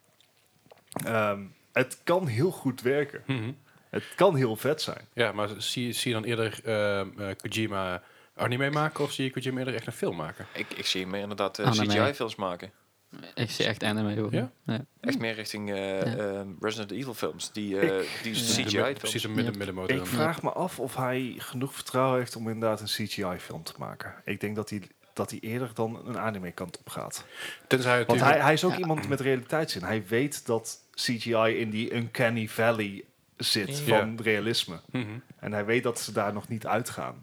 C: Ehm, het kan heel goed werken.
A: Mhm.
C: Het kan heel vet zijn.
A: Ja, maar zie, zie je dan eerder ehm, eh, Kojima anime maken... of zie je Kojima eerder echt een film maken?
D: ik, ik zie meer inderdaad eh,
B: Anime.
D: CGI-films maken.
B: Ik zie echt anime hoor.
A: Ja?
D: Echt meer richting eh, eh, Resident Evil-films. Die, eh, die
A: De-
D: CGI-films.
A: Precies een midden, middenmotor.
C: Ik vraag me af of hij genoeg vertrouwen heeft om inderdaad een CGI-film te maken. Ik denk dat hij, dat hij eerder dan een anime-kant op gaat.
A: Tenzij het
C: Want hij, hij is ook iemand met realiteitszin. Hij weet dat CGI in die uncanny valley zit
A: Ja.
C: van realisme.
A: Mhm.
C: En hij weet dat ze daar nog niet uitgaan.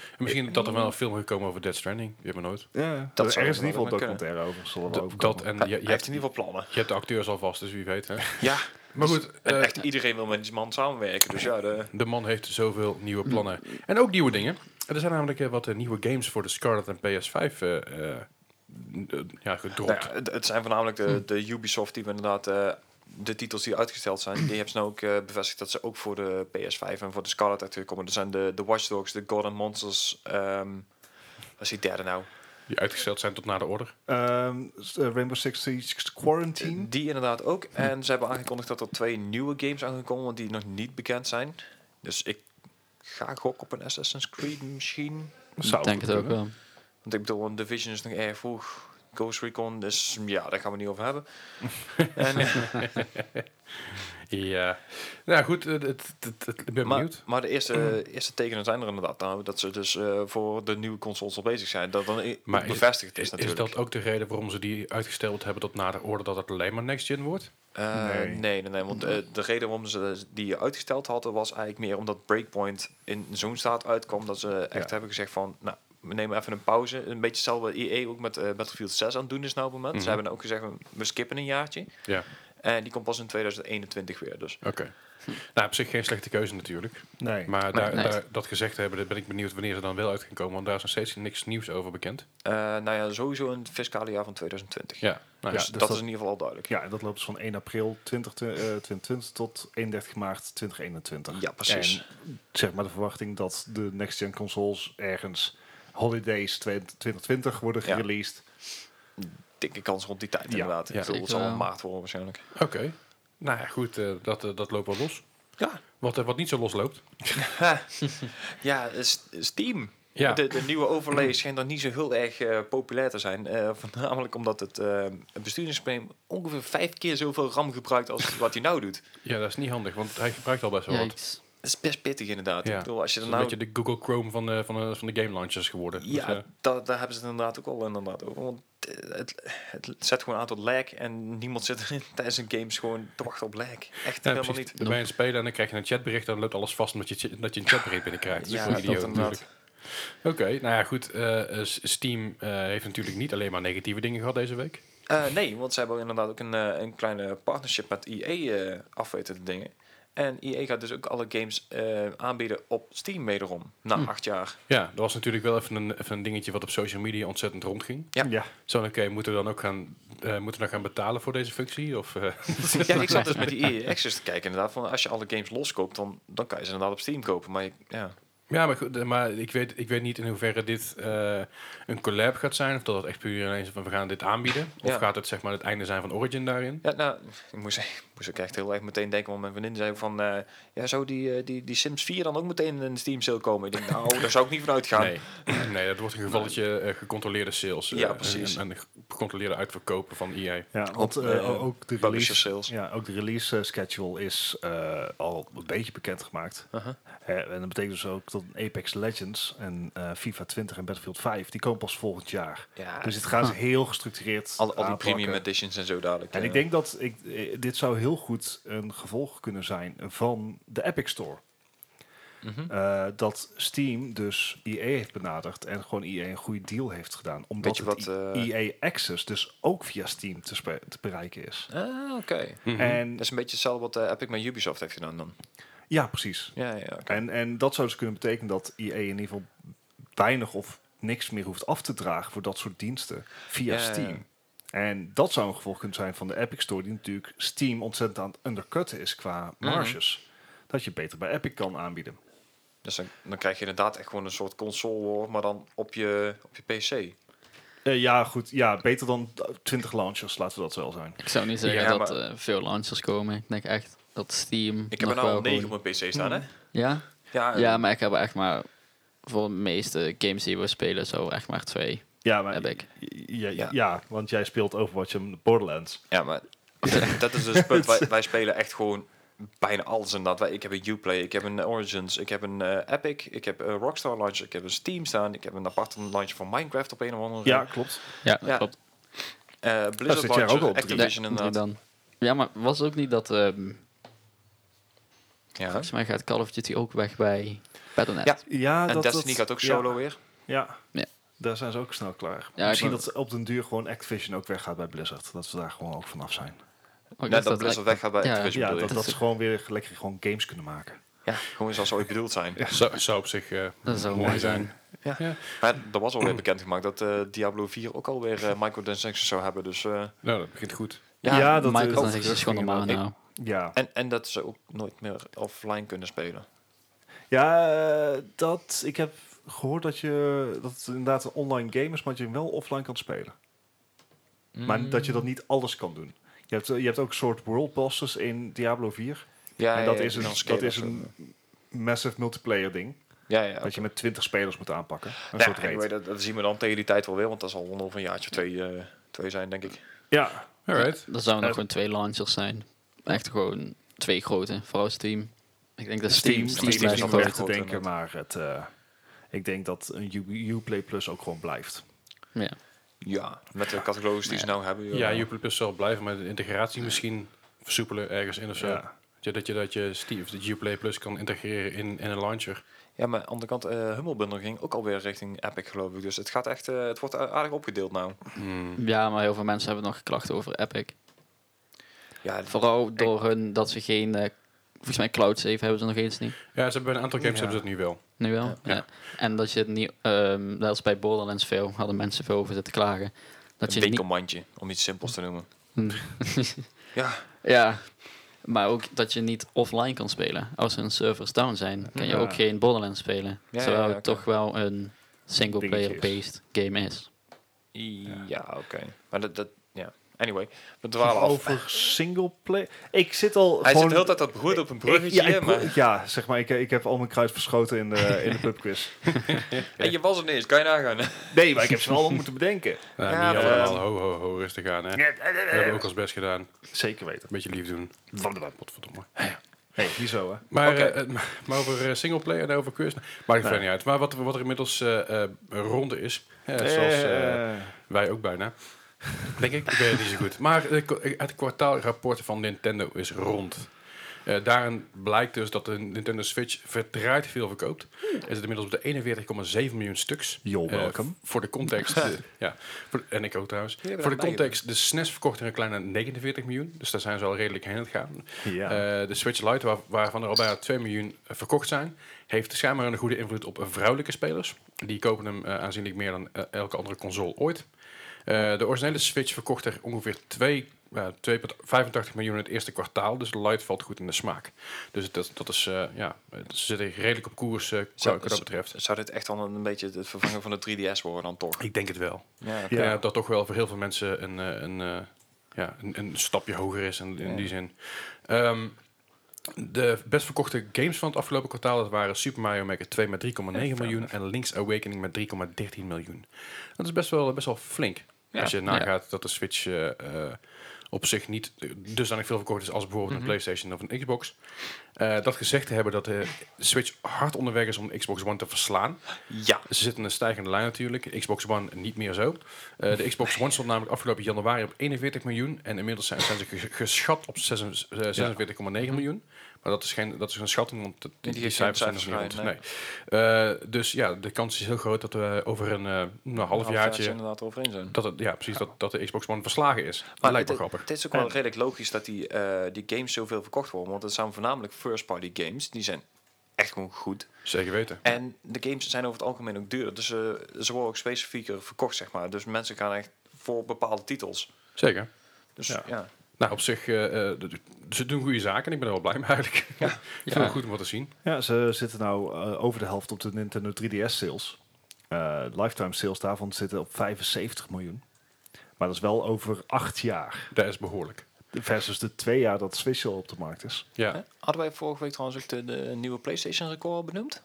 A: En Misschien dat er wel een film gekomen over Dead Stranding. Je weet maar nooit.
C: Ja,
D: zou
C: dat er is in ieder
D: wel
C: geval een
D: kunnen.
C: documentaire over. Zullen we
A: Dat,
C: over
A: dat en je, je,
D: Hij heeft
A: hebt,
D: in ieder geval plannen.
A: je hebt de acteurs alvast, dus wie weet. Hè?
D: Ja,
A: Maar goed,
D: en
A: eh,
D: echt iedereen wil met die man samenwerken. Dus ja, de,
A: de man heeft zoveel nieuwe plannen. En ook nieuwe dingen. Er zijn namelijk eh, wat eh, nieuwe games voor de Scarlet en PS5 eh eh, n- eh, ja,
D: nou
A: gedropt.
D: ja, het, het zijn voornamelijk de, de Ubisoft die we inderdaad... eh, de titels die uitgesteld zijn, die hebben ze nou ook eh, bevestigd dat ze ook voor de PS5 en voor de Scarlet uit komen. Er zijn de, de Watch Dogs, de God and Monsters. ehm wat is die derde nou?
A: Die uitgesteld zijn tot na de order.
C: Ehm, s- eh, Rainbow Six Siege Quarantine.
D: Die inderdaad ook. En ze hebben aangekondigd dat er twee nieuwe games aangekomen want die nog niet bekend zijn. Dus ik ga gokken op een Assassin's Creed misschien.
C: Zou
B: Ik denk het ook wel.
D: Want ik bedoel, een Division is nog erg vroeg. Ghost Recon, dus ja, daar gaan we niet over hebben. en,
A: Ja. Nou goed, eh, het, het, het, het- ik ben
D: maar,
A: benieuwd.
D: maar de eerste, eerste tekenen zijn er inderdaad. Nou, dat ze dus eh, voor de nieuwe consoles al bezig zijn. Dat dan i-
A: Maar is-
D: bevestigd is,
A: Is, is
D: natuurlijk.
A: dat ook de reden waarom ze die uitgesteld hebben tot na de order dat het alleen maar next gen wordt?
D: Eh,
C: Nee.
D: nee. nee, nee, Want eh, de reden waarom ze die uitgesteld hadden was eigenlijk meer omdat Breakpoint in zo'n staat uitkwam dat ze echt
C: Ja.
D: hebben gezegd van, nou, we nemen even een pauze. Een beetje hetzelfde wat EA ook met eh, Battlefield 6 aan het doen is nou op het moment.
A: Mhm.
D: Ze hebben ook gezegd, we skippen een jaartje.
A: Ja,
D: En die komt pas in 2021 weer. Dus
A: oké. Nou, op zich geen slechte keuze natuurlijk.
C: Nee.
A: Maar daar,
B: nee.
A: daar- dat gezegd hebben, daar ben ik benieuwd wanneer ze dan wel uit gaan komen. Want daar is nog steeds niks nieuws over bekend.
D: eh, nou ja, sowieso in het fiscale jaar van 2020.
A: Ja, nou ja.
D: Dus
C: Ja, dus
D: dat
C: dat-
D: is in ieder geval al duidelijk.
C: Ja, en dat loopt dus van 1 april 2020 tot 31 maart 2021.
D: Ja, precies.
C: En zeg maar de verwachting dat de next-gen consoles ergens holidays 2020 worden
D: Ja.
C: gereleased.
D: Dikke kans rond die tijd inderdaad.
A: Ja.
D: Ik bedoel,
B: Zeker
D: het zal in
B: wel.
D: maart worden waarschijnlijk.
A: Oké. Nou ja, goed, eh, dat, eh, dat loopt wel los.
D: Ja.
A: Wat, eh, wat niet zo los loopt.
D: Ja, eh, S- Steam.
A: Ja.
D: De, de nieuwe overlays schijnt dan niet zo heel erg eh, populair te zijn. Eh, voornamelijk omdat het eh, het besturingssysteem ongeveer vijf keer zoveel RAM gebruikt als wat hij nou doet.
A: ja, dat is niet handig, want hij gebruikt al best wel wat.
B: Yikes.
D: Dat is best pittig inderdaad.
A: Ja.
D: Ik bedoel, als je
A: Dat
D: er
A: is een
D: nou...
A: beetje de Google Chrome van de, van de, van de game launchers geworden. Dus,
D: ja,
A: eh,
D: da- daar hebben ze het inderdaad ook al inderdaad over. Want eh, het, het zet gewoon aan tot lag en niemand zit tijdens een games gewoon te wachten op lag. Echt
A: ja,
D: helemaal
A: precies. Dan
D: niet.
A: ben je aan het spelen en dan krijg je een chatbericht. Dan loopt alles vast omdat je, ch- dat je een chatbericht binnenkrijgt. Dat is
D: Ja,
A: gewoon
D: dat
A: idioot
D: inderdaad.
A: natuurlijk. Oké, nou ja, goed. eh, eh, S- Steam eh, heeft natuurlijk niet alleen maar negatieve dingen gehad deze week.
D: E Eh, nee, want ze hebben inderdaad ook een, eh, een kleine partnership met EA eh af weten te dingen. En EA gaat dus ook alle games eh, aanbieden op Steam wederom, na acht jaar.
A: Ja, dat was natuurlijk wel even een, even een dingetje wat op social media ontzettend rondging.
D: Ja.
C: ja.
A: Zo, oké, moeten we dan ook gaan, eh, moeten we dan gaan betalen voor deze functie? Of, eh,
D: ja, ik zat dus met die EA Access te kijken inderdaad, van als je alle games loskoopt, dan, dan kan je ze inderdaad op Steam kopen. Maar je- ja,
A: ja, maar, goed, eh, maar ik, weet, ik weet niet in hoeverre dit eh, een collab gaat zijn. Of dat het echt puur ineens van we gaan dit aanbieden. Of
D: Ja.
A: gaat het zeg maar het einde zijn van Origin daarin?
D: ja nou, ik moest, ik moest ook echt heel erg meteen denken, want mijn vriendin zei van, eh, ja, zou die, eh, die, die Sims 4 dan ook meteen in de Steam sale komen? Ik denk, nou, daar zou ik niet vanuit gaan.
A: Nee. nee, dat wordt een gevalletje eh, gecontroleerde sales. eh,
D: Ja, precies.
A: En, en gecontroleerde uitverkopen van E EA.
C: Ja, want
D: Op,
C: eh,
D: eh,
C: ook de
D: publisher
C: release,
D: sales.
C: Ja, ook de release eh, schedule is eh, al een beetje bekendgemaakt.
D: Uh-huh.
C: Hè, en dat betekent dus ook dat Apex Legends en eh, FIFA 20 en Battlefield 5, die komen pas volgend jaar.
D: Ja,
C: Dus dit gaan ze heel gestructureerd
D: al, al die
C: aanpakken.
D: premium editions en zo dadelijk.
C: En
D: eh.
C: ik denk dat ik, eh, dit zou heel goed een gevolg kunnen zijn van de Epic Store.
D: Mhm.
C: Eh, dat Steam dus EA heeft benaderd en gewoon EA een goede deal heeft gedaan. Omdat
D: Weet je
C: het
D: wat, eh,
C: EA Access dus ook via Steam te, spe- te bereiken is.
D: Ah, oké.
C: En
D: Dat is een beetje hetzelfde wat eh, Epic met Ubisoft heeft gedaan dan.
C: ja, precies.
D: Ja, ja, oké.
C: En, en dat zou dus kunnen betekenen dat EA in ieder geval weinig of niks meer hoeft af te dragen voor dat soort diensten via
D: Ja, ja, ja.
C: Steam. En dat zou een gevolg kunnen zijn van de Epic Store, die natuurlijk Steam ontzettend aan het undercutten is qua
D: Mhm.
C: marges. Dat je beter bij Epic kan aanbieden.
D: Dus dan, dan krijg je inderdaad echt gewoon een soort console war, maar dan op je, op je PC.
C: Eh, ja, goed. Ja, beter dan 20 launchers, laten we dat zo zijn.
B: Ik zou niet zeggen
D: Ja,
B: dat
D: maar-
B: eh, veel launchers komen. Ik denk echt dat Steam.
D: Ik heb
B: nog
D: er nou
B: wel
D: al 9
B: gewoon-
D: op mijn PC staan, hè?
B: Ja?
D: Ja, eh,
B: ja, maar ik heb echt maar. Voor de meeste games die we spelen, zo echt maar twee.
C: Ja, maar
B: Epic.
C: Ja, ja.
D: Ja.
C: want jij speelt Overwatch en Borderlands.
D: ja, maar dat, dat is dus het punt. Wij, wij spelen echt gewoon bijna alles inderdaad. Wij, ik heb een Uplay, ik heb een eh, Origins, ik heb een eh, Epic, ik heb een Rockstar launcher, ik heb een Steam staan, ik heb een aparte launcher van Minecraft op een of andere.
C: Ja, klopt.
B: Ja,
D: Ja.
B: klopt.
D: Eh, Blizzard
C: zit jij ook
D: launcher,
C: al op drie.
D: Activision
B: Nee,
D: inderdaad.
B: dan. Ja, maar was het ook niet dat. ehm,
D: Ja.
B: volgens mij gaat Call of Duty ook weg bij Battle.net.
D: Ja.
C: Ja,
D: En
C: dat,
D: Destiny
C: dat-
D: gaat ook
C: ja.
D: solo weer.
C: Ja.
B: Ja.
C: Daar zijn ze ook snel klaar.
B: Ja,
C: Misschien
B: ik
C: dat op den duur gewoon Activision ook weggaat bij Blizzard. Dat ze daar gewoon ook vanaf zijn.
B: Oh, ik
D: Net
B: dacht
D: dat Blizzard weggaat bij
B: Ja.
D: Activision
C: Ja,
D: bedoel
C: dat,
D: je?
C: dat ze gewoon weer lekker gewoon games kunnen maken.
D: Ja, gewoon zoals ze ooit bedoeld zijn.
A: Zou, zou op zich eh,
B: Dat zou
A: mooi
B: mooi
A: zijn.
D: Maar er was alweer bekendgemaakt dat eh, Diablo 4 ook alweer eh microtransactions zou hebben. Dus, eh,
A: Nou, dat begint goed.
D: ja.
C: Ja, dat-
B: Microsoft
C: dat-
B: is gewoon normaal
D: inderdaad.
B: nou.
C: Ja,
D: En, en dat ze ook nooit meer offline kunnen spelen.
C: ja eh, dat, ik heb gehoord dat, je, dat het inderdaad een online game is, maar dat je hem wel offline kan spelen. Maar
B: Mm.
C: dat je dat niet alles kan doen. Je hebt, eh, je hebt ook soort world bosses in Diablo 4.
D: Ja,
C: en dat
D: ja,
C: is,
D: die
C: een,
D: dan
C: dat
D: scalen
C: is
D: of zo.
C: een massive multiplayer ding.
D: Ja, ja.
C: Dat je met 20 spelers moet aanpakken. Een
D: Nou,
C: soort raid.
D: anyway, dat, dat zien we dan tegen die tijd wel weer, want dat zal onder een jaartje of twee, eh, twee zijn, denk ik.
C: Ja,
A: Alright.
B: Er zouden
C: Eh,
B: nog gewoon twee launchers zijn. Echt gewoon twee grote. Vooral Steam. Ik denk dat Steam, Steam,
C: Steam,
D: Steam
C: Steam
B: blijft
C: is
D: nog
C: nog
B: groot.
C: weg
D: altijd
C: te
D: groot,
C: denken, maar het, eh, ik denk dat een U- Uplay Plus ook gewoon blijft.
B: Ja.
D: Ja, met de categorieën die ze nou hebben. joh.
A: Ja, Uplay Plus zal blijven, maar de integratie misschien versoepelen ergens in of zo.
C: Ja.
A: Ja, Dat je, dat je Steam, of de Uplay Plus kan integreren in, in een launcher.
D: ja, maar aan de andere kant, eh Humble Bundle ging ook alweer richting Epic, geloof ik. Dus het, gaat echt, eh, het wordt a- aardig opgedeeld nou.
B: ja, maar heel veel mensen hebben nog klachten over Epic.
D: Ja,
B: Vooral door hun dat ze geen... eh, volgens mij cloud save hebben ze nog eens niet.
A: Ja, ze hebben bij een aantal games
C: Ja.
A: hebben ze het nu wel.
B: Nu wel? Ja.
A: Ja.
B: En dat je het niet... ehm net als bij Borderlands veel hadden mensen veel over zitten klagen. Dat je
D: een
B: het niet...
D: winkelmandje, om iets simpels te noemen.
C: Hmm.
D: ja,
B: Ja. Maar ook dat je niet offline kan spelen. Als hun servers down zijn, kan je
C: Ja.
B: ook geen Borderlands spelen.
D: Ja,
B: terwijl
D: ja, ja,
B: het
D: oké.
B: toch wel een single-player-based game is.
D: Ja, oké. Maar dat, dat, ja. Anyway, we dwalen af.
C: Over singleplay. Ik zit al
D: Hij zit
C: gewoon...
D: de hele tijd dat broed op een
C: ik,
D: bruggetje,
C: ja, ik-
D: maar...
C: ja, zeg maar, ik, ik heb al mijn kruid verschoten in de, in de pubquiz.
D: En je was er niet eens, kan je nagaan.
C: Nee, maar ik heb ze wel moeten bedenken.
A: Nou,
D: Ja,
A: niet
D: maar-
A: allemaal ho, ho, ho, rustig aan. Hè. We hebben ook ons best gedaan. Een
C: Zeker weten.
A: beetje lief doen. Godverdomme.
C: Hey, hier zo, hè.
A: Maar,
D: Oké.
A: eh, eh, maar- maar over eh, singleplayer en over quest, maakt het verder niet uit. Maar wat, wat er inmiddels eh eh, ronde is, eh, zoals eh,
C: Eh,
A: wij ook bijna, eh, denk ik, ik weet het niet zo goed. Maar eh, ko- het kwartaalrapport van Nintendo is rond. Eh, daarin blijkt dus dat de Nintendo Switch verdraaid veel verkoopt.
D: Hmm.
A: Is het inmiddels op de 41,7 miljoen stuks.
C: Yo,
A: Eh,
C: welcome.
A: v- voor de context, de- ja, voor, en ik ook trouwens.
D: Jullie hebben
A: Voor de
D: daar
A: context, de SNES verkocht er een kleine 49 miljoen. Dus daar zijn ze al redelijk heen aan het gaan.
C: Ja.
A: Eh, de Switch Lite, waar- waarvan er al bijna 2 miljoen eh, verkocht zijn, heeft schijnbaar een goede invloed op eh, vrouwelijke spelers. Die kopen hem eh, aanzienlijk meer dan eh, elke andere console ooit. Eh, de originele Switch verkocht er ongeveer 2, eh, 2,85 miljoen in het eerste kwartaal. Dus de Lite valt goed in de smaak. Dus dat, dat is, eh, ja, ze zitten redelijk op koers eh, qua-
D: Zou-
A: wat dat betreft.
D: Zou dit echt dan een beetje het vervangen van de 3DS worden dan toch?
A: Ik denk het wel.
D: Ja,
A: Ik
C: Ja.
A: denk dat dat toch wel voor heel veel mensen een, eh, een, eh, ja, een, een stapje hoger is in, in
D: Ja.
A: die zin. Ehm, de best verkochte games van het afgelopen kwartaal dat waren Super Mario Maker 2 met 3,9 miljoen en Link's Awakening met 3,13 miljoen. Dat is best wel, best wel flink.
D: Ja.
A: Als je nagaat dat de Switch eh, eh, op zich niet dusdanig veel verkocht is als bijvoorbeeld
D: Mhm.
A: een PlayStation of een Xbox. Eh, dat gezegd te hebben dat de Switch hard onderweg is om de Xbox One te verslaan.
D: ja.
A: Ze zitten in een stijgende lijn natuurlijk. Xbox One niet meer zo. Eh, de Xbox One stond namelijk afgelopen januari op 41 miljoen. En inmiddels zijn, zijn ze ge- geschat op 46 eh, 46,9 miljoen. Maar dat is, geen, dat is een schatting, want dat- die,
D: Die
A: die,
D: heeft geen
A: cijfers zijn nog niet
D: cijfers,
A: rond. Nee. Eh, dus ja, de kans is heel groot dat we over een, eh, nou,
D: Halfjaartje
A: halfjaartje...
D: inderdaad over in zijn.
A: Dat het, ja, precies, dat, dat de Xbox One verslagen is.
D: Maar
A: dat lijkt me
D: het,
A: grappig.
D: het is ook wel redelijk logisch dat die, eh, die games zoveel verkocht worden. Want het zijn voornamelijk first-party games. Die zijn echt gewoon goed.
A: Zeker weten.
D: En de games zijn over het algemeen ook duur. Dus eh, ze worden ook specifieker verkocht, zeg maar. Dus mensen gaan echt voor bepaalde titels.
A: Zeker.
D: Dus
A: Ja.
D: ja.
A: Nou, op zich, eh, eh, d- d- ze doen goede zaken. en Ik ben er wel blij mee eigenlijk. Ja. Ik vind het goed om wat te zien.
C: Ja, ze zitten nou eh, over de helft op de Nintendo 3DS sales. Eh, lifetime sales daarvan zitten op 75 miljoen. Maar dat is wel over acht jaar.
A: Dat is behoorlijk.
C: Versus de twee jaar dat Switch al op de markt is.
A: Ja.
D: Hadden wij vorige week trouwens ook de, de nieuwe PlayStation-record al benoemd?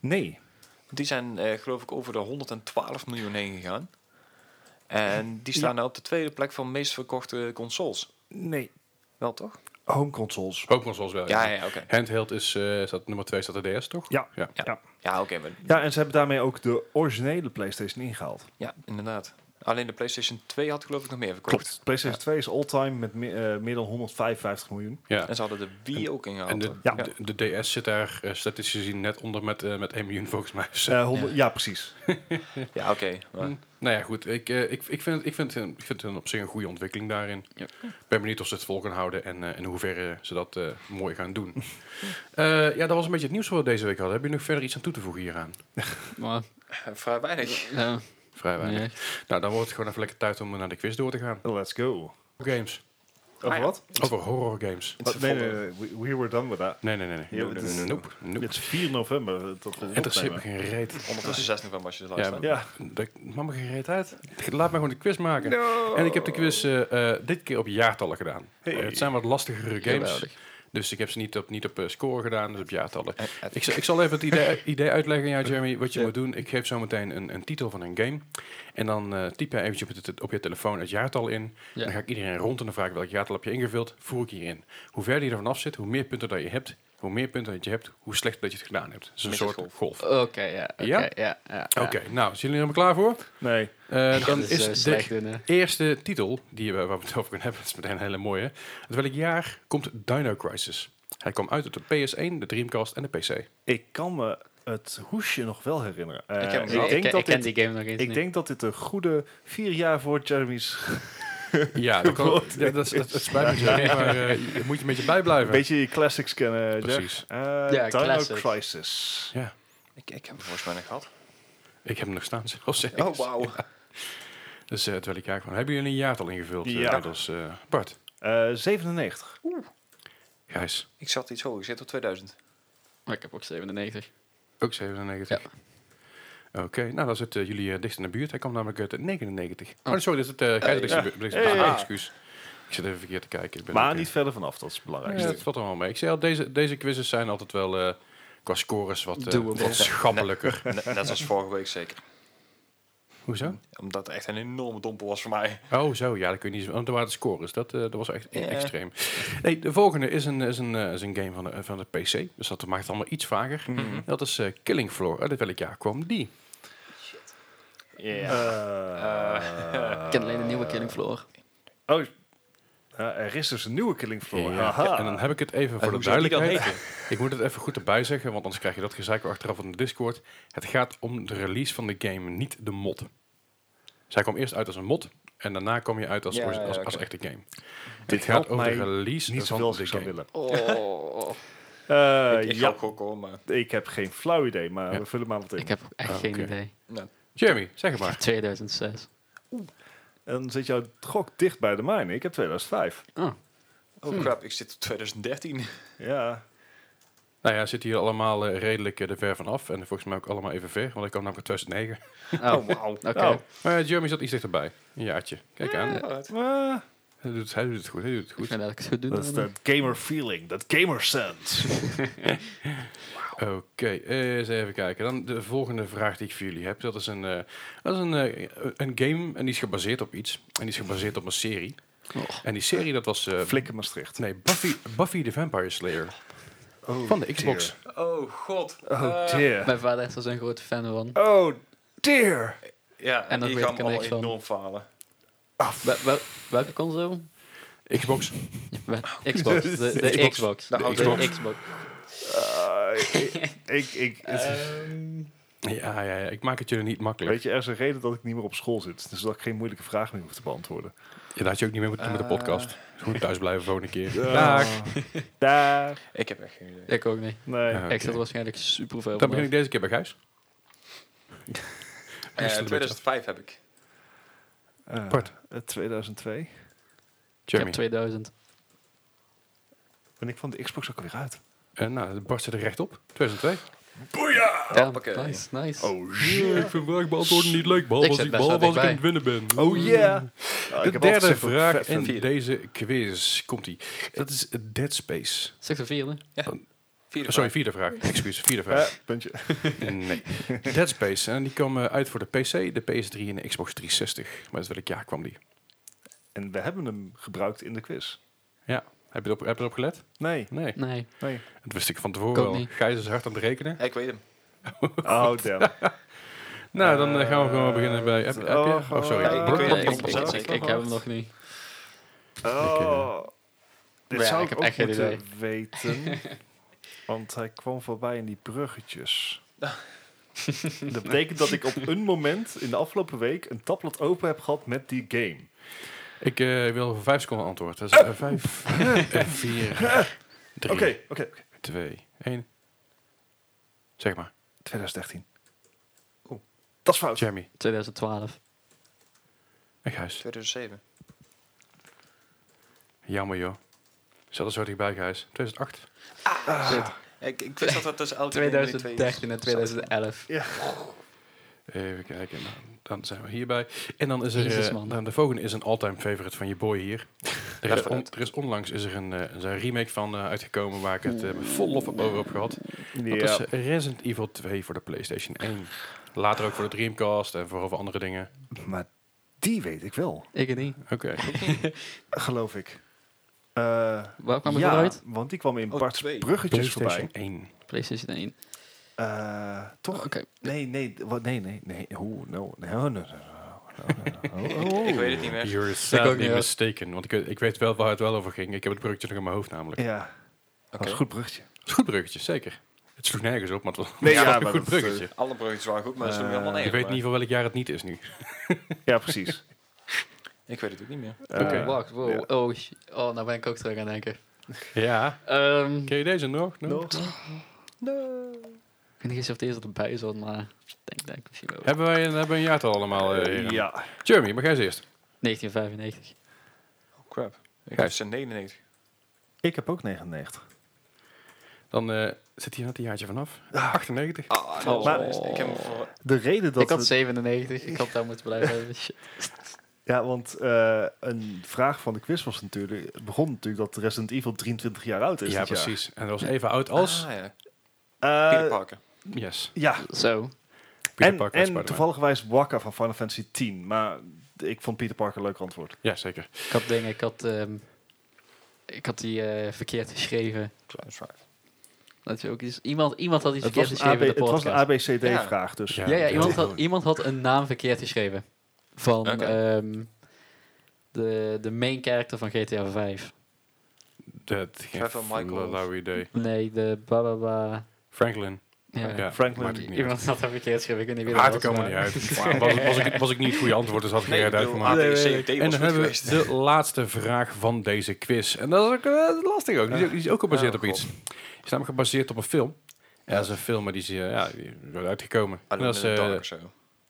C: Nee.
D: Die zijn, eh, geloof ik, over de 112 miljoen heen gegaan. En die staan nou op de tweede plek van meest verkochte consoles.
C: Nee.
D: Wel toch?
C: Home consoles.
A: Ook consoles wel.
D: Ja, ja, oké.
A: Handheld is, eh, staat, nummer 2 staat de DS, toch?
C: Ja.
A: Ja.
C: Ja. ja.
D: Ja, oké. maar-
C: en ze hebben daarmee ook de originele PlayStation ingehaald.
D: ja, inderdaad. Alleen de PlayStation 2 had geloof ik nog meer verkocht.
C: Klopt. PlayStation 2 is all-time met me- eh, meer dan 155 miljoen.
A: Ja.
D: En ze hadden de Wii ook ingehaald.
A: En de,
D: hoor.
C: Ja.
A: de, de DS zit daar eh, statistisch gezien net onder met, eh, met 1 miljoen volgens mij. Dus,
C: Eh, 100 ja. precies.
D: Ja, oké. maar-
A: mm, nou ja, goed. Ik, eh, ik, ik, vind, ik, vind, het een- ik vind het een op zich een goede ontwikkeling daarin.
B: Ja.
A: Ik ben benieuwd of ze het vol kunnen houden en eh, in hoeverre ze dat eh, mooi gaan doen. Eh, ja, dat was een beetje het nieuws wat we deze week hadden. Heb je nog verder iets aan toe te voegen hieraan?
B: Maar,
D: Eh, Vrij weinig.
B: ja,
A: Vrij
B: niet
A: weinig.
B: echt.
A: Nou, dan wordt het gewoon even lekker tijd om naar de quiz door te gaan.
C: Let's go.
A: Games.
C: Over wat?
A: Over horror games.
C: Wat? Nee, nee, nee. We, we were done with that.
A: Nee, nee, nee. nee.
C: Ja, het is-
A: Nope, nope.
C: Het is 4 november. eh, Dat we
A: Interesseert me
C: opnemen.
A: geen reet.
D: Ondertussen 6 november als je het
A: Ja,
D: luistert.
C: Ja.
A: Dat maakt me geen reet uit. Laat mij gewoon een quiz maken. En ik heb de quiz eh, eh, dit keer op jaartallen gedaan. Eh, het zijn wat lastigere games.
B: Geweldig.
A: Dus ik heb ze niet op, niet op eh, score gedaan, dus op jaartallen.
D: Eh,
A: Ik, zal- ik zal even het idee, idee uitleggen aan jou, Jeremy, wat je moet doen. Ik geef zo meteen een, een titel van een game. En dan eh, typ jij eventjes op, je te- op je telefoon het jaartal in.
B: Ja.
A: Dan ga ik iedereen rond en dan vraag ik welk jaartal heb je ingevuld. Voer ik hierin. Hoe verder je ervan af zit, hoe meer punten dat je hebt. Hoe meer punten dat je hebt, hoe slechter dat je het gedaan hebt. Dus een
D: Met het
A: soort
D: golf.
A: golf.
B: Oké, ja. oké,
A: Ja?
B: ja? Ja, ja.
A: Oké, nou, zijn jullie er helemaal klaar voor?
C: Nee.
A: Eh, dan
B: Dat
A: is
B: eh,
A: de
B: slecht in, hè.
A: eerste titel die we, waar we het over kunnen hebben, dat is meteen een hele mooie. Uit welk jaar komt Dino Crisis? Hij kwam uit op de PS1, de Dreamcast en de PC.
C: Ik kan me het hoesje nog wel herinneren. Eh,
D: Ik heb hem
C: ik
D: wel.
B: Ik,
C: denk,
B: ken-
C: dat
B: ik ken
C: dit,
B: die game nog eens
C: ik
B: niet.
C: denk dat dit een goede vier jaar voor Jeremy's...
A: Ja, dat, kan,
C: Goed.
A: ja, dat, is- dat, dat spijt me, Jerry, maar eh, je moet je een beetje bijblijven.
C: Een beetje je classics kennen,
A: Precies.
C: Jack. Eh, Dino
B: classic.
C: Crisis.
A: Ja,
D: Ik, ik heb hem volgens mij nog gehad.
A: ik heb hem nog staan. zelfs.
D: Oh, wauw.
A: Dus eh, uit welk jaar kwam Hebben jullie een jaartal ingevuld? eh,
C: Ja.
A: inmiddels, eh, Bart,
C: Eh, 97.
A: Gijs,
D: Ik zat iets hoger. Ik zit op 2000.
B: Maar ik heb ook 97.
A: ook 97.
B: Ja.
A: Oké, nou dan zitten jullie eh, dicht in de buurt. Hij kwam namelijk uit de 99. Oh, sorry, dit is het eh, Gijs er dichtst in de buurt. dichtst in de buurt.
C: Hey.
A: Excuus. Ik zit even verkeerd te kijken. Ik ben
C: Maar
A: ook, eh,
C: niet verder vanaf, dat is het
A: Ja,
C: belangrijkste.
A: dat valt allemaal mee. Ik zei al, deze, deze quizzes zijn altijd wel eh, qua scores wat, eh,
B: Doable.
A: wat schappelijker.
D: Net, net als vorige week zeker.
A: Hoezo?
D: Omdat het echt een enorme domper was voor mij.
A: Oh, zo. Ja, dat kun je niet zo... Want er waren de scores. Dat, eh, dat was echt
D: Ja.
A: extreem. Nee, de volgende is een, is een, eh, is een game van de, van de PC. Dus dat maakt het allemaal iets vager. Dat is eh, Killing Floor. Uit welk jaar kwam die?
C: Eh,
B: Eh, ik ken alleen de nieuwe Killing Floor.
C: oh, Eh, er is dus een nieuwe Killing Floor.
A: Ja,
C: Haha.
A: en dan heb ik het even voor de
D: hoe zou die dan
A: duidelijkheid. Ik moet het even goed erbij zeggen, want anders krijg je dat gezeik weer achteraf in de Discord. Het gaat om de release van de game, niet de mod. Zij kwam eerst uit als een mod en daarna kom je uit als,
D: Ja,
A: origi-
D: ja,
A: als,
D: oké.
A: als echte game.
C: Dit
A: het gaat
C: helpt
A: over
C: mij
A: de release
C: niet
A: van
C: zoveel als
A: de
C: ik zou
A: game.
C: willen.
D: Oh,
C: Eh,
D: ik, ik
C: ja,
D: ga gokken hoor, maar...
C: ik heb geen flauw idee, maar
A: Ja.
C: we vullen maar wat in.
B: Ik heb echt
A: Ah,
B: geen
A: oké. Ah.
B: idee.
D: nou,
A: Jeremy, zeg het maar.
B: 2006.
C: En dan zit jouw gok dicht bij de mijne. Ik heb 2005.
D: Oh crap, ik zit op 2013.
C: Ja,
A: Nou ja, zitten hier allemaal eh, redelijk eh, er ver vanaf. En volgens mij ook allemaal even ver, want ik kwam namelijk uit 2009.
B: Oh,
D: wauw.
B: Oké.
C: Nou.
A: Maar Jeremy zat iets dichterbij. Een jaartje. Kijk aan.
D: Alright.
C: Eh,
A: Hij doet, hij doet het goed, hij doet het
B: Ik
A: goed.
B: vind dat ik het goed doe.
C: dat is
B: dan.
C: dat gamer feeling, dat gamer sense.
A: Oké, eh, eens even kijken. Dan de volgende vraag die ik voor jullie heb. Dat is een, eh, dat is een, eh, een game en die is gebaseerd op iets. En die is gebaseerd op een serie.
B: Och.
A: En die serie dat was... eh,
C: Flikker Maastricht.
A: nee, Buffy, Buffy the Vampire Slayer. van de Xbox.
D: Oh god.
C: Oh
D: Eh,
C: dear.
B: Mijn vader is er zo'n grote fan van.
C: Oh dear.
D: ja,
B: En
D: en
B: dan
D: die
B: weet
D: gaan
B: ik er
D: allemaal
B: niks van.
D: enorm falen.
B: Wel- wel- welke console?
A: Xbox.
B: Wel- Xbox. De,
A: Xbox.
B: de Xbox.
D: De
B: De
D: Xbox.
B: Xbox.
C: Eh, ik, ik, ik- Ehm.
A: Ja, ja, ja, ik maak het jullie niet makkelijk.
C: weet je, er is een reden dat ik niet meer op school zit. Dus dat ik geen moeilijke vragen meer hoef te beantwoorden.
A: Ja, dat had je ook niet meer met, met de
D: Eh.
A: podcast. Dus moet thuis blijven volgende keer.
C: Dag. Daar.
D: Ik heb echt geen idee.
B: Ik ook niet.
C: Nee.
A: Ja.
B: Ik zat er waarschijnlijk super veel
A: Dan begin ik deze
B: vanaf.
A: keer bij Gijs.
D: Eh, 2005 heb ik.
C: Eh,
A: Bart.
C: eh, 2002.
B: Ik heb
A: Jeremy.
B: 2000.
C: Ben ik van de Xbox ook weer uit?
A: Eh, nou, Bart zit er recht op. 2002.
B: Damn,
D: hoppakee.
B: nice, nice.
C: Oh
A: Ik vind vraagbeantwoorden niet leuk,
B: Ik zit als- best wel behalve als ik aan het
A: winnen ben.
C: Oh yeah. Ah, Oh,
A: De derde vraag
C: en
A: in
D: vierde.
A: deze quiz komt ie. Dat is Dead Space. Oh,
B: Zeg de vierde.
D: Vierde
A: Sorry, vierde vraag. Excuus, vierde vraag.
C: Eh, puntje.
A: Nee. Dead Space. En die kwam eh, uit voor de PC, de PS3 en de Xbox 360. Maar uit welk jaar kwam die?
C: En we hebben hem gebruikt in de quiz.
A: Ja. Heb je erop, heb je erop gelet?
C: Nee,
A: Nee.
B: Nee.
C: nee.
A: Dat wist ik van
B: Ik
A: tevoren
B: ook
A: al.
B: niet.
A: Gijs is hard aan het rekenen.
D: vraag. Ik weet hem.
C: Oh, damn.
A: Nou, dan eh, gaan we gewoon beginnen bij... Heb, heb je?
C: oh,
A: Oh, sorry.
D: eh,
A: Ik-
D: ik weet
B: Ik,
D: het
B: ik,
D: niet.
B: ik,
D: Zo,
B: ik- ik heb hem nog niet.
C: Oh. Dit
B: Ja,
C: zou
B: ik
C: ik,
B: heb
C: ook
B: echt geen
C: moeten weten. Want hij kwam voorbij in die bruggetjes. dat betekent dat ik op een moment in de afgelopen week een tabblad open heb gehad met die game.
A: Ik eh, wil voor vijf seconden antwoord. Dat is eh, vijf, eh, vier,
C: Oké,
A: drie,
C: oké. oké.
A: twee, één. Zeg maar,
C: 2013. Oeh, dat is fout.
A: Jeremy
B: 2012.
A: en Gijs.
D: 2007.
A: Jammer joh. Zat er zo dichtbij, Gijs. 2008.
D: Ik, ik wist dat dat tussen elke
B: 2013 en 2011.
A: Even kijken. Nou, dan zijn we hierbij. En dan is er...
B: Jezus,
A: eh,
B: man.
A: dan de volgende is een all-time favorite van je boy hier. Er is,
D: Leg
A: on- er is onlangs is er een, eh, is er een remake van eh, uitgekomen waar ik het eh, vol lof heb over heb gehad.
C: Ja.
A: Dat is eh, Resident Evil 2 voor de PlayStation 1. Later ook voor de Dreamcast en voor heel veel andere dingen.
B: eh,
C: Maar die weet ik wel,
B: Ik niet.
A: Oké.
C: geloof ik. Eh,
B: Waar kwam ik
C: ja,
B: eruit?
C: want die kwam in
D: Oh,
C: Bart's
D: twee.
C: bruggetjes voorbij.
A: PlayStation 1.
B: PlayStation 1.
C: Eh, toch?
B: Oh, Oké.
C: Nee, nee, wat, nee, nee, nee. Hoe? No, nee, oh, nee, nee, nee, nee, nee, nee, nee, nee, nee, nee, nee, nee, nee, nee, nee, nee.
D: Ik weet het niet meer.
A: You're
B: ook niet,
A: sadly
B: hoor.
A: mistaken. Want ik, eh, ik weet wel waar het wel over ging. Ik heb het bruggetje nog in mijn hoofd namelijk.
C: Ja, dat was een goed bruggetje.
A: Het is een goed bruggetje, zeker. Het sloeg nergens op, maar het was
C: Nee,
A: het was
C: ja,
A: een
C: maar
A: goed
C: dat is, eh,
A: bruggetje.
D: Alle bruggetjes waren goed, maar ze doen
C: Eh,
D: helemaal neer.
A: ik weet niet van welk jaar het niet is nu.
C: Ja, precies.
D: Ik weet het ook niet meer.
C: Eh,
A: Oké.
B: Wacht, wow.
C: ja.
B: Oh, sh- oh, nou ben ik ook terug aan het denken.
A: Ja.
B: Ehm,
A: Ken je deze nog? nog?
B: Ik weet niet eens of deze erbij zat, maar ik denk, denk misschien wel.
A: Hebben wij een, hebben we een jaartal allemaal? eh, heren?
C: Ja.
A: Jeremy, maar jij eens eerst.
B: 1995.
D: Oh crap.
A: Gijs.
D: Ik heb ze 99.
C: Ik heb ook 99.
A: Dan eh, zit hier net een jaartje vanaf. 98.
D: Ah, dat was
C: Maar-
D: best. Ik heb hem voor...
C: De reden dat...
B: ik had
C: we-
B: 97. Ik had daar moeten blijven. hebben. Shit.
C: ja, want eh, een vraag van de quiz was natuurlijk... begon natuurlijk dat Resident Evil 23 jaar oud is
A: ja,
C: dit jaar.
A: precies. En dat was even oud als...
D: Ah, ja.
C: Eh,
D: Peter Parker.
A: Yes.
C: ja,
B: Zo.
A: Peter
C: en,
A: Parker
C: en
A: Spider-Man.
C: toevalligwijs Waka van Final Fantasy 10. Maar ik vond Peter Parker een leuk antwoord.
A: Ja, zeker.
B: Ik had dingen, ik had, ehm, ik had die eh, verkeerd geschreven. Dat je ook iets, iemand, iemand had iets
C: Het
B: verkeerd
C: was, een AB,
B: geschreven in
C: het
B: de
C: was een
B: podcast.
C: ABCD-vraag, dus...
A: Ja.
B: Ja, ja
A: dat
B: iemand,
A: is
B: had,
A: gewoon-
B: iemand had een naam verkeerd geschreven. Van
D: Oké.
B: ehm, de, de main character van GTA 5.
A: Dat geen
D: Trevor Michael.
A: flauw idee.
B: Nee, de Baba.
A: Franklin.
B: Ja.
A: Ja,
C: Franklin.
A: maakt het niet uit.
B: Iemand had dat verkeerd geschreven. Ik weet niet wie dat
A: Maakt het
B: was,
A: helemaal niet
B: maar-
A: uit. Maar Was, was, ik, was ik niet het goede antwoord, dus had ik
D: Nee, ik
A: er uit
D: bedoel,
A: gemaakt.
D: ADC, D was
A: En dan
D: goed
A: hebben
D: geweest.
A: we de laatste vraag van deze quiz. En dat is ook eh, lastig ook. Die is ook, die is ook gebaseerd
D: Oh,
A: op iets. Die is namelijk gebaseerd op een film. Ja, dat is een film, maar die is, eh, ja, die is uitgekomen. En dat is eh,
D: Dark of zo.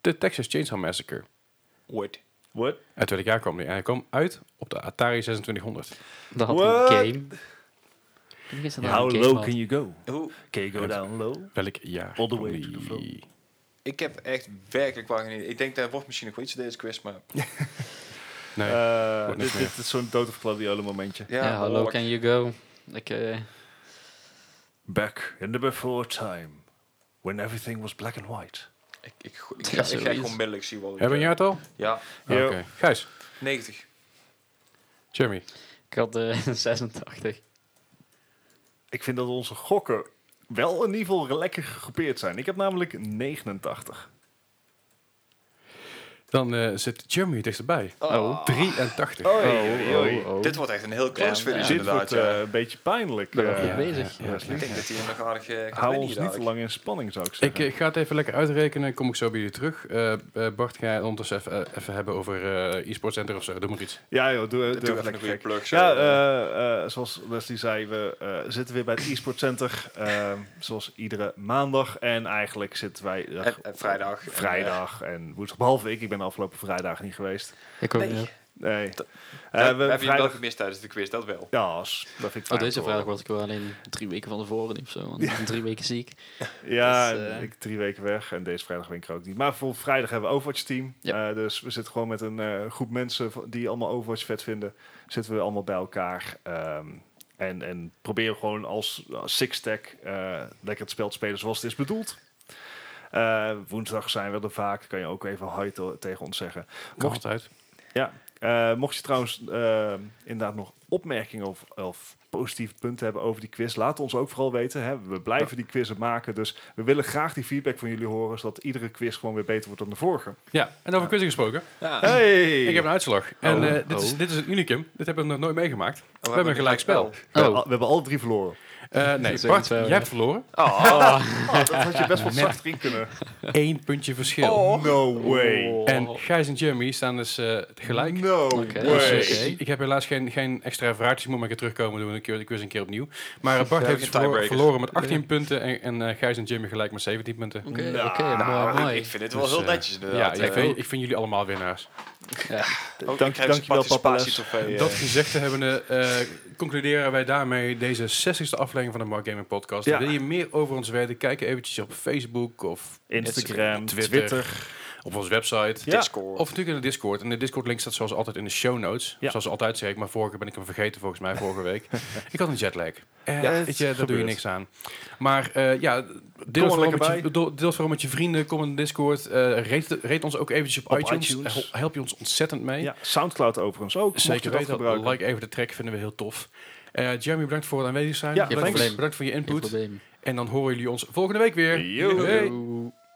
A: de Texas Chainsaw Massacre.
D: What?
C: What?
A: Uit welk jaar kwam die? En hij kwam uit op de Atari 2600.
B: Dat had
C: What?
B: een game. Ik denk eens dat dat
C: How
B: een game
C: low
B: had.
C: can you go?
D: Hoe?
C: Can you go down low?
A: Welk jaar?
C: All the
A: kwam
C: way to the
A: die?
C: film.
D: Ik heb echt werkelijk waar niet. Ik denk dat wordt misschien nog wel iets in deze quiz, maar
A: Nee.
C: Eh,
A: wordt niks
C: dit,
A: meer.
C: dit is zo'n dood of gladiolen momentje.
D: ja,
B: Ja, how low
D: behoorlijk.
B: can you go? Ik, eh,
C: Back in the before time, when everything was black and white.
D: Ik, ik, go- ik,
B: Ja,
D: ga, ik ga
B: zoiets.
D: gewoon onmiddellijk zien wat ik
A: Hebben we een
D: eh,
A: jaar het al?
D: Ja,
C: Ja.
A: Oké. Gijs,
D: 90.
A: Jeremy.
B: ik had eh, de 86.
C: Ik vind dat onze gokken wel in ieder geval lekker gegroepeerd zijn. Ik heb namelijk 89.
A: Dan eh, zit Jeremy het dichterbij.
D: Oh.
A: 83.
C: Oh,
D: Dit wordt echt een heel close
B: Ja,
D: finish
C: Dit wordt
D: inderdaad. ja.
C: eh, een beetje pijnlijk.
B: Ben wel
C: eh,
B: goed bezig.
A: ja.
D: ik denk dat hij hem nog aardig eh, kan
C: Hou
D: winnen
C: ons niet te
D: dadelijk.
C: lang in spanning, zou ik
A: Ik
C: zeggen.
A: eh, ga het even lekker uitrekenen. Kom ik zo bij jullie terug. Eh, eh, Bart, ga je ondertussen even, eh, even hebben over eh e-sport center of zo. Doe maar iets.
C: ja, joh, doe, doe,
D: Doe even
C: even
D: een goede
C: lekker gek.
D: plug. zo.
C: Ja, eh, eh, zoals Leslie zei, we eh, zitten weer bij het e-sport center. eh, zoals iedere maandag. En eigenlijk zitten wij... eh,
D: En- en vrijdag. En,
C: Vrijdag en woensdag. Behalve ik, ik ben de afgelopen vrijdag niet geweest.
B: Ik ook
D: Nee.
B: niet.
C: Nee. Eh,
D: Dat- we, hebben je hem wel
C: vrijdag...
D: gemist tijdens de quiz, dat wel.
C: Ja, s- dat vind ik
B: Oh,
C: fijn
B: deze
C: om te horen.
B: vrijdag was ik wel alleen drie weken van tevoren of zo. Want ik ben drie weken ziek.
C: Ja,
B: Dus, eh,
C: ik drie weken weg en deze vrijdag ben ik er ook niet. Maar voor vrijdag hebben we Overwatch team.
B: Ja.
C: Eh, dus we zitten gewoon met een eh, groep mensen v- die allemaal Overwatch vet vinden. Zitten we allemaal bij elkaar. ehm, en, en proberen gewoon als, als six-stack eh, lekker het spel te spelen zoals het is bedoeld. Eh, woensdag zijn we er vaak. Kan je ook even hi te- tegen ons zeggen.
A: Kan altijd.
C: Eh, mocht je trouwens eh, inderdaad nog opmerkingen of, of positieve punten hebben over die quiz, laat ons ook vooral weten. Hè. We blijven die quizzen maken, dus we willen graag die feedback van jullie horen, zodat iedere quiz gewoon weer beter wordt dan de vorige.
A: Ja, en over quizzen gesproken.
D: Ja.
C: Hey!
A: Ik heb een uitslag. En
B: Oh.
A: eh, dit, is,
B: Oh.
A: dit is een unicum. Dit hebben we nog nooit meegemaakt. We,
D: hebben
A: hebben een
D: een
A: gelijk spel.
C: we, hebben
B: Oh.
C: al- we hebben alle drie verloren.
A: Eh, nee,
B: Zoiets
A: Bart,
B: wel,
A: jij
B: ja.
A: hebt verloren.
B: Ah,
D: Ah,
C: Oh, dat had je best wel zacht in kunnen. Oh.
A: Eén puntje verschil.
B: Oh.
C: No way.
A: En Gijs en Jeremy staan dus eh, Oh. gelijk.
C: No
B: Oké.
A: Dus,
C: way.
A: eh,
B: Oké.
A: ik, ik heb helaas geen, geen extra vraagjes. Ik moet maar een keer terugkomen. Doen we een keer, de quiz een keer opnieuw. Maar eh, Bart
D: Ja,
A: heeft
D: geen
A: verlo-
D: tiebreakers.
A: verloren met 18 punten. En, en eh, Gijs en Jimmy gelijk met 17 punten.
B: Oké,
C: Nou,
B: oké,
D: Nou,
B: mooi,
D: ik-
B: mooi.
D: Ik vind het wel
A: Dus,
D: heel
A: eh,
D: netjes
A: ja,
D: inderdaad. Oh,
A: ik, vind, ik vind jullie allemaal winnaars.
C: Dank- dankjewel, papa Les.
A: Dat gezegd te hebben, eh, eh, concluderen wij daarmee deze 60e aflevering van de Mark Gaming Podcast.
C: Ja.
A: Wil je meer over ons weten? Kijk eventjes op Facebook of
C: Instagram,
A: Twitter.
C: Twitter.
A: op onze website.
C: Ja.
A: Of natuurlijk in de Discord. En de Discord link staat zoals altijd in de show notes.
C: Ja.
A: Zoals altijd zeg ik, maar vorige keer ben ik hem vergeten volgens mij, vorige week. Ik had een jetlag. Eh,
C: Ja,
A: weet
C: het
A: je, daar doe je
C: gebeurt.
A: niks aan. Maar eh, ja, deel het, vooral
C: lekker
A: met je,
C: bij.
A: deel deel het vooral met je vrienden. Kom in de Discord. Eh rate, rate ons ook eventjes op,
C: Op
A: iTunes.
C: iTunes.
A: Hel- Help je ons ontzettend mee.
C: Ja, Soundcloud overigens ook. mocht je
A: Zeker
C: dat
A: weten.
C: gebruiken.
A: Like even de track, vinden we heel tof. Eh, Jeremy, bedankt voor het aanwezig zijn.
C: Ja,
A: bedankt,
B: thanks.
A: bedankt voor je
B: Geen
A: input.
B: probleem.
A: En dan horen jullie ons volgende week weer.
C: Yo.
A: Hey.
B: Yo.